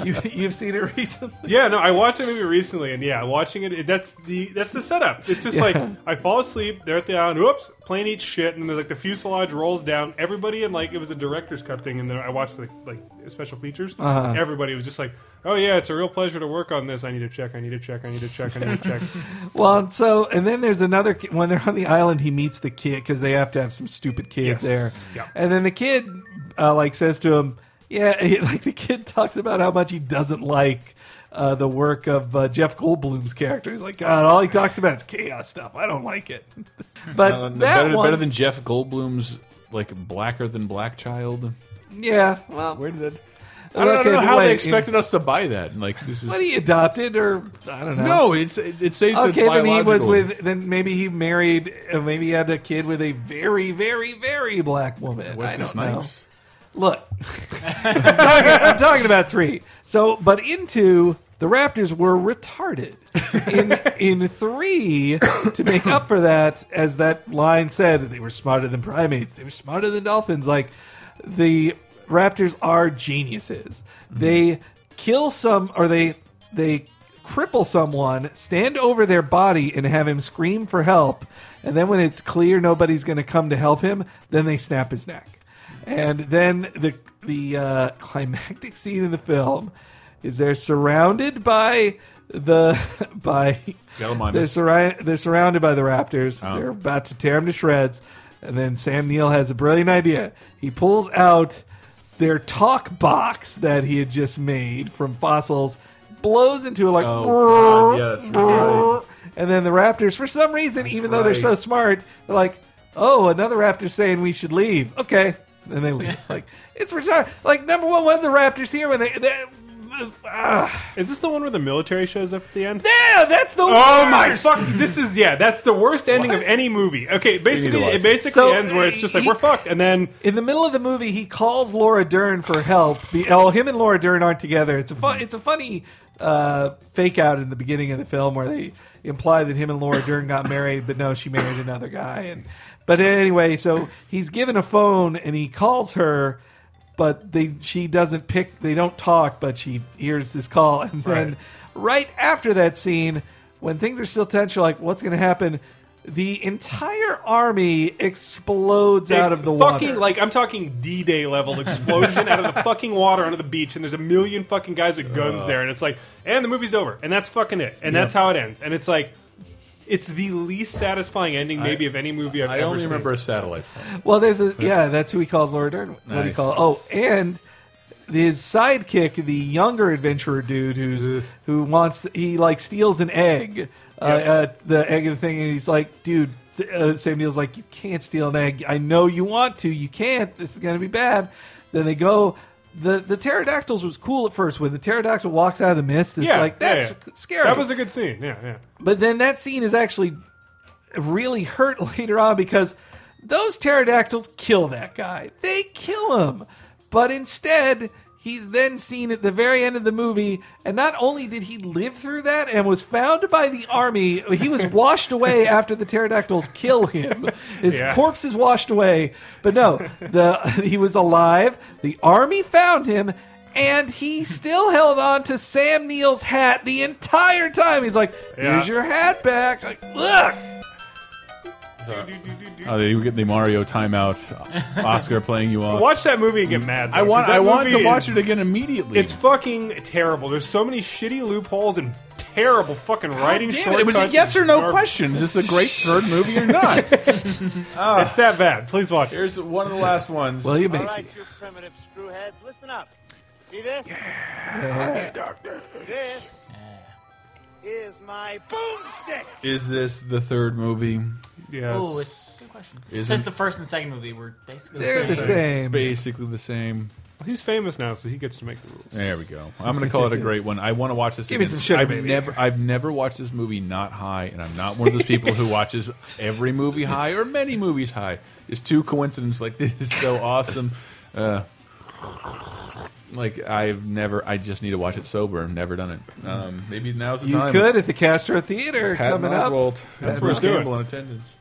Speaker 1: you, you've seen it recently.
Speaker 2: Yeah, no, I watched that movie recently, and yeah, watching it, it- that's the that's the setup. It's just
Speaker 1: Yeah.
Speaker 2: like I fall asleep, they're at the island, whoops, plane eats shit, and then there's like the fuselage rolls down. Everybody in like it was a director's cut thing, and then I watched the like special features.
Speaker 1: Uh-huh.
Speaker 2: Everybody was just like, "Oh yeah, it's a real pleasure to work on this. I need to check. I need to check. I need to check. I need to check."
Speaker 1: Well, and so and then there's another ki- when they're on the island. He meets the kid because they have to have some stupid kid
Speaker 2: Yes.
Speaker 1: there.
Speaker 2: Yeah.
Speaker 1: And then the kid uh, like says to him, "Yeah." He, like the kid talks about how much he doesn't like uh, the work of uh, Jeff Goldblum's character. He's like, "God, all he talks about is chaos stuff. I don't like it." But
Speaker 3: Uh,
Speaker 1: that
Speaker 3: better,
Speaker 1: one,
Speaker 3: better than Jeff Goldblum's like blacker than black child.
Speaker 1: yeah. Well, where did that?
Speaker 3: I don't, I don't know how they expected us to buy that. Like this is
Speaker 1: What he adopted, or I don't know.
Speaker 3: No, it's it, it says it's
Speaker 1: okay. Then he was
Speaker 3: biological.
Speaker 1: with. Then maybe he married. Uh, maybe he had a kid with a very, very, very black woman.
Speaker 3: Wesley
Speaker 1: I don't
Speaker 3: Snipes.
Speaker 1: know. Look, I'm, talking, I'm talking about three. So, but in two, the Raptors were retarded. In in three, to make up for that, as that line said, they were smarter than primates. They were smarter than dolphins. Like the Raptors are geniuses. They kill some, or they they cripple someone, stand over their body, and have him scream for help. And then when it's clear nobody's going to come to help him, then they snap his neck. And then the the uh, climactic scene in the film is they're surrounded by the by
Speaker 3: Gallimimus.
Speaker 1: they're surrounded they're surrounded by the Raptors.
Speaker 3: Oh.
Speaker 1: They're about to tear him to shreds, and then Sam Neill has a brilliant idea. He pulls out their talk box that he had just made from fossils, blows into it like,
Speaker 3: Oh, God, yeah, that's right.
Speaker 1: and then the Raptors, for some reason, even though they're so
Speaker 3: right.
Speaker 1: smart, they're like, "Oh, another Raptor saying we should leave." Okay, and they leave. like it's retarded. Like number one, when the Raptors here, when they, they uh,
Speaker 2: Is this the one where the military shows up at the end?
Speaker 1: Yeah, that's the
Speaker 2: oh my
Speaker 1: worst!
Speaker 2: fuck! This is yeah, that's the worst ending of any movie. Okay, basically
Speaker 1: watch
Speaker 2: it
Speaker 1: it.
Speaker 2: basically
Speaker 1: So,
Speaker 2: ends where it's just like
Speaker 1: he-
Speaker 2: we're fucked, and then
Speaker 1: in the middle of the movie, he calls Laura Dern for help. Be- Oh, him and Laura Dern aren't together. It's a fun. It's a funny uh, fake out in the beginning of the film where they imply that him and Laura Dern got married, but no, she married another guy. And but anyway, so he's given a phone and he calls her. But they, she doesn't pick. They don't talk. But she hears this call, and then right after that scene, when things are still tense, you're like, "What's going to happen?" The entire army explodes
Speaker 2: It
Speaker 1: out of the
Speaker 2: fucking,
Speaker 1: water.
Speaker 2: Like I'm talking D-Day level explosion out of the fucking water onto the beach, and there's a million fucking guys with guns
Speaker 10: Ugh.
Speaker 2: there, and it's like, and the movie's over, and that's fucking it, and
Speaker 3: Yeah.
Speaker 2: that's how it ends, and it's like, it's the least satisfying ending maybe of any movie I've
Speaker 3: I
Speaker 2: ever
Speaker 3: only
Speaker 2: seen.
Speaker 3: remember a satellite. phone.
Speaker 1: Well, there's a yeah. That's who he calls Laura Dern. What do he
Speaker 3: Nice.
Speaker 1: call? Oh, and his sidekick, the younger adventurer dude,
Speaker 2: Uh-huh.
Speaker 1: who's who wants he like steals an egg, uh, uh, the egg of the thing, and he's like, dude. Uh, Sam Neill's like, you can't steal an egg. I know you want to. You can't. This is going to be bad. Then they go. The the pterodactyls was cool at first. When the pterodactyl walks out of the mist, it's
Speaker 2: yeah,
Speaker 1: like
Speaker 2: yeah,
Speaker 1: that's
Speaker 2: yeah.
Speaker 1: scary.
Speaker 2: That was a good scene. Yeah, yeah.
Speaker 1: But then that scene is actually really hurt later on because those pterodactyls kill that guy. They kill him. But instead, he's then seen at the very end of the movie, and not only did he live through that and was found by the army, he was washed away after the pterodactyls kill him. His
Speaker 10: Yeah.
Speaker 1: corpse is washed away. But no, the he was alive. The army found him. And he still held on to Sam Neill's hat the entire time. He's like,
Speaker 3: Yeah.
Speaker 1: "Here's your hat back." Like, look,
Speaker 3: Oh, they were getting the Mario timeout. Oscar playing you off.
Speaker 2: Watch that movie and get mad.
Speaker 3: I want- I want to watch it
Speaker 2: again
Speaker 3: immediately.
Speaker 2: It's fucking terrible. There's so many shitty loopholes and terrible fucking writing.
Speaker 3: damn it, it was a
Speaker 2: shortcuts
Speaker 3: yes
Speaker 2: and
Speaker 3: or no
Speaker 2: garbage.
Speaker 3: question. Is this a great third movie or not? Ah.
Speaker 2: it's that bad. Please watch. it.
Speaker 3: Here's one of the last ones.
Speaker 1: Well, you may
Speaker 14: All
Speaker 1: see.
Speaker 14: right, you primitive screwheads, listen up. See this?
Speaker 1: Yeah. Okay, doctor.
Speaker 14: This is my boomstick.
Speaker 3: Is this the third movie?
Speaker 2: Yes.
Speaker 4: Oh, it's good question.
Speaker 3: Isn't-
Speaker 4: Since the first and second movie were basically
Speaker 3: Basically the same.
Speaker 2: He's famous now, so he gets to make the rules.
Speaker 3: There we go. I'm going to call it a great one. I want to watch this.
Speaker 2: Give me
Speaker 3: again.
Speaker 2: some sugar,
Speaker 3: I've
Speaker 2: baby.
Speaker 3: never, I've never watched this movie not high, and I'm not one of those people who watches every movie high or many movies high. It's too coincidence. Like this is so awesome. Uh, like I've never. I just need to watch it sober. I've never done it. Um, maybe now's the
Speaker 1: You
Speaker 3: time.
Speaker 1: could at the Castro Theater
Speaker 3: Patton
Speaker 1: coming up.
Speaker 3: Oswalt.
Speaker 1: Patton
Speaker 3: That's Bruce
Speaker 1: Oswalt.
Speaker 3: Campbell in attendance.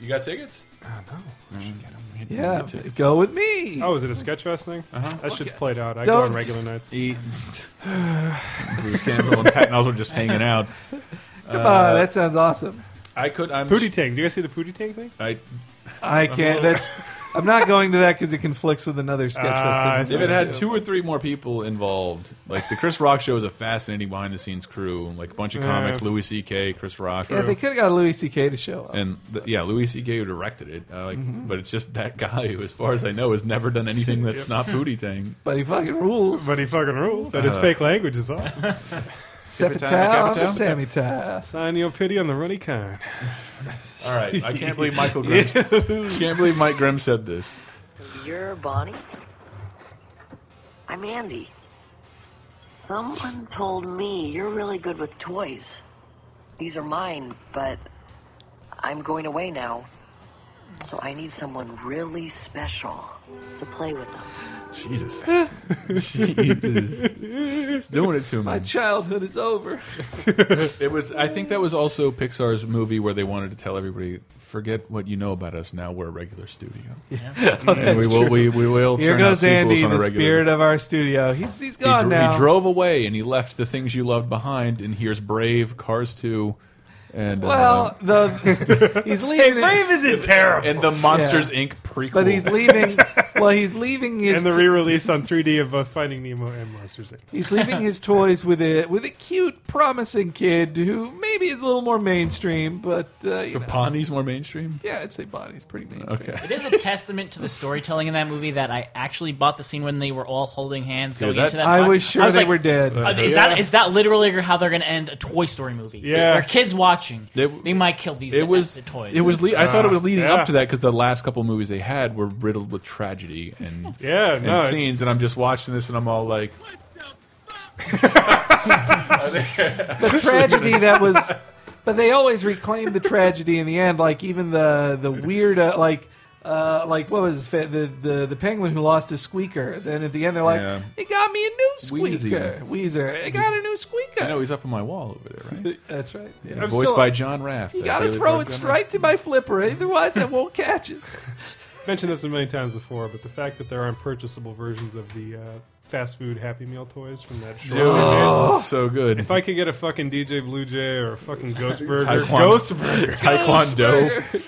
Speaker 3: You got tickets?
Speaker 2: no.
Speaker 1: Yeah, go with me.
Speaker 2: Oh, is it a sketch fest thing?
Speaker 3: Uh-huh.
Speaker 2: That shit's played out. I go
Speaker 1: Don't-
Speaker 2: on regular nights.
Speaker 3: Eat. Bruce Campbell and Patton Oswalt just hanging out.
Speaker 1: Come on, that sounds awesome.
Speaker 3: I could. I'm
Speaker 2: Pootie Tang. Do you guys see the Pootie Tang thing?
Speaker 3: I.
Speaker 1: I can't. That's. I'm not going to that because it conflicts with another sketch fest. thing.
Speaker 3: if it had two or three more people involved, like the Chris Rock show is a fascinating behind the scenes crew, like a bunch of
Speaker 1: Yeah.
Speaker 3: comics, Louis C.K., Chris Rock,
Speaker 1: yeah, they could have got Louis C.K. to show up.
Speaker 3: and th yeah, Louis C.K. who directed it. Uh, like,
Speaker 1: Mhm.
Speaker 3: but it's just that guy who, as far as I know, has never done anything
Speaker 2: Yep.
Speaker 3: that's not Pootie Tang.
Speaker 1: But he fucking rules.
Speaker 2: But he fucking rules. And his
Speaker 3: Uh,
Speaker 2: fake language is awesome.
Speaker 1: Sepetow on the Sammytow.
Speaker 2: Sign your pity on the runny kind.
Speaker 3: All right, I can't believe Michael Grimm. can't believe Mike Grimm said this.
Speaker 15: You're Bonnie? I'm Andy. Someone told me you're really good with toys. These are mine, but I'm going away now. So I need someone really special to play with them.
Speaker 3: Jesus. Jesus. He's doing it to me.
Speaker 1: My childhood is over.
Speaker 3: it was. I think that was also Pixar's movie where they wanted to tell everybody, forget what you know about us. Now we're a regular studio.
Speaker 1: Yeah. Oh,
Speaker 3: and we
Speaker 1: that's
Speaker 3: will. We,
Speaker 1: true.
Speaker 3: we will.
Speaker 1: Here
Speaker 3: churn out
Speaker 1: goes
Speaker 3: sequels
Speaker 1: Andy,
Speaker 3: on a
Speaker 1: the
Speaker 3: regular-
Speaker 1: spirit Oh, of our studio. He's he's
Speaker 3: He
Speaker 1: gone
Speaker 3: dro-
Speaker 1: now.
Speaker 3: He drove away and he left the things you loved behind. And here's Brave, Cars Two, and uh,
Speaker 1: Well, the he's leaving.
Speaker 2: Hey, Brave isn't terrible.
Speaker 3: and the Monsters Inc. prequel.
Speaker 1: But he's leaving. well, he's leaving his.
Speaker 2: and the re-release on 3D of both Finding Nemo and Monsters Inc.
Speaker 1: He's leaving his toys with a with a cute, promising kid who maybe is a little more mainstream, but uh, you
Speaker 3: The
Speaker 1: know.
Speaker 3: Bonnie's more mainstream.
Speaker 1: Yeah, I'd say Bonnie's pretty mainstream.
Speaker 3: Okay.
Speaker 4: It is a testament to the storytelling in that movie that I actually bought the scene when they were all holding hands
Speaker 1: Dude,
Speaker 4: going
Speaker 1: that-
Speaker 4: into that.
Speaker 1: I
Speaker 4: fight.
Speaker 1: was sure they were dead.
Speaker 4: "Uh, Is
Speaker 1: Yeah.
Speaker 4: that is that literally how they're going to end a Toy Story movie?
Speaker 1: Yeah.
Speaker 4: where kids watching,
Speaker 3: They-
Speaker 4: they, might kill these.
Speaker 3: It was.
Speaker 4: the toys.
Speaker 3: It was. Le- I thought it
Speaker 1: Ah,
Speaker 3: was leading
Speaker 4: Yeah.
Speaker 3: up to that because the last couple movies they had were riddled with tragedy and
Speaker 2: Yeah,
Speaker 3: and
Speaker 2: no, it's-
Speaker 3: scenes. And I'm just watching this and I'm all like,
Speaker 1: the tragedy that was but they always reclaim the tragedy in the end like even the the weird uh, like uh, like what was his fa- the, the the penguin who lost his squeaker then at the end they're like
Speaker 3: Yeah.
Speaker 1: it got me a new
Speaker 3: Wheezy.
Speaker 1: squeaker Weezer it got a new squeaker
Speaker 3: I know he's up on my wall over there, right?
Speaker 1: that's right
Speaker 3: Yeah, voiced by John Raft.
Speaker 1: you
Speaker 3: that
Speaker 1: gotta
Speaker 3: really
Speaker 1: throw
Speaker 3: broke
Speaker 1: it
Speaker 3: down
Speaker 1: straight to my flipper otherwise I won't catch it
Speaker 2: Mentioned this a million times before, but the fact that there aren't purchasable versions of the uh, fast food Happy Meal toys from that show.
Speaker 3: Dude, Oh. so good.
Speaker 2: If I could get a fucking DJ Blue Jay or a fucking Ghost Burger,
Speaker 3: Taekwondo-
Speaker 2: Ghost Burger,
Speaker 3: Taekwondo.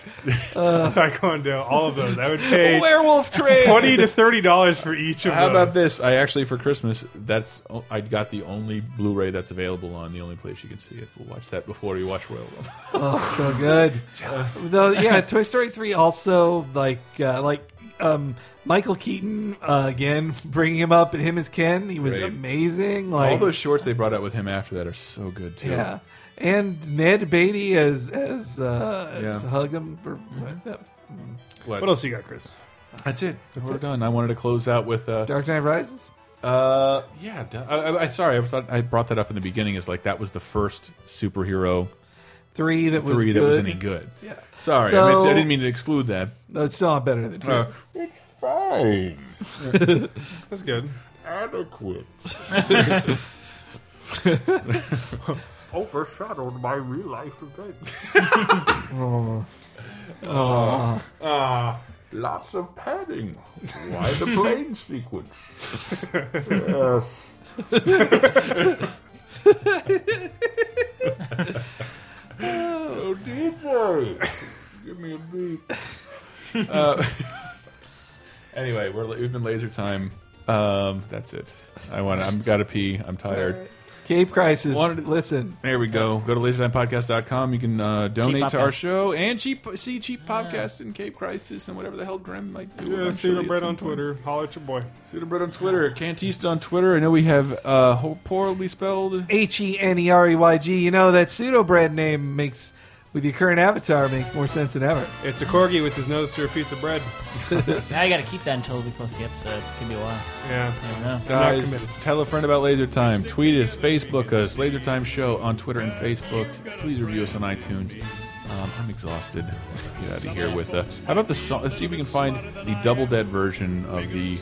Speaker 2: Uh, Taekwondo, all of those. I would pay
Speaker 1: Werewolf Train.
Speaker 2: twenty to thirty dollars for each of
Speaker 3: How
Speaker 2: those.
Speaker 3: about this? I actually for Christmas, that's I got the only Blu-ray that's available on the only place you can see it. We'll watch that before we watch Royal Rumble.
Speaker 1: Oh, so good. Though, yeah, Toy Story three also like uh, like um, Michael Keaton uh, again, bringing him up and him as Ken. He was
Speaker 3: Great.
Speaker 1: amazing.
Speaker 3: all
Speaker 1: Like
Speaker 3: those shorts they brought out with him after that are so good too.
Speaker 1: yeah, and Ned Beatty as as, uh, as
Speaker 3: Yeah.
Speaker 1: Hugum. Or, what?
Speaker 3: What?
Speaker 2: What else you got, Chris?
Speaker 3: That's it. That's
Speaker 1: We're
Speaker 3: We're done. I wanted to close out with uh,
Speaker 1: Dark Knight Rises.
Speaker 3: Uh, yeah. duh. I, I, I sorry, I thought I brought that up in the beginning. Is like that was the first superhero
Speaker 1: Three that was
Speaker 3: three that was e-
Speaker 1: good.
Speaker 3: any good.
Speaker 1: Yeah.
Speaker 3: Sorry, I, mean,
Speaker 1: Though-
Speaker 3: I didn't mean to exclude that.
Speaker 1: No, it's still not better than two.
Speaker 3: Uh, it's fine.
Speaker 2: That's good.
Speaker 3: Adequate.
Speaker 2: Overshadowed by real life events.
Speaker 3: Uh,
Speaker 1: oh.
Speaker 3: Ah. lots of padding. Why the plane sequence? Yes. oh, DJ, give me a beat. Uh, anyway, we're, we've been laser time. Um, that's it. I want. I'm gotta pee. I'm tired.
Speaker 1: Cape Crisis. Listen,
Speaker 3: There we go. Go to lasertimepodcast.com. You can uh, donate to
Speaker 1: podcast.
Speaker 3: our show and cheap, see cheap podcast and Cape Crisis and whatever the hell Grim might do.
Speaker 2: Yeah,
Speaker 3: eventually
Speaker 2: Pseudo
Speaker 3: at
Speaker 2: Bread
Speaker 3: some
Speaker 2: on
Speaker 3: point.
Speaker 2: Twitter. Holler at your boy.
Speaker 3: Pseudo Bread on Twitter. Cantista on Twitter. I know we have uh, ho- poorly spelled.
Speaker 1: H E N E R E Y G. You know that pseudo brand name makes with your current avatar makes more sense than ever.
Speaker 2: It's a corgi with his nose through a piece of bread.
Speaker 4: now I got to keep that until we post the episode. It could be a while.
Speaker 2: Yeah.
Speaker 4: I don't know.
Speaker 3: Guys, tell a friend about Laser Time. Tweet us, Facebook us, Laser Time Show on Twitter and Facebook. Please review us on iTunes. Um, I'm exhausted. Let's get out of here with. Uh, how about the song? Let's see if we can find the Double Dead version of the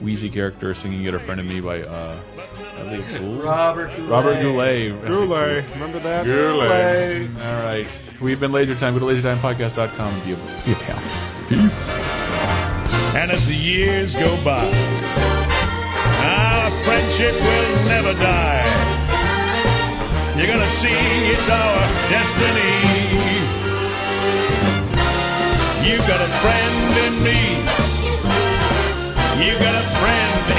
Speaker 3: wheezy character singing "Get a Friend of Me" by uh, I think Gould?
Speaker 1: Robert Goulet.
Speaker 3: Robert Goulet.
Speaker 2: Goulet. Remember that?
Speaker 3: Goulet. All right. We've been Laser Time. Go to lasertimepodcast.com. Be a, be a pal.
Speaker 16: And as the years go by, our friendship will never die. You're gonna see it's our destiny. You got a friend in me. You got a friend